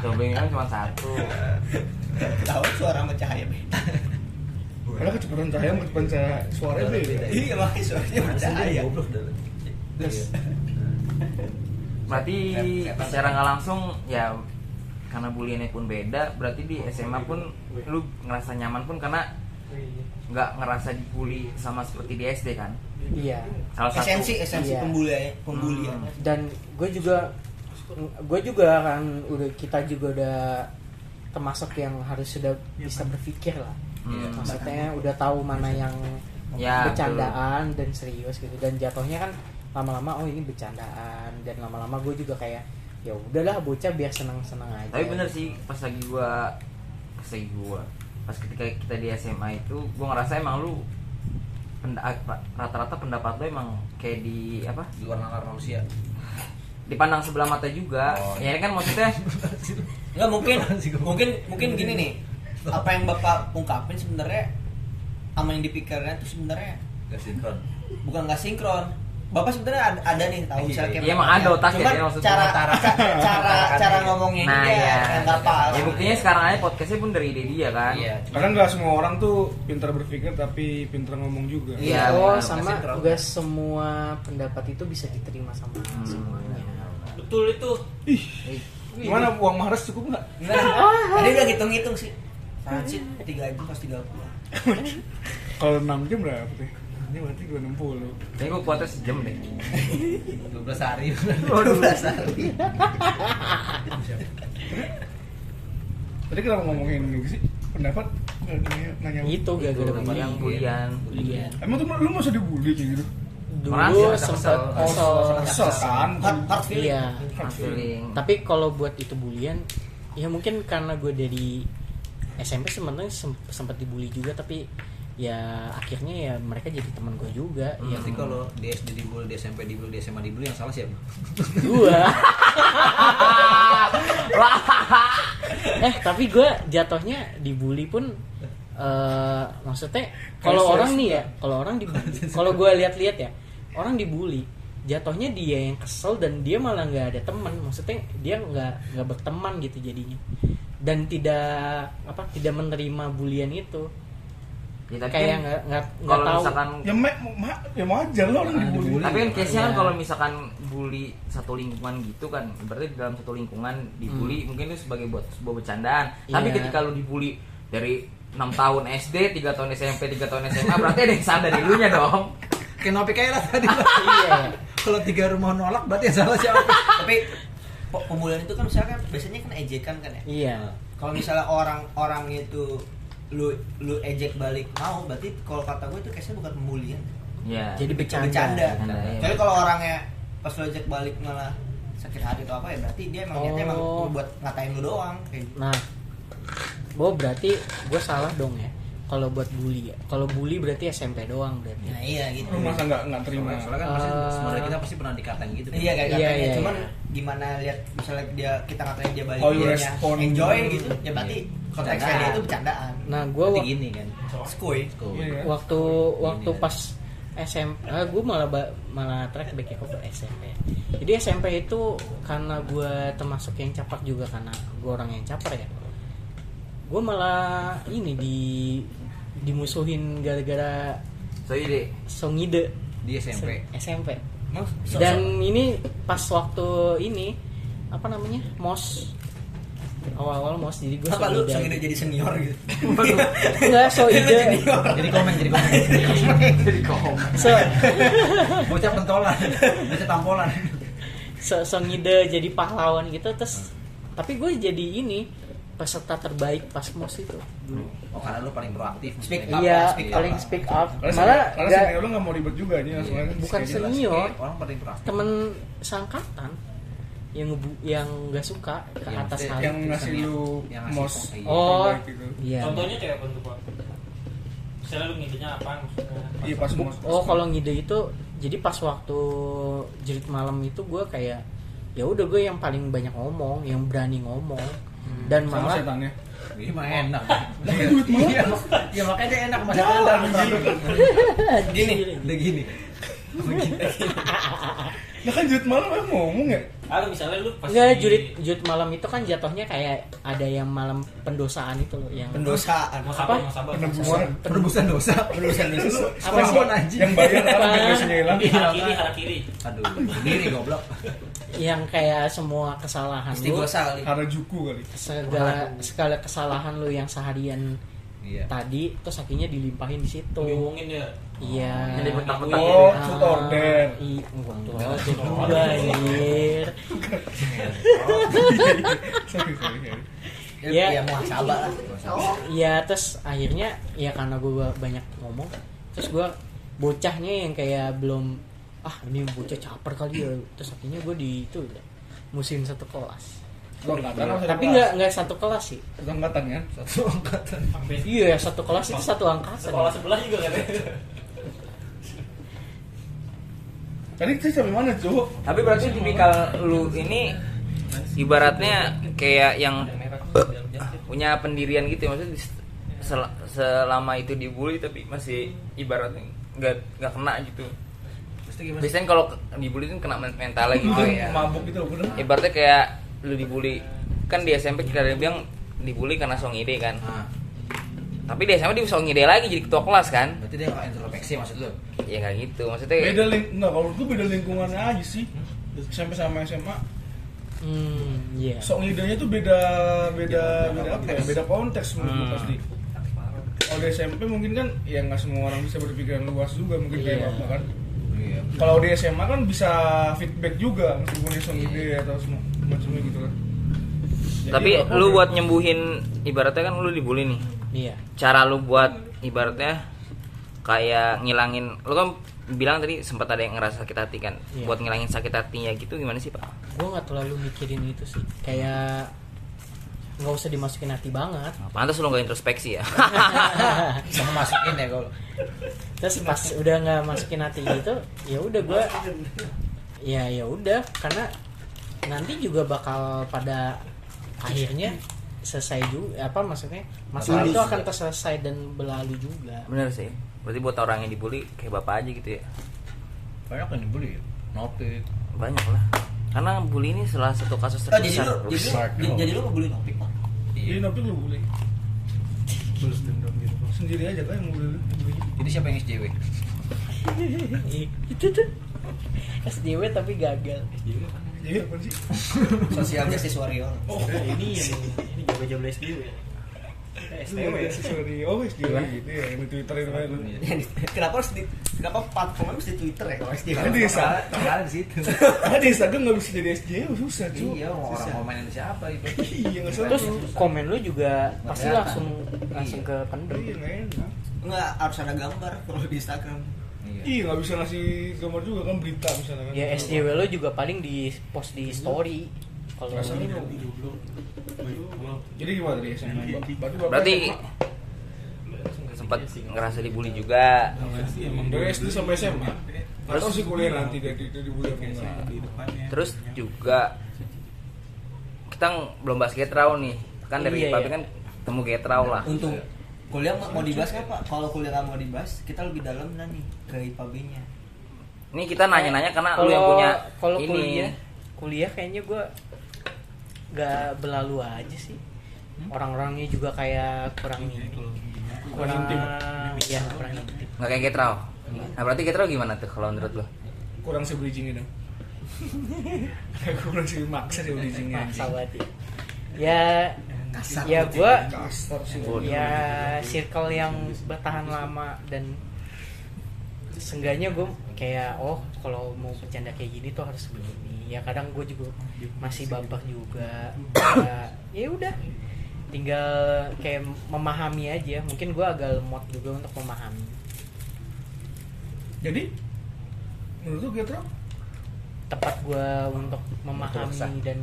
S1: Dobelnya kan cuma satu.
S6: tahu suara bercahaya beda
S2: Padahal kecepatan cahaya sama kecepatan cahaya suara itu ya. beda.
S6: iya makanya suaranya
S3: Anjing dia
S6: bercahaya
S3: goblok dah. Iya. Terus
S1: Berarti secara nggak langsung ya karena buliannya pun beda, berarti di SMA pun lu ngerasa nyaman pun karena nggak ngerasa dibully sama seperti di SD kan
S4: iya
S1: salah satu
S6: esensi esensi
S4: Iya.
S6: pembulian pembulian
S1: Hmm.
S4: dan gue juga gue juga kan udah kita juga udah termasuk yang harus sudah bisa berpikir lah
S1: Iya.
S4: maksudnya udah tahu mana yang
S1: Ya,
S4: bercandaan dan serius gitu dan jatuhnya kan lama-lama oh ini bercandaan dan lama-lama gue juga kayak ya udahlah bocah biar senang-senang aja
S1: tapi bener sih pas lagi gua pas lagi gua pas ketika kita di SMA itu gua ngerasa emang lu penda- ah, rata-rata pendapat lu emang kayak di apa
S3: di luar nalar manusia
S1: dipandang sebelah mata juga
S3: Oh.
S1: ya ini kan maksudnya
S3: nggak mungkin mungkin
S6: mungkin gini nih apa yang bapak ungkapin sebenarnya sama yang dipikirnya itu sebenarnya
S3: gak sinkron
S6: bukan nggak sinkron bapak sebenarnya ada, ada nih tahu
S3: Iya,
S6: misalnya kayak
S1: iya, emang ada otaknya,
S6: Cuman
S1: dia maksudnya
S6: cara
S1: otak.
S6: ca- cara cara ngomongnya ini
S1: nah
S6: dia
S1: ya
S6: yang nggak pas
S1: ya buktinya sekarang aja podcastnya pun dari ide dia kan
S3: iya
S2: Karena nggak semua orang tuh pintar berpikir tapi pintar ngomong juga.
S1: Iya,
S4: oh
S1: bener.
S4: sama
S3: Kasih
S4: juga semua pendapat itu bisa diterima sama
S1: Hmm.
S4: semuanya
S3: Kan?
S5: betul itu
S2: Gimana uang Mares cukup nggak?
S6: gimana tadi udah hitung-hitung sih Sangat sih, tiga jam pas tiga puluh
S2: Kalau 6 jam berapa deh? Ini berarti 260
S1: ini gua kuatnya sejam deh
S3: 12 hari
S1: Waduh.
S2: Tadi kenapa ngomongin ini sih? Pendapat? Nggak nanya, nanya
S4: itu Gitu, gara-gara
S1: Itu,
S4: bullying.
S1: Gitu, yang bulian
S4: Iya.
S2: Emang tuh lu masa dibully kayak gitu?
S4: dulu
S1: Merasa
S4: sempat
S1: kesel.
S4: kesel
S2: Kesel kan?
S6: hard hard feeling
S4: iya
S2: Hard feeling.
S1: feeling
S4: tapi kalau buat itu bulian ya mungkin karena gue dari SMP sebenarnya sem- sempat dibully juga tapi ya akhirnya ya mereka jadi teman gue juga ya
S3: Pasti Iya kalau di SD dibully, di SMP dibully, di SMA dibully yang salah siapa?
S4: gue
S1: Ah!
S4: eh tapi gue jatuhnya dibully pun eh maksudnya kalau orang nih ya kalau orang dibully kalau gue lihat-lihat ya orang dibully jatuhnya dia yang kesel dan dia malah nggak ada teman maksudnya dia nggak nggak berteman gitu jadinya dan tidak apa tidak menerima bulian itu
S1: ya, tapi
S4: kayak
S1: kan
S4: nggak nggak nggak
S1: kalau
S4: tahu
S1: misalkan
S2: Ya mak, ma, ya wajar lah orang dibully.
S1: tapi kan case nya kan
S4: Iya.
S1: kalau misalkan bully satu lingkungan gitu kan berarti di dalam satu lingkungan dibully mungkin itu sebagai buat sebuah bercandaan tapi
S4: Hmm. Iya.
S1: ketika lu dibully dari 6 tahun SD, 3 tahun SMP, 3 tahun SMA berarti ada yang salah dari lunya dong
S3: Kenapa kayak lah tadi?
S4: iya
S3: kalau tiga rumah nolak berarti yang salah siapa?
S6: tapi pe- pembulian itu kan misalnya kan- biasanya kan ejekan kan ya
S4: iya
S6: kalau misalnya orang-orang itu lu lu ejek balik mau berarti kalau kata gue itu case-nya bukan pembulian
S1: ya
S4: jadi bercanda,
S6: bercanda
S1: Bercanda, iya.
S6: tapi kalau orangnya pas lu ejek balik malah sakit hati atau apa ya berarti dia emang niatnya emang
S4: Oh.
S6: buat ngatain lu doang kayak gitu.
S4: Nah, gue berarti gue salah dong ya. Kalau buat bully, ya. kalau bully berarti SMP doang berarti.
S6: nah iya gitu
S2: Lu masa nggak nggak terima?
S3: Soalnya, soalnya kan pasti
S4: Eh.
S3: semua dari kita pasti pernah dikatain gitu. kan?
S6: Ah. iya kayak
S4: Iya,
S6: katanya
S4: iya,
S6: cuman
S4: iya.
S6: gimana lihat misalnya dia kita ngatain dia balik
S2: How you
S6: dia
S2: respond.
S6: enjoy gitu ya berarti
S3: Iya.
S6: konteksnya
S3: Bercandaan.
S6: dia itu bercandaan
S4: Nah, gue
S3: Berarti gini kan.
S6: skuy
S2: Iya, ya.
S4: waktu waktu
S3: kan.
S4: pas SMP, gue ah, malah ba- malah track back ya ke SMP. Jadi SMP itu karena gue termasuk yang capak juga karena gue orang yang caper ya. Gue malah ini di dimusuhin gara-gara
S1: so ide
S4: songide
S3: Di SMP.
S4: SMP.
S6: Emang so-
S4: Dan ini pas waktu ini apa namanya mos awal-awal mos jadi gue
S6: apa lu Oh, sengide jadi senior gitu
S4: nggak so
S6: Lu
S4: ide
S6: junior.
S3: Jadi komen, jadi komen.
S1: jadi kom
S4: so
S3: Bocah pentolan, bocah tampolan.
S4: so, so ngide jadi pahlawan gitu terus tapi gue jadi ini peserta terbaik pas mos itu
S3: Oh karena lu paling proaktif.
S6: Speak
S3: Speak up,
S4: iya
S3: speak up.
S4: paling speak up
S2: Karena
S4: malah
S2: karena
S4: nggak-
S2: senior lu nggak mau ribet juga nih langsung aja.
S4: bukan
S2: Kayak gitu.
S4: senior.
S3: Iya, Orang paling proaktif.
S4: temen sangkatan yang ngebu- yang nggak suka ke
S3: Iya,
S4: atas
S3: maksudnya
S4: hal
S2: Yang
S4: itu.
S2: ngasih lu
S3: Yang ngasih
S2: mos
S3: iya.
S4: oh
S2: terbaik gitu.
S4: iya
S5: contohnya kayak apa tuh pak misalnya lu ngidenya apa maksudnya
S2: Iya pas mos.
S4: Oh kalau ngide itu jadi pas waktu jerit malam itu gue kayak ya udah gue yang paling banyak ngomong, yang berani ngomong dan
S2: sama
S4: malah
S2: setannya.
S3: Ini mah enak. Iya, mak- Iya makanya dia enak masih ada.
S4: gini
S3: Udah gini.
S2: Ya kan jut malam emang ngomong ya.
S5: atau misalnya Ah, lu pas
S4: Enggak
S5: di-
S4: jurit jurit malam itu kan jatuhnya kayak ada yang malam pendosaan itu loh yang
S6: pendosaan
S5: mau sabar mau sabar
S2: Penebusan.
S3: Penebusan dosa.
S6: pendosaan
S4: Apa
S6: itu
S4: sih?
S3: Penebusan anjing. Iya.
S2: Yang bayar kan
S4: Apaan?
S2: biasanya hilang.
S7: Iya,
S5: hara kiri hara kiri
S3: Aduh, sendiri goblok.
S4: yang kayak semua kesalahan
S6: pasti
S4: lu
S6: gue sali
S2: Harajuku kali.
S4: segala segala kesalahan lu yang seharian
S3: Iya.
S4: tadi terus akhirnya dilimpahin di situ
S5: diomongin ya
S4: iya
S5: Jadi bentak-bentak
S2: Oh,
S4: Ah,
S2: shoot order.
S4: i- wah, tuh
S5: Enggak, shoot
S4: juga,
S5: order.
S4: anjir.
S2: Sorry, sorry, sorry.
S3: Ya,
S4: Iya.
S3: ya muhasabah lah.
S4: Iya terus akhirnya ya karena gue banyak ngomong terus gue bocahnya yang kayak belum ah ini bocah caper kali ya terus akhirnya gue di itu udah musim satu kelas
S2: Satu angkatan apa Oh, satu
S4: tapi
S2: kelas?
S4: nggak nggak satu kelas sih
S2: Satu angkatan ya?
S3: Satu angkatan.
S5: sampai
S4: iya satu kelas itu satu angkatan
S5: sekolah sebelah juga kan
S2: Tadi kita sampai mana, Cuk?
S1: Tapi berarti tipikal lu ini ibaratnya kayak yang punya pendirian gitu ya maksudnya di- sel- selama itu dibully tapi masih ibaratnya nggak nggak kena gitu
S3: Terus itu gimana? Oh, iya.
S1: biasanya kalau ke- dibully itu kena men- mentalnya gitu ya
S2: Mabuk gitu loh, bener.
S1: ibaratnya kayak lu dibully kan di SMP kita ada yang bilang dibully karena song ide kan
S2: Ah.
S3: Nah,
S1: tapi di SMP dia song ide lagi jadi ketua kelas kan
S3: berarti dia nggak introspeksi maksud lu?
S1: ya nggak gitu maksudnya
S2: Beda ling, enggak kalau gue beda lingkungannya aja sih. SMP sama SMA,
S4: hmm iya
S2: sok ngidenya tuh beda beda beda apa ya? Beda konteks menurut gue
S1: Hmm.
S2: pasti. Kalau di SMP mungkin kan ya nggak semua orang bisa berpikiran luas juga mungkin kayak
S4: Iya.
S2: bapak kan.
S3: Iya.
S2: Kalau di SMA kan bisa feedback juga meskipun sok ide atau semua macamnya gitu kan. Jadi
S1: tapi
S2: apa-
S1: lu buat nyembuhin ibaratnya kan lu dibully nih
S4: iya
S1: cara lu buat ibaratnya kayak ngilangin lu kan bilang tadi sempat ada yang ngerasa sakit hati kan
S4: Iya.
S1: buat ngilangin sakit hatinya gitu gimana sih pak
S4: gue nggak terlalu mikirin itu sih kayak nggak usah dimasukin hati banget
S1: pantas lu nggak introspeksi ya
S3: Sama masukin ya kalau.
S4: terus pas udah nggak masukin hati gitu ya udah gue ya ya udah karena nanti juga bakal pada akhirnya selesai juga apa maksudnya masalah itu akan terselesai dan berlalu juga
S1: bener sih berarti buat orang yang dibully kayak bapak aja gitu ya
S3: Banyak yang dibeli ya. Notif.
S1: banyak lah karena bully ini salah satu kasus
S6: Oh, jadi
S1: terbesar
S6: lu jadi lu- jadi- jadi lu ngebully topik Pak.
S2: Iya, tapi lu boleh. Terus dendam gitu. Sendiri aja kan yang boleh.
S3: Jadi siapa yang SJW?
S4: itu tuh SDW tapi gagal
S2: Iya, apa sih?
S6: Sosialnya siswa warrior.
S2: Oh,
S7: ini yang ini jago-jago SD ya. STW ya.
S2: sorry. Oh, wis gitu ya, di Twitter itu kan.
S3: Iya.
S6: kenapa harus di kenapa platformnya mesti Twitter ya kalau SD?
S2: Nanti bisa.
S3: Kalian di situ.
S2: Ah, di Instagram nggak bisa jadi SJW susah cuy.
S3: Iya, mau orang mau mainin siapa itu?
S2: Iya, nggak salah.
S4: terus komen lu juga pasti
S3: Makanya.
S4: langsung langsung ke pendem
S2: Iya, nggak enak.
S6: Enggak harus ada gambar kalau di Instagram.
S2: Iya, nggak bisa ngasih gambar juga kan berita misalnya kan.
S4: ya SDW lu juga paling di post di story kalau
S2: Perasaan lu
S1: Nah,
S2: nggak Jadi gimana tadi SMA? Berarti bapak
S1: berarti
S2: SMA?
S1: sempat ngerasa dibully juga
S2: emang dari SD sampai SMA. Nggak tahu sih kuliah nanti dari dari bulan ini.
S1: terus juga kita ng- belum bahas getrau nih kan dari
S4: Iya,
S1: Papi
S4: iya.
S1: kan temu getrau lah
S6: Nah, Untung kuliah mau mau dibahas nggak Pak? Kalau kuliah nggak mau dibahas, kita lebih dalam nanti ke IPB-nya.
S1: ini kita nanya-nanya karena lu
S4: Kalau-
S1: yang punya
S4: kalau
S1: ini
S4: kuliah kuliah kayaknya gue gak berlalu aja sih orang-orangnya juga kayak kurang Hmm? ini kurang
S2: intim.
S4: ya kurang intim
S1: nggak kayak getrau nah berarti getrau gimana tuh kalau menurut lu
S2: Kurang si bridging ini. Kurang si maksa si bridgingnya.
S4: maksa banget ya. ya
S6: Kasar.
S4: ya gue
S2: Kasar sih.
S4: ya circle yang bertahan lama dan seenggaknya gue kayak oh kalau mau bercanda kayak gini tuh harus begini ya kadang gue juga masih baper juga ya ya udah tinggal kayak memahami aja mungkin gue agak lemot juga untuk memahami
S2: Jadi menurut lu Getro?
S4: tepat gue untuk memahami dan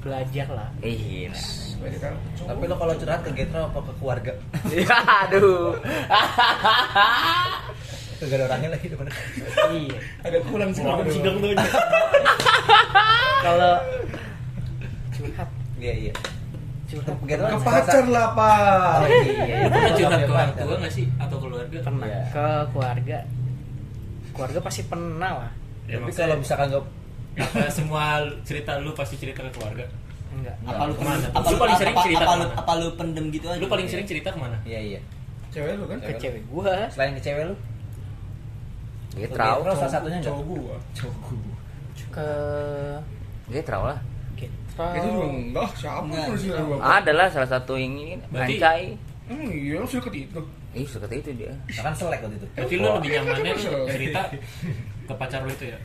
S4: belajar lah
S1: ih
S3: Tapi lo kalau curhat ke Getro apa ke keluarga?
S1: nah. aduh
S3: Gak ada orangnya lagi depan.
S4: iya
S2: Ada kurang sih.
S7: Orang sidang tuh.
S4: kalau curhat
S3: Iya, iya.
S4: curhat
S3: Ke Getro
S2: Ke pacar lah, Pak.
S3: Oh,
S7: Lu
S3: iya.
S7: pernah curhat ke orang tua nggak sih atau keluarga?
S4: pernah
S3: Iya.
S4: ke keluarga keluarga pasti pernah lah
S7: Ya,
S3: Tapi
S7: maksudnya-
S3: kalau misalkan nggak
S7: Apa semua cerita lu pasti cerita ke keluarga?
S4: enggak
S6: Apa lu
S7: Kemana?
S6: pendem? Apa
S7: Lu
S6: lu
S7: paling sering
S6: apa-
S7: cerita
S6: apa lu
S7: kemana?
S6: apa lu pendem gitu aja?
S7: Lu paling sering cerita kemana?
S3: Iya, iya.
S2: Cewek lu kan?
S4: ke cewek gua
S3: Selain ke cewek lu?
S1: getrau
S3: Lo salah satunya nggak?
S2: Cowok gua.
S4: ke
S1: getrau lah
S4: Getro
S2: Itu juga enggak, siapa
S6: Enggak,
S2: pun sih
S6: enggak.
S2: lu.
S1: adalah salah satu yang ini
S7: Berarti-
S1: Ancai
S2: Hmm, iya lu suka itu.
S1: Ih, seperti itu dia.
S3: Nah, kan selek waktu itu
S5: Berarti lu lebih nyamannya tuh cerita ke pacar lu itu ya?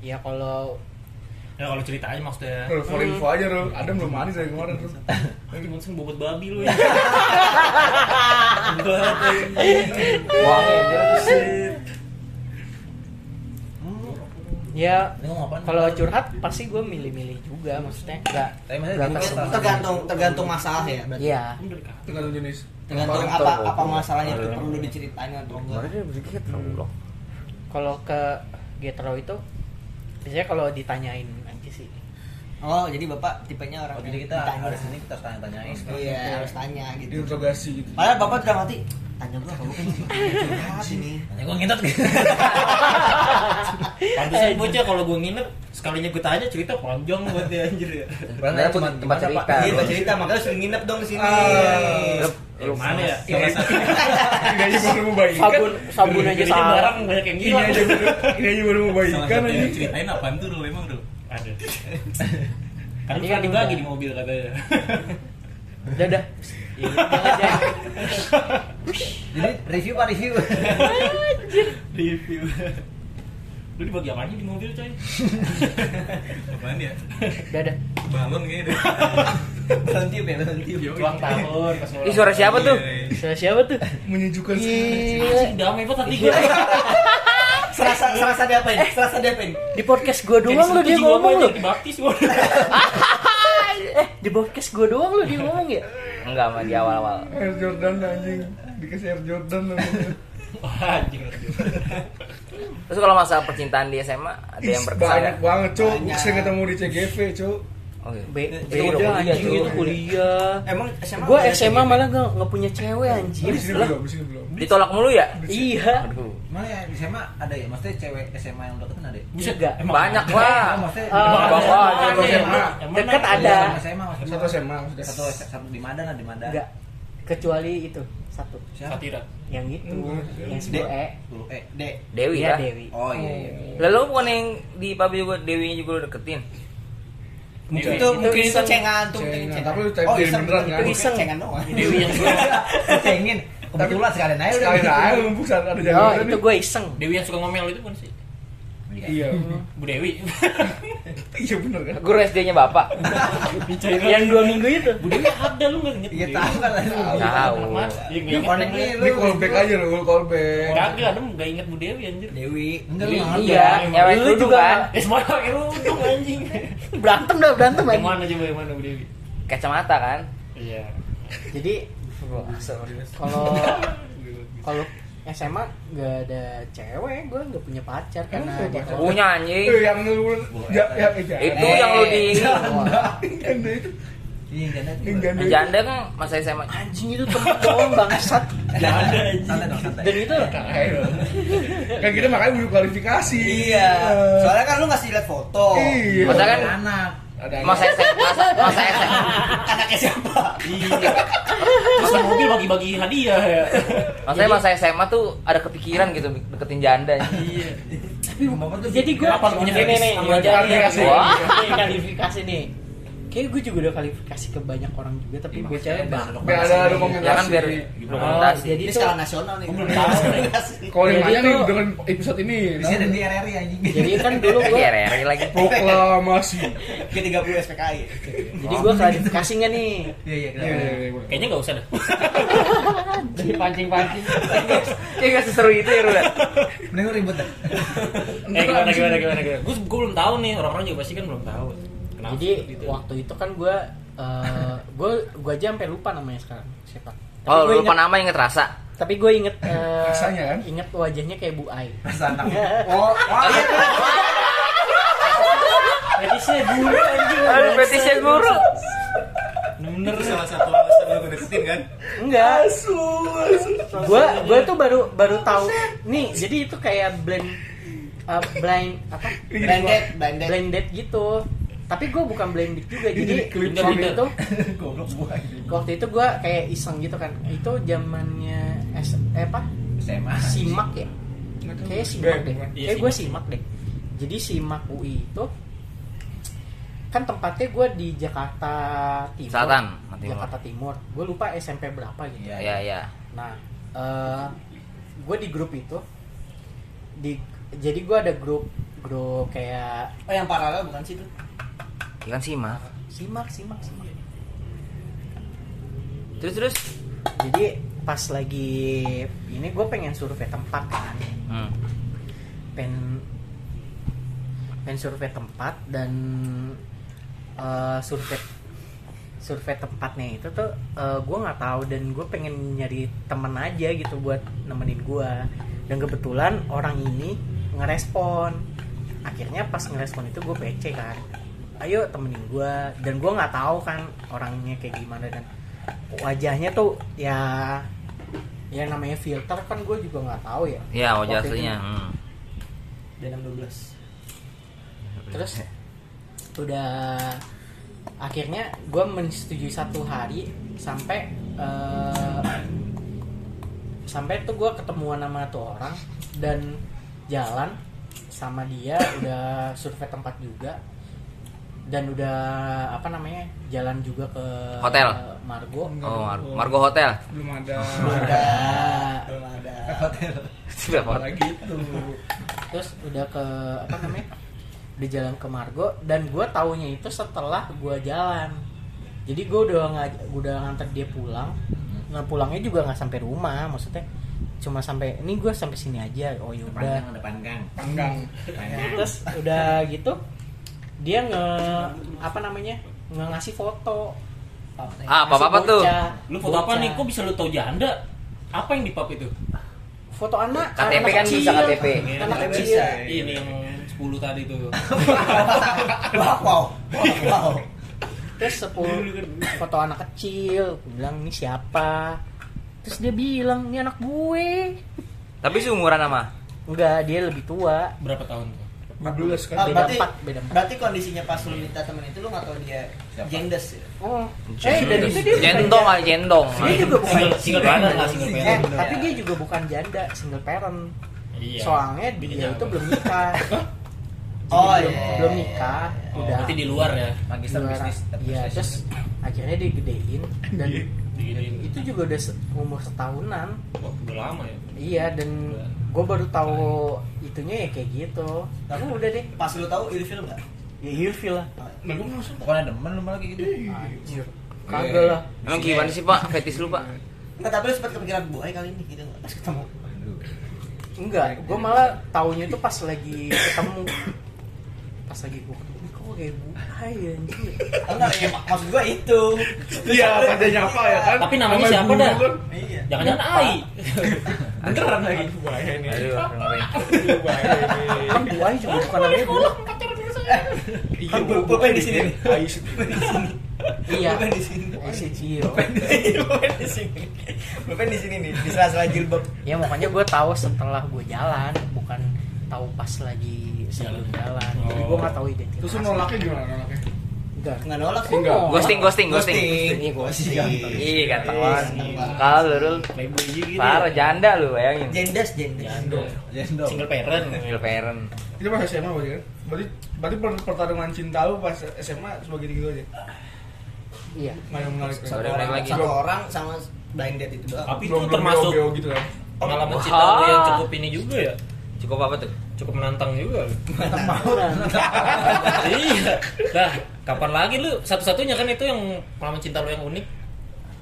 S4: ya kalau
S5: Ya kalau cerita aja maksudnya
S2: Lu for info aja lu, Adam belum manis dari kemarin lu.
S7: "Ah,
S5: Ini maksudnya bobot babi lu ya
S1: Wangi dia.
S4: ya
S3: Ini ngomong apaan?
S4: kalau curhat pasti gue milih-milih juga maksudnya enggak
S3: tapi maksudnya
S4: Berapa
S3: gini,
S4: sih?
S3: salah-
S6: tergantung tergantung masalah ya berarti
S4: iya
S5: Kamu dari kapan?
S2: Tergantung jenis.
S6: tergantung
S1: Kemarin
S6: apa
S1: terlalu-
S6: apa masalahnya itu
S1: kemarin-
S6: perlu diceritain atau
S1: Kemarin
S6: enggak
S1: dia berpikir terlalu loh.
S4: kalau ke Getro itu biasanya kalau ditanyain aja sih
S6: oh jadi bapak tipenya orang
S3: oh, jadi
S6: yang
S3: kita
S6: ditanya.
S3: harus ini kita harus tanya-tanyain
S6: iya harus tanya gitu
S2: Diinterogasi gitu.
S6: padahal bapak udah mati tanya gua kalau gua curhat ini
S3: Tanya gue ngintet
S5: Pantesan bocah kalau gue nginep Sekalinya gue tanya cerita panjang buat dia anjir ya
S1: Padahal cuma tempat cerita.
S6: Iya, itu cerita makanya suruh nginep dong di sini.
S3: Ah.
S1: Lu-
S3: Eh,
S5: Lu mana ya?
S2: Iya. Ini aja baru mau baikan.
S4: sabun sabun aja Iya.
S5: Jadinya
S4: salah
S5: barang banyak yang
S2: Ini
S5: gila
S2: aja baru ini aja baru mau
S7: Salah
S2: baikan
S7: satu
S2: aja.
S3: Iya.
S7: yang ceritain apaan tuh lu emang lu?
S5: Ada Kan
S4: Tadi
S5: lu
S4: kan
S5: kan dibagi
S4: udah.
S5: di mobil katanya
S4: udah udah Iya, jangan, jangan.
S3: jadi review pak review
S5: Review Lu dibagi apa aja di mobil coy?
S7: Apaan ya?
S4: udah udah
S7: Balon kayaknya deh.
S6: Belum tiup ya, belum tiup.
S5: Ulang tahun pas ulang
S1: Ih, suara
S5: tahun.
S1: siapa tuh?
S4: Siapa- siapa tuh
S2: Menyejukkan sekali.
S5: Anjing, damai banget hati gue
S6: Serasa serasa diapain?
S4: Eh.
S6: Serasa diapain?
S4: di podcast gue doang lo dia ngomong lo
S5: Dibaptis gue
S4: eh di podcast gue doang lo dia ngomong ya
S1: Enggak sama di awal-awal.
S2: Air Jordan anjing. Dikasih Air Jordan lu.
S5: Anjing
S1: Terus kalau masalah percintaan di SMA ada yang
S2: Ih,
S1: berkesan ya?
S2: Banyak banget, Cuk. Gua
S6: Banyak.
S2: sering ketemu di CGV, Cuk.
S1: Oke. Oh,
S4: Be
S1: iya. Itu
S4: beda
S1: udah kuliah,
S4: anjing
S1: cuy.
S4: itu kuliah
S6: Emang SMA
S4: gue
S6: ada
S4: SMA
S6: cewek?
S4: malah gak, nggak punya cewek anjir
S2: Di sini
S4: Lah,
S2: belum, di sini belum.
S1: Ditolak mulu ya?
S4: iya
S1: Aduh.
S3: mana ya di SMA ada ya maksudnya cewek SMA yang deketin ada ya?
S5: Buset
S4: Enggak.
S5: emang
S1: Banyak,
S5: ada.
S1: Pak.
S3: Oh, maksudnya
S4: Ah,
S5: Emang ada.
S1: Bang, wah,
S5: Emang
S2: satu
S5: ada.
S2: SMA.
S5: Emang
S4: Dekat ada.
S3: Sama SMA maksudnya.
S2: Satu SMA maksudnya.
S3: Satu satu di Madan ada di Madan.
S4: enggak kecuali itu satu
S3: Siapa?
S5: Satira
S4: yang itu
S2: Enggak.
S4: yang
S6: D.
S4: sebelum E
S3: Dulu eh
S6: D.
S1: Dewi
S4: Iya,
S1: ya.
S4: Dewi
S3: Oh iya. iya.
S1: Lalu bukan yang di pub juga Dewinya juga lu deketin.
S5: Mungkin
S6: Itu mungkin itu
S4: iseng.
S6: cengan tuh,
S2: Cengan,
S6: mungkin
S2: tapi lu
S6: Oh,
S2: typein
S6: iseng
S2: beneran
S6: itu
S2: kan?
S6: iseng cengan doang.
S5: Dewi yang suka
S3: Cengin. Kebetulan sekalian aja udah.
S2: Sekali aja mumpung saat ada
S4: oh
S2: Jordan.
S4: itu gue iseng
S5: Dewi yang suka ngomel itu bukan sih
S3: Iya.
S2: Iya.
S5: Bu Dewi
S2: Iya bener kan?
S1: Guru SD-nya Bapak.
S4: yang dua minggu itu
S5: Bu Dewi ada lu nggak inget Bu
S3: Iya
S5: Dewi?
S3: tahu kan.
S1: Tahu.
S5: Anak mana? Iya
S3: Dia
S5: nggak
S3: connect
S5: inget
S3: nih lu.
S2: Ini call back aja lu, call back.
S5: Kagak ada nggak inget Bu Dewi anjir
S6: Dewi.
S3: Enggak lu nggak ngerti.
S1: Iya, cewek
S4: Lu
S1: duduk
S4: juga.
S1: kan.
S5: Eh semua pakai kerudung anjing
S4: berantem dah berantem
S5: Yang
S4: anjing
S5: mana coba yang mana Bu Dewi
S1: Kacamata kan.
S5: Iya
S4: jadi kalau kalau SMA nggak ada cewek gue nggak punya pacar karena
S2: Emang
S4: dia
S2: punya pacar?
S1: Punya
S2: Eh,
S1: anjing.
S2: yang lu ya ya ya.
S1: Itu yang lu di
S3: Eh,
S2: Janda itu.
S3: Iya, janda.
S2: Yang janda. itu.
S1: Janda kan masa SMA.
S4: anjing itu temen doang bangsat
S3: Janda. Santai dong, santai. Iya.
S4: dan itu
S2: Ayo. Kan kita makanya butuh klarifikasi.
S6: Iya. Soalnya kan lu ngasih lihat foto.
S2: Iya.
S1: Masa kan
S3: anak.
S2: Ada
S1: masa SMA masa, masa SMA
S6: Anaknya siapa?
S5: Iya Masa mobil bagi-bagi hadiah ya
S1: Maksudnya masa SMA tuh ada kepikiran gitu deketin janda.
S5: Iya
S3: Tapi bapak tuh
S4: jadi gue
S5: Kenapa lu punya
S4: ini
S5: fetish
S4: nih
S5: sama
S4: gua jadi
S2: klarifikasi?
S4: Wah, ini klarifikasi nih kayak gue juga udah klarifikasi ke banyak orang juga tapi
S3: Iya,
S4: gue
S3: makanya
S4: cewek
S3: ada
S4: bang
S2: Biar ada
S3: Iya,
S2: dokumentasi.
S1: Ya kan biar
S5: Oh,
S1: dokumentasi.
S4: jadi
S6: Ini
S4: tuh
S6: skala nasional nih.
S5: belum tahu.
S2: Kalau yang
S4: Jadi
S2: nanya nih
S4: itu-
S2: dengan episode ini.
S3: Di sini ada di RRI anjing.
S4: jadi kan dulu gue
S1: Gereri lagi.
S2: Proklamasi.
S6: G30 SPKI.
S4: jadi
S5: Oh.
S4: gue klarifikasi nggak
S3: Iya
S4: nih
S3: iya
S2: Iya,
S3: kenapa?
S2: iya, iya, boleh.
S5: Kayaknya nggak usah dah
S4: pancing pancing
S1: Kayak gak seseru itu ya Rulan.
S3: Mending lu ribut dah.
S5: Eh gimana gimana gimana gimana Gue gue belum tahu nih Orang-orang juga pasti kan belum tahu Kenapa
S4: jadi
S5: gitu?
S4: waktu itu kan gue gue gue aja sampai lupa namanya sekarang siapa Tapi
S1: Oh,
S4: gua
S1: lupa
S4: inget-
S1: nama yang ngerasa.
S4: tapi gue inget eh,
S2: Rasanya kan?
S4: inget wajahnya kayak Bu Ai
S3: Rasa anak.
S6: Oh, oh iya.
S5: Fetishnya guru anjing
S1: Aduh, fetishnya guru.
S7: Bener salah satu alasan lu gue deketin kan?
S4: enggak gue gue tuh baru baru tahu nih jadi itu kayak blend eh, blind apa
S6: Blended, blended.
S4: blended gitu tapi gue bukan blended juga
S2: Ini
S4: jadi
S2: jadi clip
S4: waktu
S5: sound.
S4: itu
S3: Goblok gua anjing.
S4: waktu itu gue kayak iseng gitu kan itu zamannya S eh, apa
S3: SMA.
S4: simak ya kayak simak deh
S5: Iya,
S4: kayak gue
S5: Simak.
S4: simak deh jadi simak UI itu kan tempatnya gue di Jakarta Timur
S1: Selatan, Timur.
S4: Jakarta Timur gue lupa SMP berapa gitu
S1: ya ya
S4: nah gue di grup itu di jadi gue ada grup grup kayak
S6: Oh yang paralel bukan sih tuh?
S1: ya kan sih mah
S4: simak simak simak
S1: terus terus
S4: jadi pas lagi ini gue pengen survei tempat kan
S1: hmm.
S4: pengen pengen survei tempat dan eh, survei survei tempatnya itu tuh gue nggak tahu dan gue pengen nyari temen aja gitu buat nemenin gue dan kebetulan orang ini ngerespon akhirnya pas ngerespon itu gue PC kan ayo temenin gue dan gue nggak tahu kan orangnya kayak gimana dan wajahnya tuh ya ya namanya filter kan gue juga nggak tahu ya
S1: ya wajah
S4: Waktu itu
S1: aslinya hmm.
S6: Dan yang 12
S1: Hmm.
S4: terus udah akhirnya gue menyetujui satu hari sampai eh, sampai tuh gue ketemuan sama tuh orang dan jalan sama dia udah survei tempat juga dan udah apa namanya jalan juga ke
S1: Hotel.
S4: Margo
S1: oh Mar- Margo Hotel
S2: belum ada
S4: udah
S6: Belum ada
S1: Berapa orang?
S2: lagi itu
S4: terus udah ke apa namanya udah jalan ke Margo dan gue taunya itu setelah gue jalan jadi gue udah nggak udah nganter dia pulang nah pulangnya juga nggak sampai rumah maksudnya cuma sampai ini gue sampai sini aja oh yaudah
S3: Panjang depan gang.
S2: panggang
S4: terus udah gitu dia nge apa namanya nge ngasih foto
S1: Ah,
S4: Ngasih
S1: apa-apa tuh?
S4: bocah.
S5: Lu foto apa
S4: Bocah.
S5: nih? Kok bisa lu tau janda? Apa yang di pub itu?
S4: foto anak
S1: KTP
S4: anak
S1: kan bisa
S4: kecil.
S1: KTP.
S4: anak
S6: Nggak
S4: kecil
S6: bisa.
S5: Ini yang 10 tadi tuh.
S6: Wow wow wow
S4: terus sepuluh foto anak kecil Gua bilang ini siapa terus dia bilang ini anak gue
S1: tapi seumuran sama
S4: enggak dia lebih tua
S5: Berapa tahun tuh?
S2: 12 kan
S6: Ah,
S4: Beda
S6: berarti,
S4: empat, beda empat.
S6: berarti kondisinya pas lu minta temen itu lu gak tau dia
S3: Siapa?
S6: jendes ya?
S4: oh eh dan itu dia
S1: Hmm.
S4: bukan
S1: jendong
S4: janda.
S1: kali jendong
S4: dia
S5: Iya.
S4: juga bukan
S5: Single, single parent lah, single
S4: eh,
S5: parent.
S4: tapi dia juga bukan janda single parent Eh,
S5: Iya.
S4: soalnya dia
S5: Bedanya
S4: itu
S5: apa?
S4: belum nikah
S6: Oh
S4: belum,
S6: iya
S4: belum nikah
S5: Oh,
S4: udah
S5: berarti di luar ya.
S3: Magister
S4: Juara.
S3: bisnis.
S4: Iya, terus akhirnya digedein dan
S5: Iya, Digedein.
S4: itu juga udah se- umur setahunan.
S5: Wah, udah lama ya.
S4: Iya, dan gue baru tahu itunya ya kayak gitu. Tapi udah deh,
S6: Pas lu tau ilfil gak?
S4: ya ilfil lah.
S6: Ah.
S2: nah gue masuk
S3: Pokoknya demen lu malah kayak gitu.
S6: Iya.
S4: Anjir. Kagak lah.
S1: Ah. emang gimana sih pak fetis lu pak
S6: Nggak, tapi lu sempet kepikiran buaya kali ini gitu nggak? Pas ketemu
S4: Enggak, gue malah taunya itu pas lagi ketemu pas lagi gue ketemu "Ini kok kayak gue ya anjir
S6: Ah, Enggak, ya, mak- maksud gua itu
S2: iya padanya apa ya kan
S5: Tapi namanya siapa
S2: guru
S5: dah?
S2: kan?
S6: Iya
S5: Jangan-jangan AI.
S6: Beneran lagi
S2: Aduh, bahaya ini
S1: Aduh, ngeri.
S2: Aduh, bahaya ini
S4: kan buah juga bukan namanya buah
S2: Iya,
S6: Kan
S2: gua-
S6: pulpen di sini.
S2: Ayo, sini.
S4: iya
S6: Bukan di sini
S4: Eh, si Cio
S6: Bukan di sini Bukan di sini nih, di sela-sela jilbab
S4: ya makanya gue tahu setelah gue jalan bukan tahu pas lagi sebelum jalan, jadi gue nggak tahu identitas
S2: terus lu nolaknya gimana nolaknya
S4: enggak
S3: Nah.
S6: Nggak nolak sih
S2: Enggak.
S1: ghosting ghosting ghosting
S6: Ghosting.
S1: Iya, ghosting
S6: Ghosting.
S1: iya ganteng banget
S6: Ganteng banget.
S1: kalau lu Rul,
S5: Playboy gitu.
S1: parah janda lu bayangin
S6: Jendes, jendes
S5: Janda.
S3: Jendong.
S5: Single parent.
S1: single parent
S2: itu pas SMA berarti kan berarti berarti per- pertarungan cinta lu pas SMA sebagai gitu aja
S4: iya
S2: nggak yang menarik
S1: Satu orang lagi.
S6: Satu orang sama blind date itu doang
S5: Tapi itu
S2: belum
S5: termasuk
S2: belum gitu kan
S5: pengalaman
S1: Wah.
S5: cinta lu yang cukup ini juga ya.
S1: cukup apa tuh
S5: Cukup menantang juga.
S4: Tawuran.
S5: iya. Nah, kapan lagi lu satu-satunya kan itu yang pengalaman cinta lu yang unik.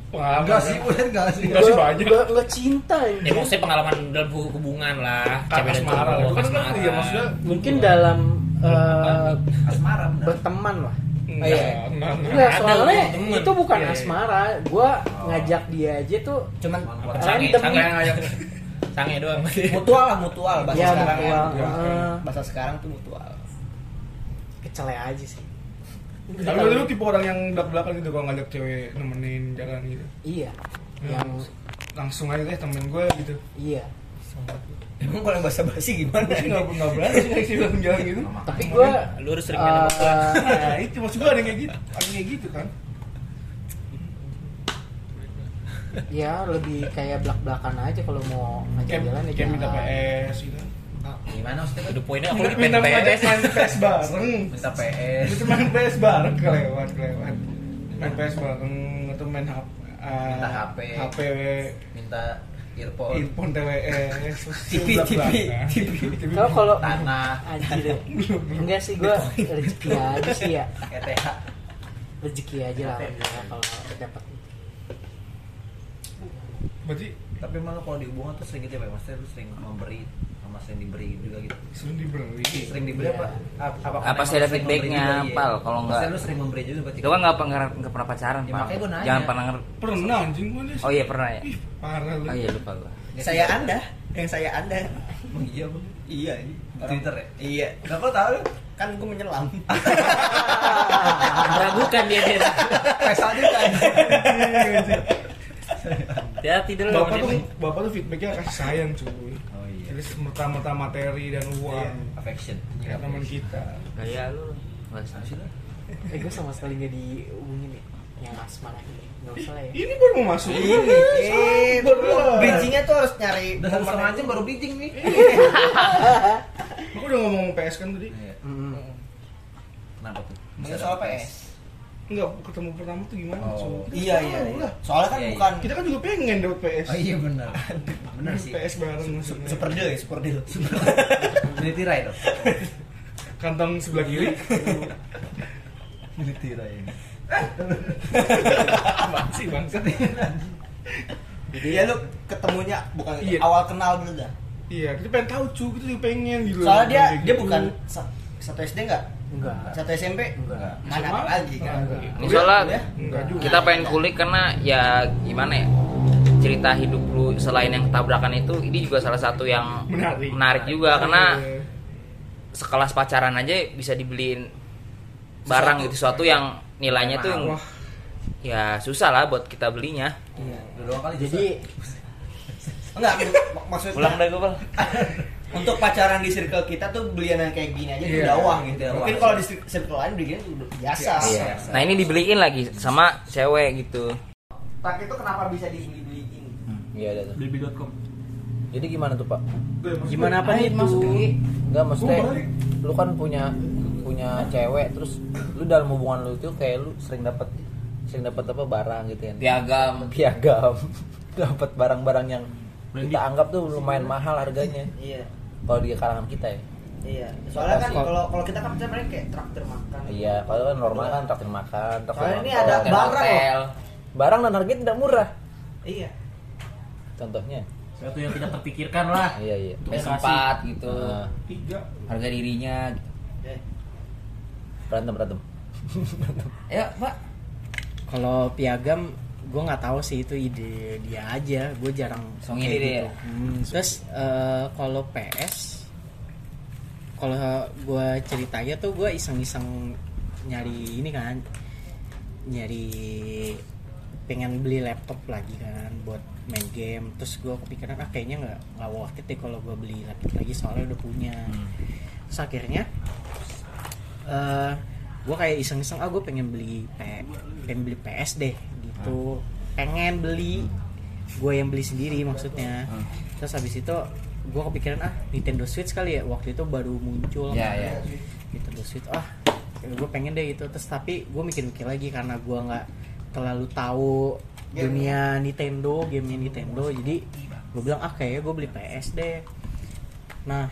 S2: pengalaman
S3: Enggak
S2: kan?
S3: sih, bukan enggak sih.
S2: Enggak sih banyak
S4: Gua- gua cinta
S5: Ya
S4: anjir.
S5: maksudnya pengalaman dalam hu- hubungan lah,
S2: kan asmara
S5: cowok,
S2: itu kan kan
S5: asmara.
S2: iya maksudnya
S4: mungkin dalam eh,
S3: Asmara bener.
S4: berteman lah
S2: Enggak,
S4: Iya.
S2: enggak, enggak.
S4: Enggak,
S5: Ada
S4: soalnya
S5: loh, temen.
S4: itu bukan
S2: Iya, iya.
S4: asmara gue ngajak dia aja tuh
S6: Cuman
S5: Apa, sange,
S4: Random.
S5: sange, sange doang.
S6: mutual lah, mutual Bahasa
S3: Iya,
S4: ya
S6: sekarang ya.
S4: mutual
S2: ya.
S4: eh,
S6: Bahasa sekarang tuh mutual
S4: kecele aja sih
S2: tapi lu tipe orang yang belak belakan gitu kalau ngajak cewek nemenin jalan gitu
S4: iya
S2: Ya,
S4: yang
S2: langsung aja deh temen gue gitu
S4: iya
S6: Emang kalau bahasa basi gimana?
S2: Terus nggak nggak berani sih ngajak cewek jalan gitu
S4: tapi eh, gue
S5: Lu harus sering main sama gua.
S2: nah itu maksud gue ada yang kayak gitu ada yang kayak gitu kan
S4: ya lebih kayak belak belakan aja kalau mau ngajak
S2: kayak
S4: jalan ya
S2: kayak minta
S4: jalan.
S2: PS gitu
S6: Ah,
S3: gimana maksudnya
S5: Udah poinnya aku
S2: Minta
S5: lagi
S2: minta
S5: pengen
S2: main
S5: PS.
S2: main PS bareng.
S3: minta PS
S2: Itu main PS bareng kelewat kelewat. Main PS bareng atau main HP. ah,
S3: Minta HP.
S2: HP
S3: minta earphone
S2: Infon TWS
S6: TV, TV.
S4: Kalau kalau
S3: tanah
S4: anjir deh. enggak sih gue rezeki aja sih ya
S3: ETH
S4: rezeki aja lah alhamdulillah kalau dapat
S2: Berarti
S3: tapi emang lu kalau di hubungan tuh sering gitu ya Pak? maksudnya lu sering memberi sama sering diberi juga gitu
S2: sering diberi
S3: sering diberi
S4: Iya.
S3: apa apa,
S1: Apa sih
S3: karena emang
S1: ada
S3: lu sering
S1: feedbacknya,
S3: memberi juga, iya?
S1: Pal? Kalau enggak-
S3: Maksudnya lu sering memberi juga berarti
S1: Lu kan nggak pernah nggak pernah pacaran,
S3: Ya,
S1: Pak.
S3: makanya gua nanya.
S1: Jangan pernah nger
S2: Pernah anjing gua nih
S1: Oh iya pernah ya.
S2: Ih, parah lu
S1: Oh iya lupa gua.
S6: Saya Anda, yang saya Anda.
S3: Emang iya Bang.
S6: Iya.
S3: Di Twitter ya?
S6: Iya.
S3: Nah, kok tahu lu?
S6: Kan gue menyelam.
S4: meragukan dia dia
S3: Pes aja kan.
S4: ya tidur lu
S2: Bapak tuh, bapak tuh feedbacknya kasih sayang cuy
S3: Oh iya.
S2: Jadi semata-mata materi dan uang
S3: Affection.
S2: Kayak teman kita
S1: Gaya lu. Nggak usah.
S4: eh gue sama sekali nggak dihubungin ya yang asmara ini nggak usah lah ya
S2: Ini baru mau masuk Ini
S6: Eh,
S2: Belum.
S6: bridgingnya tuh harus nyari
S3: Udah satu
S6: momen
S3: setengah
S6: yang-
S3: jam baru bijing nih.
S2: Aku udah ngomong PS kan tadi
S3: Iya.
S4: Mm.
S3: Kenapa tuh?
S6: Mungkin soal PS.
S2: Enggak, ketemu pertama tuh gimana
S3: Oh.
S2: cuy Kita
S6: Iya,
S2: tahu
S6: iya, iya.
S2: lah.
S6: Soalnya kan
S3: Iya, iya.
S6: bukan
S2: Kita kan juga pengen dapat PS
S3: Oh iya benar. Benar sih.
S2: PS bareng maksudnya
S6: super deal ya, super deal.
S3: Beli tirai dong.
S2: Kantong sebelah kiri
S6: Iya.
S3: Beli tirai ini.
S2: Apaan sih bangsat
S6: Iya lu ketemunya bukan
S2: Iya.
S6: awal kenal dulu dah.
S2: Iya, kita pengen tahu cuy, kita juga pengen gitu
S6: Soalnya dia
S2: Kayak
S6: dia
S2: gitu.
S6: bukan sa- satu SD enggak?
S4: enggak
S6: Satu SMP?
S4: Enggak.
S6: Mana ada
S2: Sama?
S6: lagi kan?
S4: Enggak.
S1: Ini soalnya
S6: Kuliah?
S2: Enggak juga
S1: kita pengen kulik karena ya gimana ya cerita hidup lu selain yang tabrakan itu ini juga salah satu yang
S2: Menarik.
S1: juga karena
S2: Iya.
S1: sekelas pacaran aja bisa dibeliin barang gitu sesuatu yang nilainya tuh yang-
S2: Wah,
S1: ya susah lah buat kita belinya
S6: Iya.
S3: Udah dua kali
S4: jadi
S6: Enggak, mak- maksudnya
S1: pulang dah gue bal
S6: untuk pacaran di circle kita tuh belian yang kayak gini aja tuh
S2: Iya.
S6: udah uang gitu.
S3: Udah
S6: Mungkin
S3: uang.
S6: kalau di cir- circle lain belian udah biasa.
S1: Iya. nah ini dibeliin lagi sama cewek gitu
S6: Tapi itu kenapa bisa dibeli-beliin?
S3: Iya ada tuh.
S7: Baby.com.
S3: Jadi gimana tuh Pak?
S2: gue maksud
S4: gimana apa nih
S3: Itu
S4: maksudnya
S3: enggak maksudnya
S2: Gua balik.
S3: lu kan punya punya cewek terus lu dalam hubungan lu itu kayak lu sering dapat sering dapat apa barang gitu ya.
S1: piagam
S3: Piagam. dapat barang-barang yang kita anggap tuh lumayan mahal harganya
S6: Iya.
S3: kalau di kalangan kita ya.
S6: Iya. Soalnya kan kalau kalau kita kan pacaran mereka kayak traktir makan.
S3: Iya, kalau kan normal kan traktir makan, traktir
S6: Soalnya ini
S3: nonton.
S6: ada
S1: hotel,
S6: barang ya.
S1: hotel.
S3: barang dan harganya tidak murah.
S6: Iya.
S3: Contohnya,
S7: Satu yang tidak terpikirkan lah.
S3: iya iya.
S7: Tukang kasih.
S1: sempat gitu
S3: Ah,
S2: tiga
S1: harga dirinya gitu.
S6: Eh,
S3: berantem berantem.
S1: ya pak
S4: kalau piagam gue nggak tahu sih itu ide dia aja gue jarang
S1: Song
S4: kayak
S3: gitu.
S1: ide dia ya?
S4: Hmm, terus eh, kalau PS kalau gue ceritanya tuh gue iseng-iseng nyari ini kan nyari pengen beli laptop lagi kan buat main game terus gue kepikiran ah kayaknya nggak nggak worth it deh kalau gue beli laptop lagi soalnya udah punya terus akhirnya eh gue kayak iseng-iseng ah gue pengen beli P- pengen beli PS deh gitu pengen beli gue yang beli sendiri maksudnya terus habis itu gue kepikiran ah Nintendo Switch kali ya waktu itu baru muncul
S1: ya
S4: kan.
S1: ya
S4: Nintendo Switch ah gue pengen deh gitu terus tapi gue mikir-mikir lagi karena gue nggak terlalu tahu dunia Nintendo gamenya Nintendo jadi gue bilang ah kayaknya gue beli PS deh nah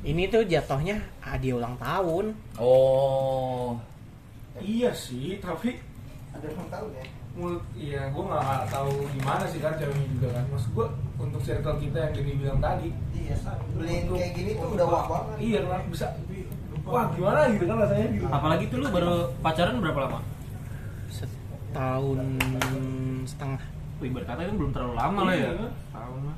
S4: ini tuh jatuhnya hadiah ulang tahun
S1: oh
S2: iya sih tapi
S6: ada yang tahu ya?
S2: mulut iya gue nggak tahu gimana sih kan ceweknya juga kan mas gue untuk circle kita yang jadi bilang tadi
S6: Iya, beliin
S2: untuk-
S6: kayak gini tuh
S2: untuk-
S6: udah wah banget.
S2: iya kan bisa wah gimana gitu kan rasanya gitu
S7: Apalagi tuh lu baru pacaran berapa lama?
S4: setahun setengah
S7: Wih, berkata kan belum terlalu lama lah ya.
S2: Iya.
S7: Tahun lah.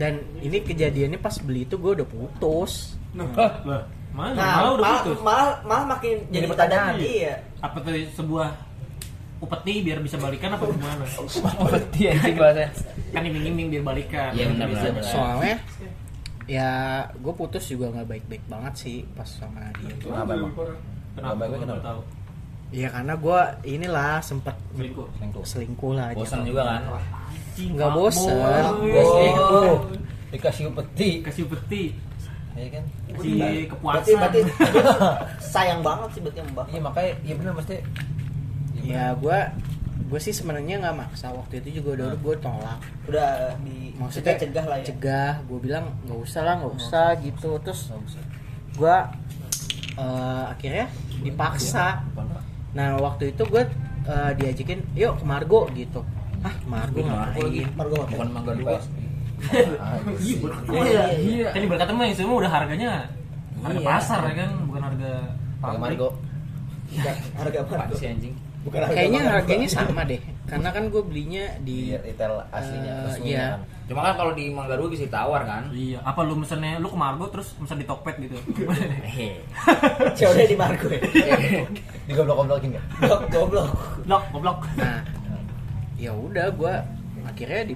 S4: dan ini kejadiannya pas beli itu gue udah putus
S2: nah
S7: Lah, mana
S6: Nah,
S7: mau Ah, udah
S6: malah,
S7: putus.
S6: malah malah makin jadi pertanyaan
S7: pertanyaan.
S6: iya.
S7: Apa tuh sebuah upeti biar bisa balikan apa gimana?
S3: Oh,
S1: berarti
S3: iya,
S1: anjing bahasa
S7: Kan iming-iming biar balikan.
S1: Iya, benar,
S7: Bisa
S1: benar.
S7: balikan.
S4: soalnya ya gue putus juga nggak baik-baik banget sih pas sama dia
S2: itu
S5: iya,
S3: Kenapa
S2: lebih
S3: emang?
S2: parah.
S7: Kenapa?
S3: Abang gue
S7: Kenapa?
S3: kenapa?
S7: Tahu.
S4: ya karena gue inilah sempet
S7: Selingkuh.
S3: Selingkuh.
S4: selingkuh lah
S1: bosan
S4: jatuhnya.
S1: juga kan
S4: nggak bosen
S7: Mabok.
S3: oh.
S4: Gua selingkuh
S3: dikasih peti
S7: kasih peti
S3: ya kan
S7: kasih
S6: berarti
S7: kepuasan
S6: berarti sayang banget sih berarti mbak
S3: iya makanya iya bener mesti
S4: ya gua gue sih sebenarnya nggak maksa waktu itu juga udah gue tolak
S6: udah di
S4: maksudnya
S6: kita cegah lah ya
S4: Iya, cegah gue bilang nggak usah lah nggak usah gitu terus gue akhirnya dipaksa nah waktu itu gue diajakin yuk ke Margo gitu ah Margo ngapain
S6: Margo apa?
S3: bukan mangga dua
S7: iya berkat iya, iya. kan berkat mah itu mah udah harganya harga
S3: Iya.
S7: pasar ya kan bukan harga
S3: Pakai
S7: pabrik.
S3: Margo
S6: Bukan, harga
S3: apaan
S6: Margo
S3: sih anjing
S6: bukan harga
S4: kayaknya
S6: Margo.
S4: harganya sama deh karena kan gue belinya di
S3: Iya, retail aslinya
S4: Eh,
S3: resminya
S4: iya.
S3: kan. Cuma kan kalau di Mangga Dua bisa ditawar kan.
S7: iya apa lu mesennya lu ke Margo terus mesen di Tokped gitu
S1: Iya.
S3: Hehe.
S6: ceweknya di Margo ya
S3: Digoblok-goblokin enggak?
S6: goblok goblok
S7: blok goblok
S4: nah ya udah gue akhirnya di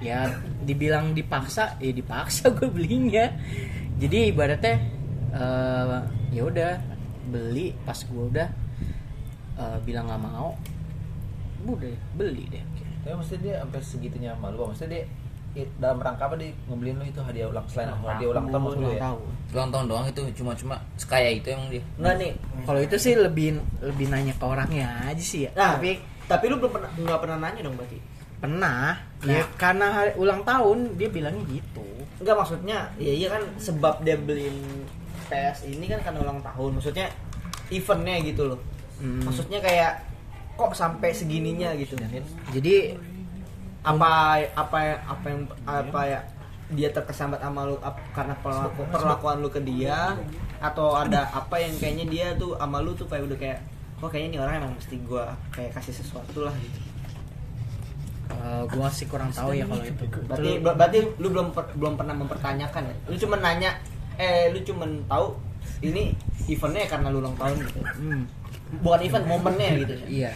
S4: ya dibilang dipaksa ya dipaksa gue belinya jadi ibaratnya eh, ya udah beli pas gue udah eh, bilang nggak mau udah beli deh akhirnya.
S3: Tapi maksudnya dia sampai segitunya sama lu, Bang. maksudnya dia i- dalam rangka apa dia ngebeliin lu itu hadiah ulang selain hadiah ulang tahun maksud lu
S4: Ulang
S3: ya?
S4: tahun.
S3: Ulang tahun doang itu cuma-cuma sekaya itu emang dia.
S6: nggak nih
S4: kalau itu sih lebih lebih nanya ke orangnya aja sih ya
S6: nah
S4: tapi
S6: tapi tapi lu belum pernah nggak pernah nanya dong berarti Nah.
S4: pernah ya karena hari ulang tahun dia bilangnya gitu
S6: Enggak maksudnya, ya iya kan sebab dia beliin PS ini kan karena ulang tahun. Maksudnya eventnya gitu loh.
S4: Hmm.
S6: Maksudnya kayak kok sampai segininya gitu.
S4: jadi
S6: Apa apa apa yang apa ya dia terkesambat sama lu ap- karena perlaku- perlakuan lu ke dia atau ada apa yang kayaknya dia tuh sama lu tuh kayak udah kayak kok kayaknya ini orang emang mesti gua kayak kasih sesuatu lah gitu.
S4: eh, gua gue sih kurang tahu ya kalau itu
S6: Berarti ber- berarti lu belum per- belum pernah mempertanyakan ya? Lu cuma nanya eh lu cuma tahu ini eventnya karena lu ulang tahun gitu.
S4: Hmm,
S6: Bukan event momennya gitu. ya.
S4: iya.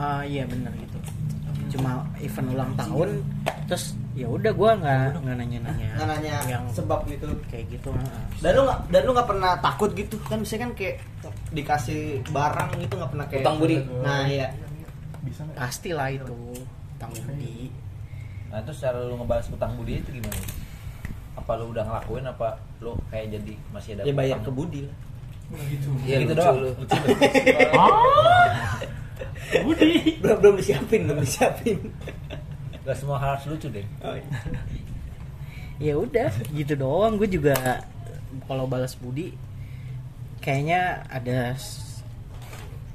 S4: Ah iya benar gitu. Cuma event ulang tahun terus ya udah gua nggak nggak nanya-nanya.
S6: Nggak nanya
S4: yang
S6: sebab gitu.
S4: kayak gitu. heeh.
S6: Dan lu nggak dan lu nggak pernah takut gitu kan biasanya kan kayak dikasih barang gitu nggak pernah kayak
S3: Utang budi.
S6: Nah iya.
S4: Pastilah itu tanggung di
S3: Nah, terus cara lu ngebahas utang budi itu gimana? Apa lu udah ngelakuin apa lu kayak jadi masih ada
S6: Dia Ya, bayar ke
S3: utang?
S6: Budi lah.
S3: Iya,
S6: Gitu
S3: gitu
S6: doang.
S3: doang. Lucu lu.
S7: Budi
S6: Belum belum disiapin, belum disiapin.
S3: Gak semua hal harus lucu deh.
S4: ya udah gitu doang gue juga kalau balas budi kayaknya ada s-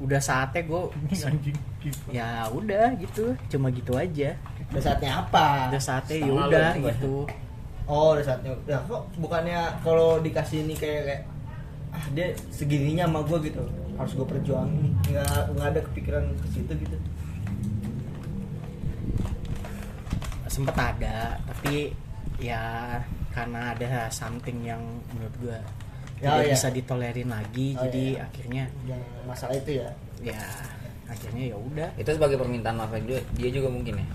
S4: udah saatnya gue ya udah gitu cuma gitu aja
S6: Udah saatnya apa?
S4: udah saatnya ya
S3: Sama lu
S4: udah
S3: juga.
S4: gitu
S6: Oh, udah saatnya. Udah kok bukannya kalau dikasih ini kayak kayak ah dia segininya sama gue gitu harus gue perjuangin nggak nggak ada kepikiran ke situ gitu
S4: sempet ada tapi ya karena ada something yang menurut gua
S6: Ya,
S4: tidak
S6: iya.
S4: bisa ditolerin lagi
S6: Oh,
S4: jadi
S6: iya.
S4: akhirnya
S6: yang masalah itu ya
S4: ya akhirnya ya udah
S3: Itu sebagai permintaan maaf dia, dia juga mungkin ya.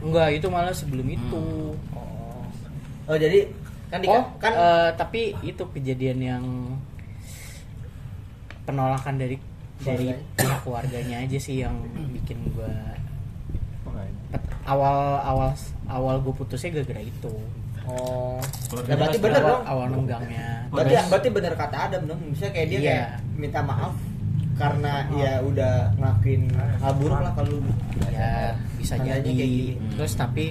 S4: enggak itu malah sebelum itu
S6: Iya. Hmm. oh oh jadi kan di
S4: oh
S6: kan
S4: kan tapi itu kejadian yang penolakan dari dari
S6: Keluarganya.
S4: pihak keluarganya aja sih yang bikin gua pet- awal awal awal gue putusnya gara-gara itu
S6: oh
S5: Keluarganya
S6: ya berarti
S5: pasti
S6: bener
S4: awal,
S6: dong
S4: awal nenggangnya
S6: berarti ya, berarti bener kata Adam dong misalnya kayak dia
S4: Iya.
S6: kayak minta maaf karena ya udah ngelakuin hal buruk lah kalau lu.
S4: ya bisa
S6: Tandanya
S4: jadi
S6: kayak gini.
S4: terus tapi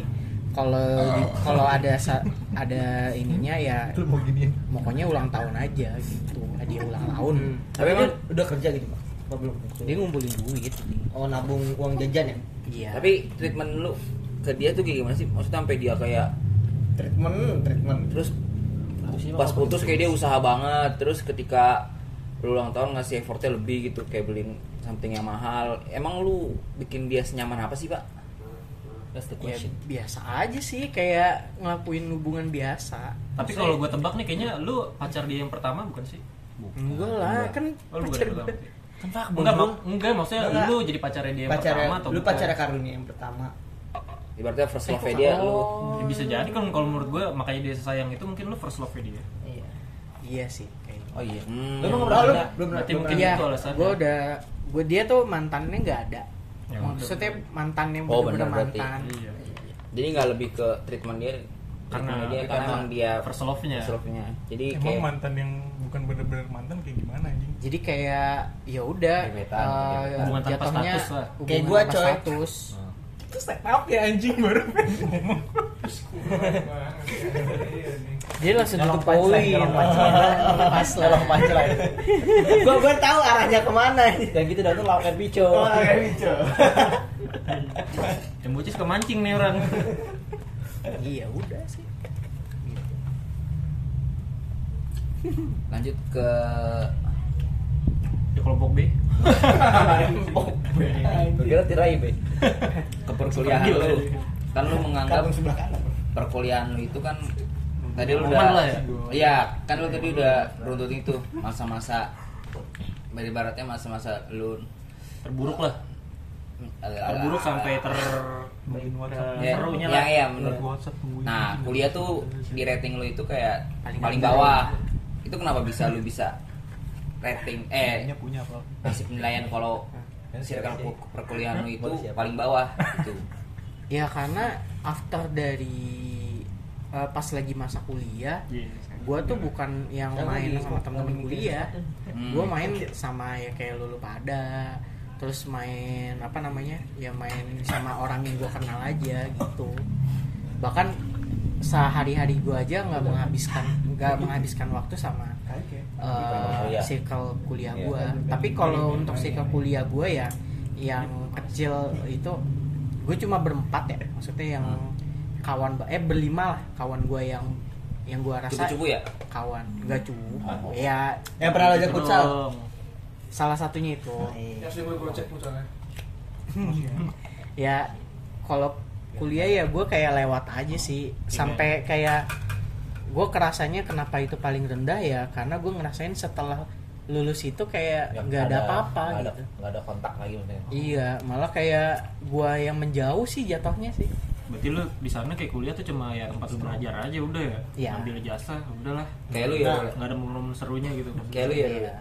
S4: kalau di- kalau ada sa- ada ininya ya
S3: mau giniin.
S4: pokoknya ulang tahun aja gitu hadiah ulang tahun
S6: Hmm. tapi
S3: kan
S6: dia udah kerja gitu pak Apa belum
S4: dia ngumpulin duit
S6: oh nabung uang jajan ya
S4: iya
S3: Tapi treatment lu ke dia tuh kayak gimana sih? Maksudnya sampai dia kayak
S6: treatment treatment
S3: terus pas putus kayak dia usaha banget terus ketika lu ulang tahun ngasih effortnya lebih gitu kayak beliin something yang mahal emang lu bikin dia senyaman apa sih pak that's the
S4: ya biasa aja sih kayak ngelakuin hubungan biasa
S7: tapi
S6: ya?
S7: kalau gue tebak nih kayaknya lu pacar dia yang pertama bukan sih
S4: enggak lah kan
S7: Oh, lu
S4: pacar
S7: bukan yang
S4: gua. kan
S7: pertama.
S3: Kan
S1: Ah,
S7: Enggak, mak enggak maksudnya
S6: Enggak.
S7: lu jadi pacarnya dia yang
S6: pacarnya
S7: pertama atau
S6: lu
S7: bukan?
S6: pacarnya karunia yang pertama
S3: ibaratnya first love dia
S4: Oh.
S3: lu
S7: Ya, bisa jadi kan kalau menurut gue makanya dia sayang itu mungkin lu first love dia.
S6: iya
S4: iya sih kayaknya
S3: oh iya
S7: Lu emang
S6: pernah
S7: pernah?
S6: belum pernah
S7: Berarti
S6: belum
S7: mungkin
S6: pernah.
S4: iya
S7: itu alasannya.
S4: gue udah gue dia tuh mantannya nggak ada
S7: Ya,
S4: maksudnya mantannya
S3: Oh,
S4: bener-bener
S3: bener berarti.
S4: mantan
S7: Iya.
S1: jadi nggak lebih ke treatment dia
S7: Karena-
S1: treatment dia karena emang dia
S7: first love-nya.
S5: Iya.
S1: first love-nya. jadi
S6: Iya,
S8: Emang
S1: kayak
S8: mantan yang bukan bener-bener mantan kayak gimana anjing?
S4: jadi kayak ya udah
S3: Gebetan,
S4: eh,
S3: gebetan.
S7: Hubungan tanpa
S4: jatuhnya
S7: status lah. Nah.
S4: hubungan
S6: Kayak gua,
S4: tanpa
S6: coy.
S4: status.
S8: Itu set up ya anjing baru pengen ngomong.
S2: Iya,
S4: dia langsung
S3: Nyolong
S4: tutup
S3: punchline,
S4: poin
S3: nyolong punchline.
S4: pas lah
S3: Tolong pancel aja.
S6: gua gua tahu arahnya kemana
S3: Yang gitu dah tuh lauk air bico.
S7: Yang bocah suka mancing nih orang.
S4: iya udah sih
S1: lanjut ke
S7: Di Ya, kelompok B.
S1: kira tirai be ke perkuliahan ya,
S7: Iya,
S1: lu kan lu menganggap perkuliahan lu itu kan tadi lu udah
S7: Momen lah ya?
S1: iya kan lu tadi udah runtut itu masa-masa dari baratnya masa-masa lu
S7: Terburuk lah. Terburuk
S1: buruk
S7: sampai ter
S8: Nungguin WhatsApp.
S1: Ya,
S7: serunya
S1: ya,
S7: lah.
S1: iya, menurut
S8: Nungguin WhatsApp Iya, nungguin.
S1: Nah, kuliah tuh di rating lu itu kayak
S4: Paling
S1: paling,
S4: rendah.
S1: bawah. Itu kenapa bisa lu bisa rating eh
S8: Kayaknya punya apa?
S1: basic penilaian kalau circle per- perkuliahan lu itu paling bawah gitu.
S4: ya karena after dari eh, pas lagi masa kuliah
S7: Iya,
S4: gua tuh bukan yang main sama temen-temen kuliah
S1: Hmm.
S4: gua main sama ya kayak lulu pada terus main apa namanya ya main sama orang yang gua kenal aja gitu bahkan sehari-hari gua aja nggak menghabiskan nggak menghabiskan waktu sama eh, circle kuliah gua tapi kalau untuk circle kuliah gua ya yang kecil itu gue cuma berempat ya maksudnya yang kawan ba- eh berlima lah kawan gua yang yang gua rasa
S1: Cupu-cupu ya?
S4: kawan nggak cukup ya
S6: yang pernah lo ajak
S7: Gitu
S6: futsal
S4: salah satunya itu
S2: Ya sih gue gocek putarnya.
S4: ya kalau kuliah ya gue kayak lewat aja sih sampai kayak gue kerasanya kenapa itu paling rendah ya karena gue ngerasain setelah lulus itu kayak nggak ada apa-apa
S3: nggak Ya, ada-
S4: gitu
S3: nggak ada kontak lagi maksudnya.
S4: iya malah kayak gue yang menjauh sih jatuhnya sih
S7: Berarti lu di sana kayak kuliah tuh cuma ya tempat lu belajar aja udah ya.
S4: Iya.
S7: Ambil jasa, udahlah.
S1: Kayak lu ya.
S7: Enggak ada momen serunya gitu.
S1: Kayak lu ya. Lu ya?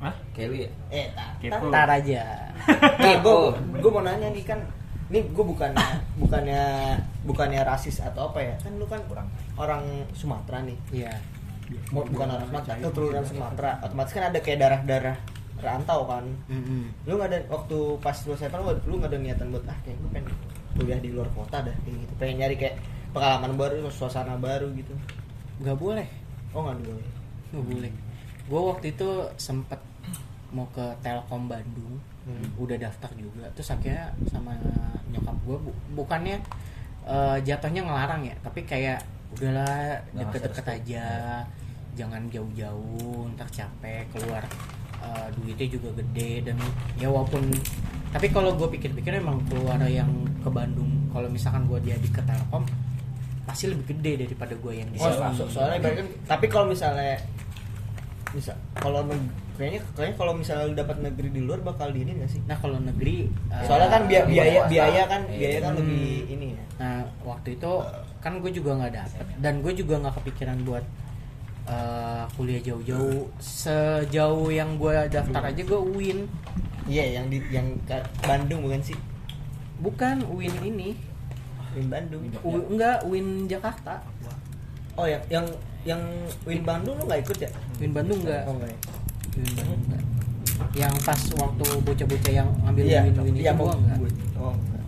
S7: Hah?
S1: Kayak lu ya.
S6: eh tak
S7: Kepo.
S4: ntar aja
S6: Nah, gue gue mau nanya nih kan, ini gue bukannya bukannya bukannya rasis atau apa ya? Kan lu kan orang orang Sumatera nih,
S4: iya
S6: Mu- bukan orang Sumatera, keturunan Sumatera. Otomatis kan ada kayak darah-darah rantau kan. Lu nggak ada waktu pas lu SMA lu, lu nggak ada niatan buat ah kayak gue pengen kuliah di luar kota dah kayak gitu. Pengen nyari kayak pengalaman baru, suasana baru gitu.
S4: nggak boleh
S6: Oh nggak dulu.
S4: nggak boleh gue waktu itu sempet mau ke Telkom Bandung
S6: Hmm.
S4: udah daftar juga terus akhirnya sama nyokap gue bukannya eh, jatuhnya ngelarang ya tapi kayak udahlah
S6: Nah,
S3: Nggak
S4: deket-deket
S3: harus
S4: aja jangan jauh-jauh ntar capek keluar eh, duitnya juga gede dan ya walaupun tapi kalau gue pikir-pikir emang keluar yang ke Bandung kalau misalkan gue jadi ke Telkom pasti lebih gede daripada gue yang di
S6: Oh,
S4: sini.
S6: so- soalnya ibaratnya kan- tapi kalau misalnya bisa kalau neg- kayaknya kayaknya kalau misalnya lu dapat negeri di luar bakal di ini nggak sih?
S4: Nah kalau negeri eh,
S6: Soalnya kan biaya
S3: Lebih
S6: biaya
S3: swasta.
S6: biaya kan
S3: Iya.
S6: biaya kan
S4: Hmm.
S6: lebih ini ya.
S4: Nah waktu itu kan gue juga nggak dapet dan gue juga nggak kepikiran buat eh, kuliah jauh-jauh sejauh yang gue daftar aja gue UIN
S6: Iya yang di yang ka- Bandung bukan sih?
S4: bukan UIN ini
S6: Win Bandung.
S4: U, enggak UIN Jakarta
S6: Oh yang yang yang Win Bandung lu nggak ikut ya?
S4: UIN Bandung enggak
S6: Oh enggak. ya?
S4: UIN Bandung enggak yang pas waktu bocah-bocah yang ngambil
S6: Iya.
S4: UIN UIN
S6: Iya
S4: itu
S6: mau
S4: gue enggak
S6: Oh enggak.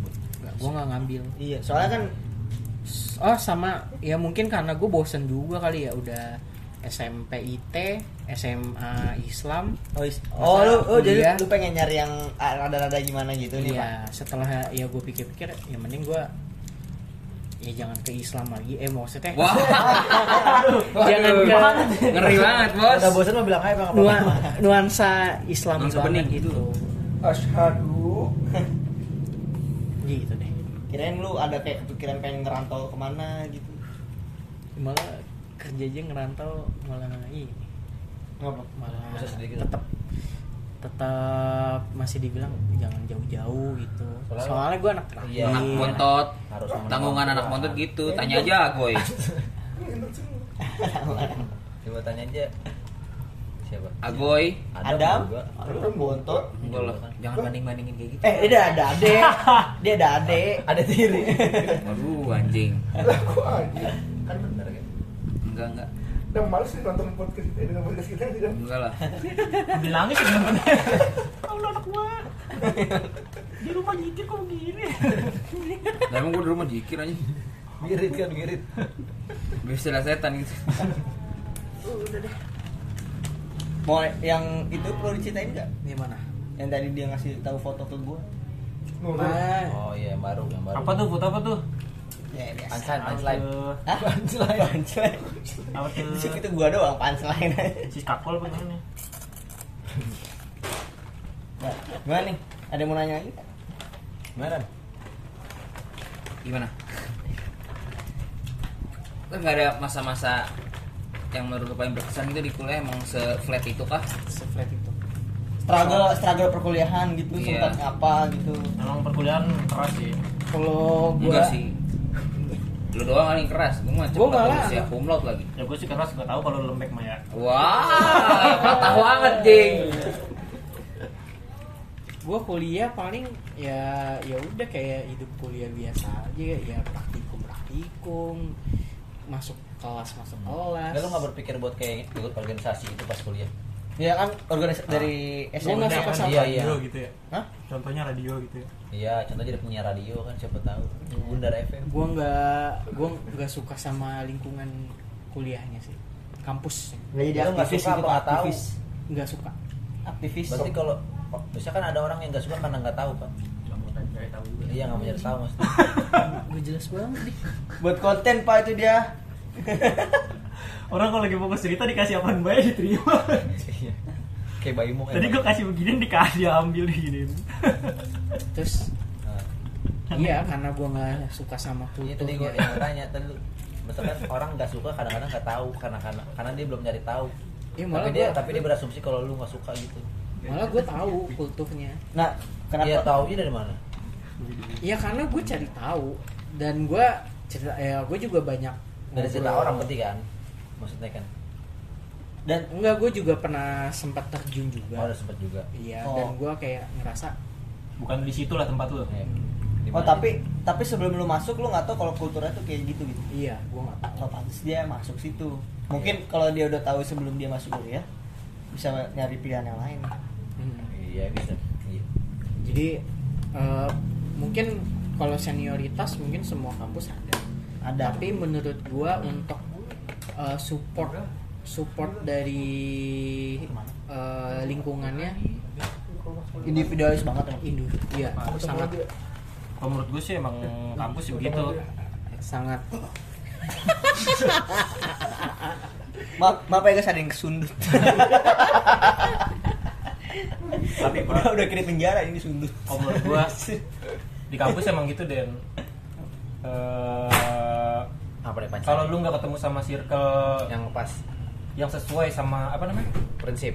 S4: gue nggak ngambil
S6: Iya soalnya kan
S4: Oh sama ya mungkin karena gue bosen juga kali ya udah SMP IT, SMA Islam.
S6: oh, is- oh lu oh,
S4: Kuliah.
S6: jadi lu pengen nyari yang ah, rada-rada gimana gitu nih Pak?
S4: ya setelah ya gue pikir-pikir ya mending gue ya jangan ke Islam lagi. Eh maksudnya
S1: Wah.
S4: jangan
S1: Waduh.
S4: ke
S1: Ngeri banget, Bos.
S3: Udah bosan lo bilang aja bang.
S4: nuan- nuansa Islam
S1: Nuansa bening
S4: banget
S1: gitu.
S2: Ashadu.
S4: Gitu deh.
S6: Kirain lu ada kayak kepikiran pengen ngerantau kemana gitu.
S4: Malah kerja aja ngerantau malah ini
S6: Ngapa?
S4: malah
S3: Masa sedikit?
S4: tetap tetap masih dibilang jangan jauh-jauh gitu.
S3: Soalnya-
S4: Soalnya, gue anak
S3: Iya.
S1: Anak
S4: terakhir.
S1: montot.
S3: Harus sama
S1: Tanggungan
S3: orang
S1: anak
S3: tua. Iya.
S1: montot gitu. Tanya aja, boy.
S6: Iya
S3: Coba tanya aja Siapa?
S1: Agoy
S6: Adam,
S3: juga.
S6: Adam kan bontot.
S1: Enggak lah, jangan banding-bandingin kayak gitu.
S6: Eh, dia ada ade. dia ada ade.
S3: Ada tiri.
S1: Waduh anjing.
S2: Lah kok aja.
S3: kan bener kan?
S1: Enggak, enggak.
S2: Udah males nih nonton podcast kita, dengan podcast kita tidak.
S1: Enggak lah.
S5: Ambil nangis ya, bener-bener.
S1: Lah emang gua di rumah jikir aja.
S3: Ngirit kan ngirit.
S1: Bisa lah setan gitu.
S6: Mau yang itu perlu diceritain nggak?
S4: Ini mana?
S6: Yang tadi dia ngasih tahu foto ke gua.
S3: Oh iya yang baru yang baru.
S5: Apa tuh foto apa tuh?
S6: Ya biasa.
S3: Punchline, punchline.
S5: Apa
S6: Hah? Punchline. Punchline.
S5: tuh? Apa tuh?
S6: Di situ gua doang punchline aja.
S5: Si Skakpol apa gimana?
S6: Nah, gimana nih? Ada yang mau nanya lagi?
S3: Gimana?
S1: Gimana? Lu enggak ada masa-masa yang menurut lu paling berkesan gitu di kuliah emang se-flat itu kah?
S6: Seflat itu. Struggle, struggle perkuliahan gitu,
S1: Iya.
S6: sempat apa gitu.
S5: Emang perkuliahan keras sih.
S6: Kalau gua
S1: Enggak sih. Lu doang paling keras, gua mah
S6: Gua
S1: cepat
S6: malah-
S1: lulus ya cum laude lagi.
S5: Ya gue sih keras gak tahu kalau lembek mah ya.
S1: Wah, patah banget, Jing.
S4: Gua kuliah paling ya ya udah kayak hidup kuliah biasa aja ya praktikum praktikum masuk kelas masuk kelas.
S3: Enggak lu Hmm. nggak berpikir buat kayak ikut organisasi itu pas kuliah?
S6: ya kan organisasi dari
S4: Gua
S6: SMP
S4: nggak
S6: kan?
S4: suka sama
S3: Iya, iya.
S9: radio gitu ya
S6: Hah?
S9: contohnya radio gitu ya
S3: Iya, contoh jadi penyiar radio kan siapa tahu. Bundar FM.
S4: gua nggak gua nggak suka sama lingkungan kuliahnya sih kampus sih.
S6: Nggak jadi
S3: Lu nggak
S6: aktivis
S3: suka
S6: gitu,
S3: apa nggak tahu?
S6: aktivis.
S4: nggak suka
S6: Aktivis.
S3: Berarti kalau biasanya kan ada orang yang nggak suka karena nggak tahu kan?
S5: Gak mau cari tahu juga.
S3: Iya nggak mau nyari tahu maksudnya.
S4: gue jelas banget deh
S6: Buat konten Pak itu dia.
S5: Orang kalau lagi fokus cerita dikasih apaan baik diterima.
S3: Iya. Kayak bayimu kayak
S5: Tadi gue
S3: bayi.
S5: kasih begini dikasih ambil begini.
S4: terus
S3: Nah,
S4: iya karena gua nggak suka sama
S3: Iya tadi gue
S4: kulturnya
S3: yang tanya tadi lu misalkan orang nggak suka kadang-kadang nggak tahu karena karena karena dia belum nyari tahu.
S4: Iya,
S3: tapi
S4: malah
S3: dia
S4: gua-
S3: tapi dia berasumsi kalau lu nggak suka gitu.
S4: malah gue tahu kulturnya
S6: Nah, kenapa?
S3: Iya taunya dari mana?
S4: iya karena gue cari tahu dan gua cerita ya gue juga banyak
S3: Dari cerita
S4: ngobrol.
S3: orang berarti kan. Maksudnya kan.
S4: dan enggak gue juga pernah sempat
S3: Oh,
S4: terjun juga
S3: ada sempat juga.
S4: iya
S6: Oh.
S4: dan gua kayak ngerasa "Hmm,
S5: Bukan di situ lah tempat lu.
S3: Iya. Di
S6: Oh
S3: mana?
S6: tapi tapi sebelum lu masuk lu nggak tahu kalau kulturnya tuh kayak gitu gitu.
S4: iya gua nggak
S6: Ah,
S4: tahu
S6: Kalau pantas dia masuk situ. Mungkin kalau dia udah tahu sebelum dia masuk kuliah bisa nyari pilihan yang lain. Hmm.
S4: Mm.
S3: Iya bisa. Iya.
S4: jadi eh, mungkin kalau senioritas mungkin semua kampus ada
S6: Ada.
S4: tapi menurut gua untuk eh, support support dari eh, lingkungannya
S6: individualis banget emang.
S4: Indo ya sangat
S5: Kalau menurut gue sih emang kampus sih begitu.
S4: sangat
S6: Maaf, maaf ya guys ada yang kesundut.
S5: Tapi
S6: udah udah kena penjara ini sundut.
S5: kalau menurut gue di kampus emang gitu Den. Eh,
S3: Apa deh pacar?
S5: kalau lu nggak ketemu sama circle yang
S3: yang pas
S5: yang sesuai sama apa namanya
S3: prinsip.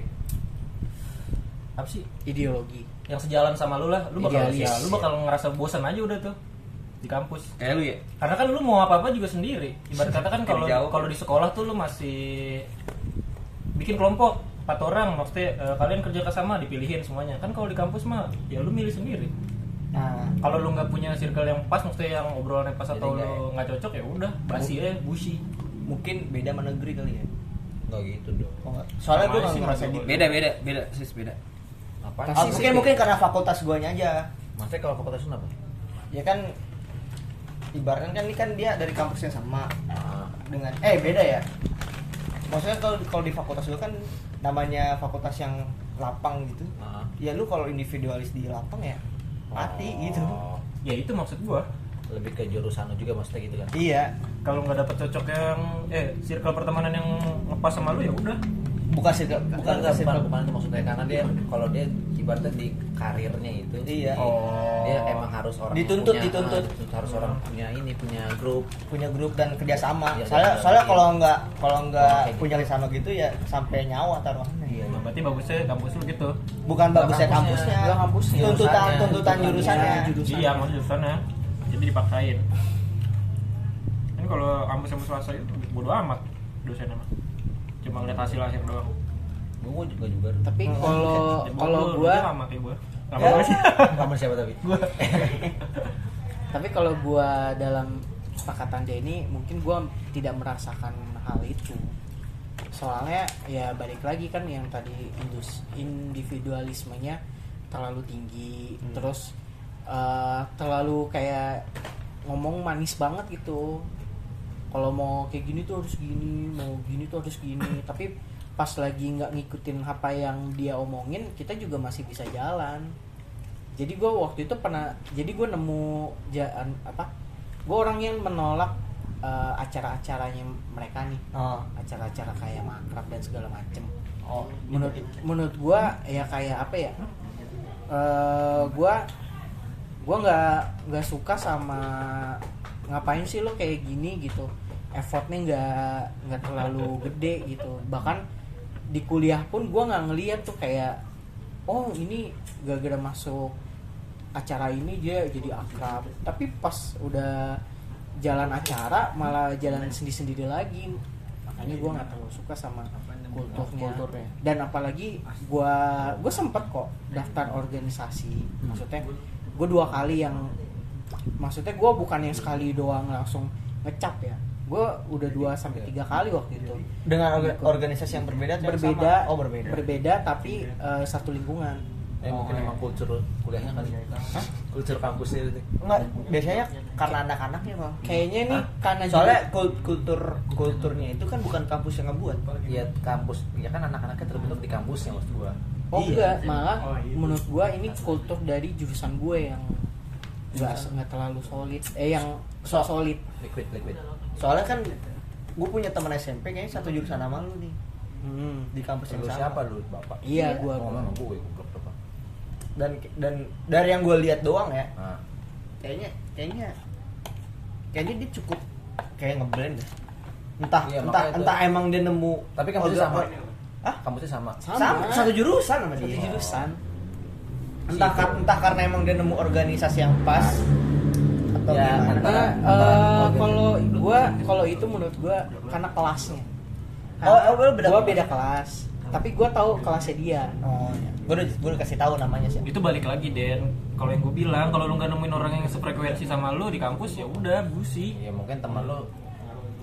S5: apa sih
S4: ideologi
S5: yang sejalan sama lu lah lu bakal
S4: Idealis.
S5: ya, lu bakal ngerasa bosan aja udah tuh di kampus
S1: Kayak lu ya?
S5: karena kan lu mau apa apa juga sendiri ibarat kata kan kalau
S1: Jauh.
S5: kalau di sekolah tuh lu masih bikin kelompok empat orang maksudnya eh, kalian kerja sama dipilihin semuanya kan kalau di kampus mah ya lu milih sendiri
S6: Nah,
S5: kalau lu nggak punya circle yang pas maksudnya yang obrolannya pas
S3: Jadi
S5: atau
S3: nggak
S5: lu nggak cocok ya udah basi ya busi
S6: mungkin beda sama negeri kali ya.
S3: Nggak gitu dong.
S6: Oh, nggak? Soalnya
S5: Sama
S6: gue nggak
S5: sih,
S6: ngerasa
S5: Mas.
S6: di.
S1: Beda, beda, beda, sis beda.
S3: Apa?
S6: Ah,
S4: Pasti sih.
S6: mungkin mungkin karena fakultas guanya aja.
S3: Maksudnya kalau fakultas lu apa?
S6: Ya kan ibaratkan kan ini kan dia dari kampus yang sama.
S3: Ah,
S6: dengan eh beda ya maksudnya kalau kalau di fakultas lu kan namanya fakultas yang lapang gitu
S3: Ah.
S6: ya lu kalau individualis di lapang ya mati gitu
S3: Oh,
S5: ya itu maksud gua
S3: Lebih ke jurusan lu juga maksudnya gitu kan.
S6: iya
S5: kalau nggak dapet cocok yang eh circle pertemanan yang ngepas sama lu ya udah
S6: bukan sih bukan
S3: bukan
S6: bukan
S3: enggak bukan bukan itu maksudnya karena dia kalau dia ibaratnya di karirnya itu
S6: Iya.
S5: Oh.
S3: dia emang harus orang yang
S6: Dituntut,
S3: punya-
S6: dituntut.
S3: ah, harus orang punya ini punya grup
S6: punya grup dan kerjasama
S3: Iya,
S6: soalnya
S3: iya,
S6: soalnya
S3: iya.
S6: kalau nggak kalau nggak
S3: Kayak gitu.
S6: punya kerjasama gitu ya sampai nyawa taruhannya
S3: iya
S5: Nah, berarti bagusnya kampus lu gitu
S6: bukan
S3: Nggak
S6: bagusnya
S3: kampusnya.
S6: kampusnya
S3: Nggak kampusnya.
S6: tuntutan
S3: Jurusannya.
S6: tuntutan jurusannya
S5: iya maksudnya jurusannya jadi dipaksain kan kalau kampus kampus swasta itu bodo amat dosen emang cuma ngeliat hasil akhir doang
S3: Gue juga juga.
S4: Tapi kalau
S7: Dia
S4: Oh, kalau
S7: bobol,
S4: gua
S7: dia sama kayak gua. Nggak
S3: Ya.
S7: apa-apa sih.
S3: Sama siapa tapi?
S4: tapi kalau gua dalam kesepakatan dia ini mungkin gua tidak merasakan hal itu soalnya ya balik lagi kan yang tadi indus individualismenya terlalu tinggi terus eh, terlalu kayak ngomong manis banget gitu kalau mau kayak gini tuh harus gini mau gini tuh harus gini tapi pas lagi nggak ngikutin apa yang dia omongin kita juga masih bisa jalan jadi gue waktu itu pernah jadi gue nemu jalan apa gue orang yang menolak eh, acara-acaranya mereka nih
S6: Oh.
S4: acara-acara kayak makrab dan segala macem
S6: Oh,
S4: menurut menurut gue ya kayak apa ya Eh, gue gue nggak nggak suka sama ngapain sih lo kayak gini gitu effortnya nggak nggak terlalu gede gitu bahkan di kuliah pun gue nggak ngeliat tuh kayak oh ini gara-gara masuk acara ini dia jadi akrab tapi pas udah jalan acara malah jalan sendiri-sendiri lagi makanya gue nggak terlalu suka sama kulturnya,
S6: Kulturnya.
S4: dan apalagi gue gue sempet kok daftar organisasi maksudnya gue dua kali yang maksudnya gue bukan yang sekali doang langsung ngecap ya gue udah dua sampai tiga kali waktu itu
S6: Dengan orga- organisasi yang berbeda atau yang
S4: berbeda
S6: sama? Oh, berbeda.
S4: tapi eh, satu lingkungan Oh,
S3: Eh
S4: iya.
S3: mungkin emang kultur kuliahnya kali. ya Hah? Kultur kampusnya itu.
S6: Enggak, biasanya karena anak-anaknya, Bang.
S4: kayaknya nih karena
S6: Soalnya kul- kultur kulturnya itu kan bukan kampus yang ngebuat.
S3: Iya kampus, ya kan anak-anaknya terbentuk di kampusnya maksud gua.
S4: oh
S6: Iya.
S4: enggak malah menurut gue ini kultur dari jurusan gue yang nggak
S6: Iya.
S4: nggak terlalu solid eh yang so solid
S3: Liquid liquid.
S6: Soalnya kan gue punya teman SMP kayaknya satu jurusan sama lu nih
S4: Hmm.
S6: di kampus yang
S3: Lu
S6: sama.
S3: siapa lu bapak?
S4: iya gue
S3: Oh, sama gue goblok bapak.
S6: Dan dan dari yang gue lihat doang ya,
S3: Nah,
S6: kayaknya kayaknya kayaknya dia cukup kayak ngeblend deh. Entah
S3: Iya,
S6: entah
S3: makanya itu.
S6: entah emang dia nemu
S3: Tapi kampusnya
S6: orga-
S3: sama.
S6: Hah?
S3: Kampusnya sama.
S4: Sama.
S6: Sama, satu jurusan sama
S4: satu
S6: dia.
S4: jurusan
S6: entah kar- entah karena emang dia nemu organisasi yang pas atau
S3: Ya,
S6: gimana
S3: antara-
S4: Nah, eh, kalau gua kalau itu menurut gua karena kelasnya.
S6: Oh, oh, lu beda
S4: gua
S6: kelas.
S4: beda kelas. Tapi gua tahu kelasnya dia.
S6: oh ya gue udah gue udah kasih tahu namanya sih
S7: itu balik lagi Den kalau yang gue bilang kalau lu nggak nemuin orang yang sefrekuensi sama lu di kampus ya udah busi
S3: Ya mungkin teman lu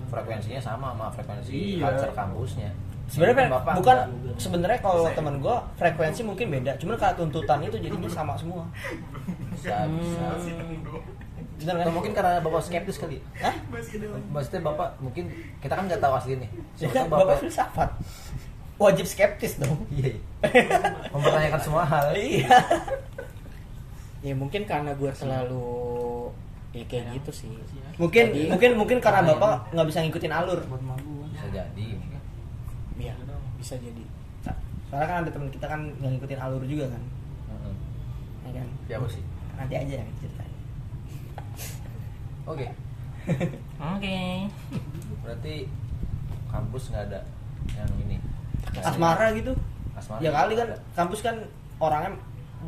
S3: frekuensinya sama sama frekuensi
S7: Iya.
S3: culture kampusnya.
S6: sebenarnya
S3: Mungkin bapak
S6: bukan
S3: enggak.
S6: sebenarnya kalau teman gue frekuensi mungkin beda cuman karena tuntutan itu jadinya sama semua
S3: bisa bisa.
S6: bener kan
S3: Atau mungkin karena bapak skeptis kali.
S6: Hah?
S3: Maksudnya bapak mungkin kita kan nggak tahu aslinya. Siapa
S6: Ya kan,
S3: tahu
S6: bapak filsafat wajib skeptis dong
S3: Iya. iya. Mempertanyakan semua hal.
S6: iya Hmm.
S4: Ya mungkin karena gua selalu ya kayak gitu sih.
S6: mungkin
S4: Jadi- ya?
S6: mungkin mungkin karena bapak nggak bisa ngikutin alur
S3: Bisa jadi.
S4: Iya, bisa jadi.
S6: soalnya kan ada teman kita kan yang ngikutin alur juga kan
S3: Heeh.
S6: ya
S4: Iya
S6: kan
S3: Siapa sih?
S6: nanti aja yang ceritain
S3: Oke.
S7: oke
S3: Berarti kampus nggak ada yang ini. Nggak ada
S6: asmara gitu
S3: yang- Asmara.
S6: ya kali kan
S3: Ada.
S6: kampus kan orangnya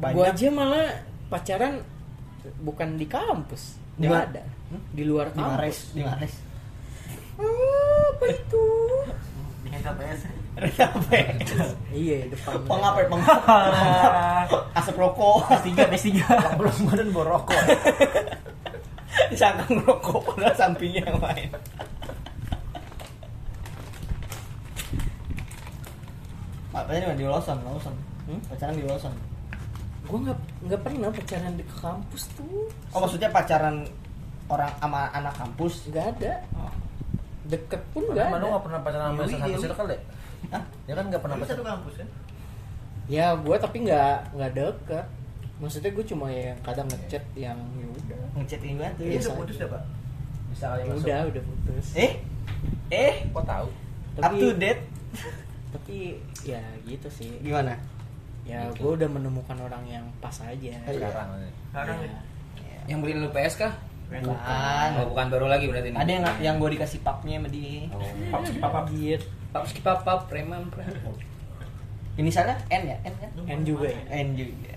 S6: banyak
S4: Gua aja malah pacaran bukan di kampus.
S6: Di
S4: Nggak
S6: mana? Hmm?
S4: ada. Di luar
S6: di Mares
S4: kampus.
S6: di Mares
S4: Apa itu?
S8: bikin KPS
S4: iya, depan.
S6: pengap ya pengap Pengap. asap rokok
S7: tiga des tiga
S3: Belum badan bawa rokok.
S6: disangka ngerokok padahal sampingnya yang lain Makanya di Lawson, Lawson.
S4: Hmm?
S6: Pacaran di Lawson.
S4: Gua nggak nggak pernah pacaran di kampus tuh.
S6: Oh maksudnya pacaran orang sama anak kampus?
S4: Nggak ada.
S6: Oh.
S4: Deket pun nggak
S3: Emang lu
S4: ada.
S3: nggak pernah pacaran sama satu circle ya?
S6: Hah?
S3: Ya kan nggak pernah pacaran.
S8: kampus kan
S4: ya gue tapi nggak nggak deket maksudnya gue cuma yang kadang ngechat yang ya udah
S6: Ngechatin gue tuh.
S4: Iya,
S6: Biasa.
S4: udah putus
S8: dah pak
S3: Bisa kali
S4: Ya
S3: masuk.
S4: udah udah putus
S6: Eh? Eh?
S3: Kok tahu?
S6: Up
S4: tapi
S6: to date?
S4: tapi ya gitu sih
S6: Gimana?
S4: ya gue udah menemukan orang yang pas aja
S6: Iya.
S3: Sekarang.
S8: sekarang
S4: Ya.
S1: Yang beliin lu PS kah?
S6: Bukan.
S1: Oh, bukan baru lagi berarti ini.
S6: Ah, Ada yang yang gue dikasih paknya sama dia.
S4: Gitu.
S1: Pap skip pap pap preman preman.
S6: Ini sana N ya? N kan?
S4: N juga ya
S6: N juga.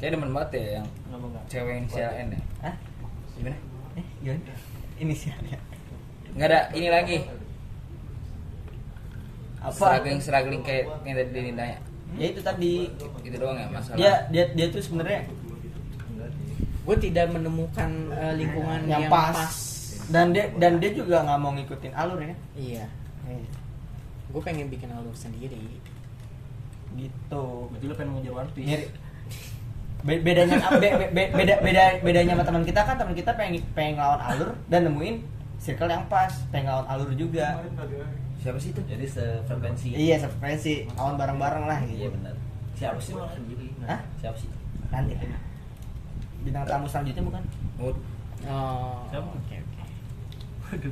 S1: Kayak demen banget ya yang cewek inisial N ya.
S6: Hah?
S1: Gimana?
S6: Eh, gimana? Inisialnya.
S1: Enggak ada ini lagi. struggling struggling kayak yang tadi Dini nanya
S6: ya itu tadi
S1: itu doang ya masalah
S6: dia dia dia tuh sebenarnya
S4: gue tidak menemukan eh, lingkungan yang,
S6: yang pas. dan dia dan dia juga nggak mau ngikutin alur ya
S4: iya gue pengen bikin alur sendiri
S6: gitu
S7: Berarti lu pengen mengejar One
S4: Iya.
S7: Piece.
S6: Nyari- Be- bedanya ah, be- be- be- beda beda bedanya sama teman kita kan teman kita pengen pengen ngelawan alur dan nemuin circle yang pas pengen ngelawan alur juga
S1: siapa sih itu
S3: Jadi sefrekuensi.
S6: iya frekuensi lawan bareng bareng lah
S3: Iya
S6: gitu
S3: benar. Siapa sih malah sendiri?
S6: Hah?
S3: Siapa sih?
S6: nanti bintang tamu selanjutnya bukan
S1: Mut.
S4: oh
S7: Siapa?
S4: oke oke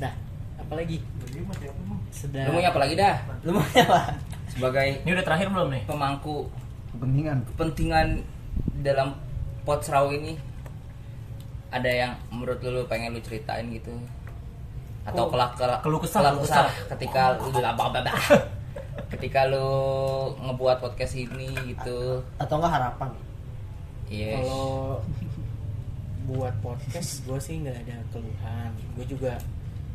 S4: dah apalagi sedang
S6: Iya.
S1: lu mau apa lagi dah
S6: lu mau apa
S1: sebagai
S7: Ini udah terakhir belum nih?
S1: pemangku
S8: kepentingan
S1: kepentingan dalam pot serau ini ada yang menurut lu lu pengen lu ceritain gitu atau kelak kelak
S7: keluh kesah,
S1: kelak
S7: keluh
S1: kesah
S7: kesah.
S1: ketika lu
S4: Oh.
S1: blah, blah, blah, blah. ketika lu ngebuat podcast ini gitu
S6: atau enggak harapan
S1: yes
S4: kalau buat podcast gue sih nggak ada keluhan gue juga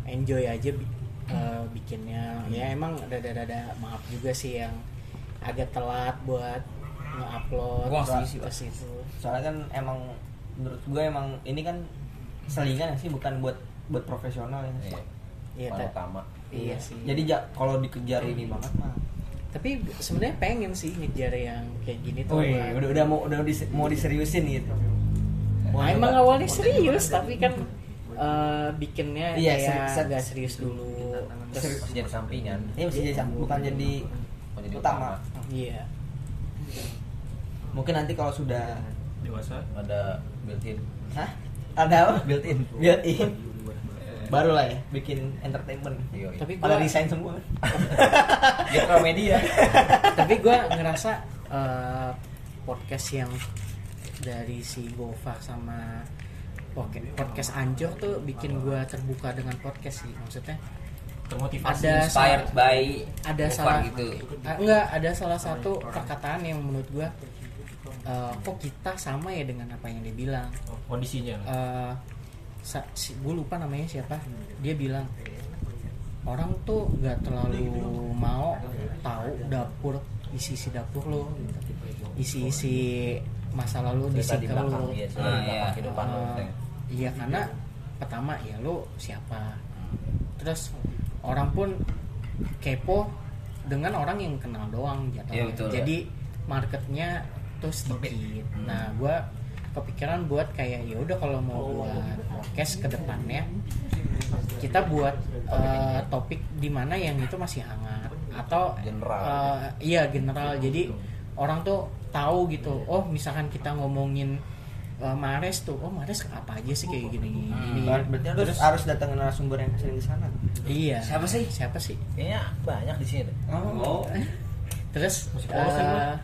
S4: enjoy aja bi- eh, bikinnya ya emang rada-rada maaf juga sih yang agak telat buat nge-upload
S1: Gua nggak setuju sih,
S4: terus itu
S6: soalnya kan emang menurut gue emang ini kan selingan sih bukan buat buat profesional ya
S3: Iya.
S4: Iya,
S3: Orang
S4: Ta.
S3: utama.
S4: iya sih
S6: jadi ja- kalau dikejar ini banget mah
S4: tapi sebenarnya pengen sih ngejar yang kayak gini tuh
S6: Wih,
S4: Bang.
S6: udah udah mau udah dise- mau diseriusin gitu
S4: Nah, emang awalnya serius tapi kan eh, bikinnya
S6: Iya,
S4: kayak
S6: seri-
S4: nggak serius dulu terus
S3: Masih jadi sampingan.
S6: ini mesti jadi sam- bukan jadi
S3: Bukan jadi
S6: utama
S4: iya
S6: mungkin nanti kalau sudah
S7: Dewasa.
S3: Ada built-in.
S6: Hah? ada apa?
S3: Built-in.
S6: built in baru lah ya bikin entertainment
S3: Iya, iya.
S4: Tapi
S6: pada
S4: gua-
S6: resign semua
S3: Gitu media.
S4: tapi gue ngerasa eh, podcast yang dari si Gova sama poke- podcast Anjor tuh bikin gue terbuka dengan podcast sih maksudnya
S7: Termotivasi.
S4: ada salah,
S1: inspired by
S4: ada
S1: Gofar
S4: salah
S1: gitu
S4: Ah, enggak ada salah satu perkataan yang menurut gue kok kita sama ya dengan apa yang dia bilang
S7: Oh, Kondisinya.
S4: eh gue lupa namanya siapa dia bilang orang tuh nggak terlalu mau tahu dapur isi isi dapur lo gitu. isi isi masa lalu di
S3: Cerita di
S4: circle
S3: belakang
S4: lo
S3: dia,
S1: Ah,
S3: cerita di belakang
S1: iya.
S3: kehidupan lo.
S4: Eh, iya karena pertama ya lo siapa terus orang pun kepo dengan orang yang kenal doang jatuhnya.
S1: Iya, betul.
S4: jadi marketnya tuh sedikit nah gue kepikiran buat kayak ya udah kalau mau buat podcast ke depannya kita buat eh, topik di mana yang itu masih hangat atau
S3: General.
S4: eh, iya general jadi orang tuh tahu gitu oh misalkan kita ngomongin eh, Mares tuh oh Mares apa aja sih kayak gini gini
S6: Nah, berarti harus harus datang narasumber yang sering di sana
S4: iya
S1: Siapa sih?
S4: siapa sih
S3: Kayaknya banyak di sini. deh.
S1: oh
S4: terus
S7: Masih polosan
S4: eh,
S7: lah.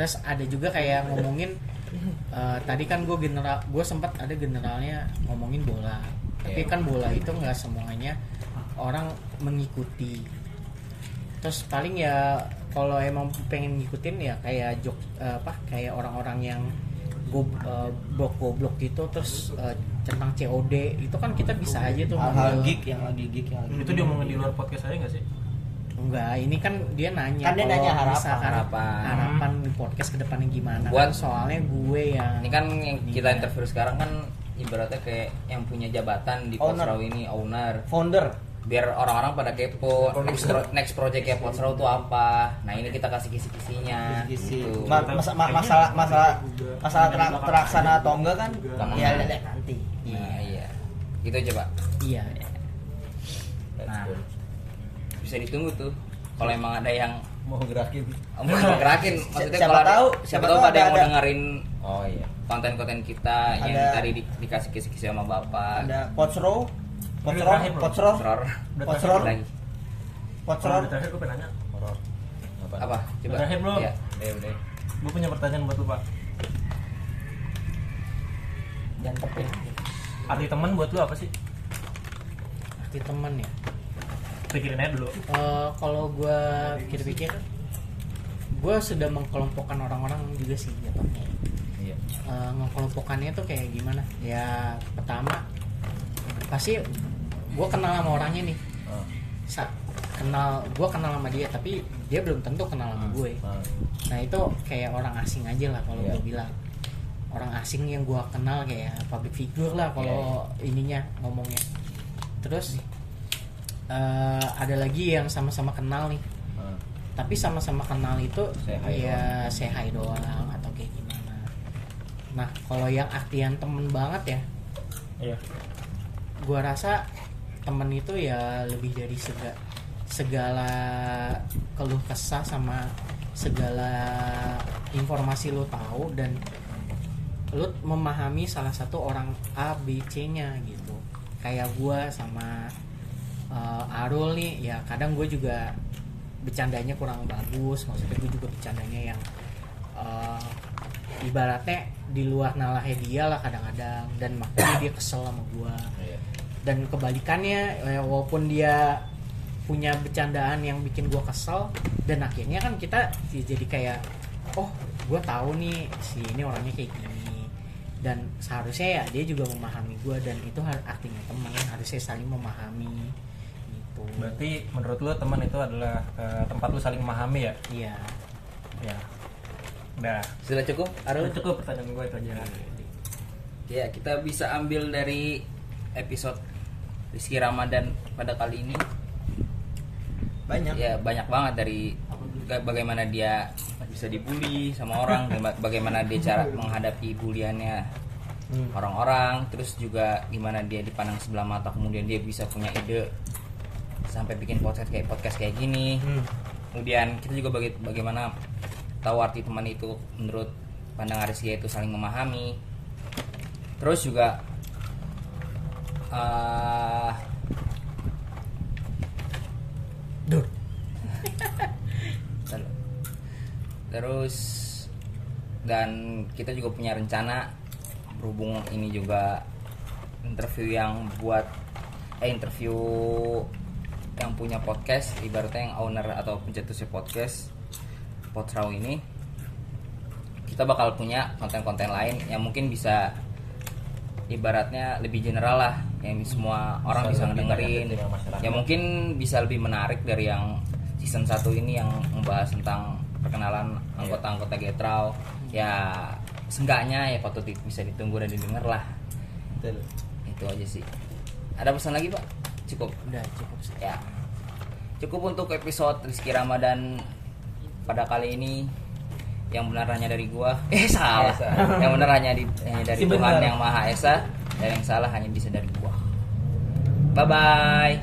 S4: terus ada juga kayak ngomongin eh, tadi kan gue general gue sempat ada generalnya ngomongin bola tapi kan bola itu nggak semuanya orang mengikuti terus paling ya kalau emang pengen ngikutin ya kayak jok eh, apa kayak orang-orang yang gob, eh, goblok-goblok gitu terus eh, tentang COD itu kan kita bisa aja tuh
S6: hal-hal
S4: ngambil-
S6: geek yang lagi geek yang
S4: Eh,
S6: lagi
S7: Itu dia mau di luar podcast aja nggak sih?
S4: Enggak, ini kan dia nanya
S6: Kan dia
S4: kalau
S6: nanya harapan.
S4: misalkan
S1: Harapan.
S4: harapan di podcast kedepannya gimana
S1: Buat-
S4: Kan soalnya gue yang
S1: ini kan yang kita interview sekarang kan ibaratnya kayak yang punya jabatan di pot
S6: Owner.
S1: serau ini owner
S6: founder
S1: biar orang-orang pada kepo next, pro- next project ya Potsrow tuh apa nah ini kita kasih kisi-kisinya
S6: Kisi-kisi.
S1: gitu
S6: Nah, Ma- masa- ma- masalah masalah masalah ter- terlaksana atau enggak kan ya lihat lihat nanti
S1: nah, iya gitu coba
S4: iya
S1: nah bisa ditunggu tuh kalau emang ada yang
S3: Mau gerakin.
S1: mau gerakin maksudnya
S6: siapa
S1: kalau ada-
S6: tahu-
S1: siapa
S6: siapa
S1: tahu
S6: tahu
S1: ada yang mau
S6: ada-
S1: dengerin
S3: Oh iya.
S1: konten-konten kita yang
S6: Ada-
S1: tadi di- dikasih kisi-kisi sama bapak
S6: ada potsro potsro
S7: terakhir, bro.
S6: potsro
S1: Potsrow.
S7: Udah
S6: Potsrow.
S7: terakhir.
S1: lagi
S6: potsro
S7: Udah terakhir gue pengen nanya.
S3: Horor.
S1: apa coba
S7: Terakhir, bro.
S1: Iya.
S3: Eh udah.
S7: Gue punya pertanyaan buat lu, Pak.
S6: jantep ya
S7: Arti teman buat lu apa sih?
S4: arti teman ya
S7: Pikirin aja dulu.
S4: Eh, kalau gue pikir-pikir gue sudah mengkelompokkan orang-orang juga sih jatuhnya
S3: Iya.
S4: Eh, mengkelompokkannya tuh kayak gimana ya pertama pasti gue kenal sama orangnya nih
S3: Oh.
S4: Sa- kenal gue kenal sama dia tapi dia belum tentu kenal sama
S1: Hmm.
S4: gue
S3: Nah,
S4: nah itu kayak orang asing aja lah kalau
S3: Iya.
S4: gue bilang orang asing yang gue kenal kayak public figure lah kalau ininya ngomongnya terus eh, ada lagi yang sama-sama kenal nih
S3: nah.
S4: tapi sama-sama kenal itu
S3: Say hi
S4: ya say hi doang atau kayak gimana nah kalau yang artian temen banget ya
S5: Iya.
S4: gua rasa temen itu ya lebih dari sega, segala keluh kesah sama segala informasi lo tahu dan lo memahami salah satu orang A B C nya gitu kayak gua sama eh, Arul nih ya kadang gue juga bercandanya kurang bagus maksudnya gue juga bercandanya yang eh, ibaratnya di luar nalahnya dia lah kadang-kadang dan makanya dia kesel sama gua
S3: Iya.
S4: dan kebalikannya eh, walaupun dia punya bercandaan yang bikin gua kesel dan akhirnya kan kita ya jadi kayak oh gua tahu nih si ini orangnya kayak gini dan seharusnya ya dia juga memahami gua dan itu har- artinya teman harusnya saling memahami gitu
S7: Berarti menurut lu teman itu adalah eh, tempat lu saling memahami ya?
S4: iya
S7: Iya. Udah.
S1: Sudah cukup, Arul?
S7: Udah cukup pertanyaan gue itu aja.
S1: Ya, kita bisa ambil dari episode Rizky Ramadan pada kali ini.
S6: banyak
S1: Ya, banyak banget dari baga- bagaimana dia bisa dibully sama orang, baga- bagaimana dia cara menghadapi buliannya orang-orang, terus juga gimana dia dipandang sebelah mata, kemudian dia bisa punya ide sampai bikin podcast kayak podcast kayak gini. Kemudian kita juga baga- bagaimana tahu arti teman itu menurut pandangan Rizky itu saling memahami. Terus juga eh, Ter- Terus dan kita juga punya rencana berhubung ini juga interview yang buat eh interview yang punya podcast ibaratnya yang owner atau pencetusnya podcast Potrau ini kita bakal punya konten-konten lain yang mungkin bisa ibaratnya lebih general lah yang semua orang bisa
S3: Bisa lebih
S1: ngedengerin
S3: targeted dengan masyarakat.
S1: ya mungkin bisa lebih menarik dari yang season 1 ini yang membahas tentang perkenalan anggota-anggota Getrau ya seenggaknya ya patut di- bisa ditunggu dan didengar lah
S3: Betul.
S1: itu aja sih ada pesan lagi pak cukup
S4: udah cukup sih
S1: ya cukup untuk episode Rizky Ramadan pada kali ini yang benar hanya dari gua eh salah yang benar hanya di- hanya dari
S7: Si
S1: Tuhan
S7: benar.
S1: yang Maha Esa dan yang salah hanya bisa dari gua bye bye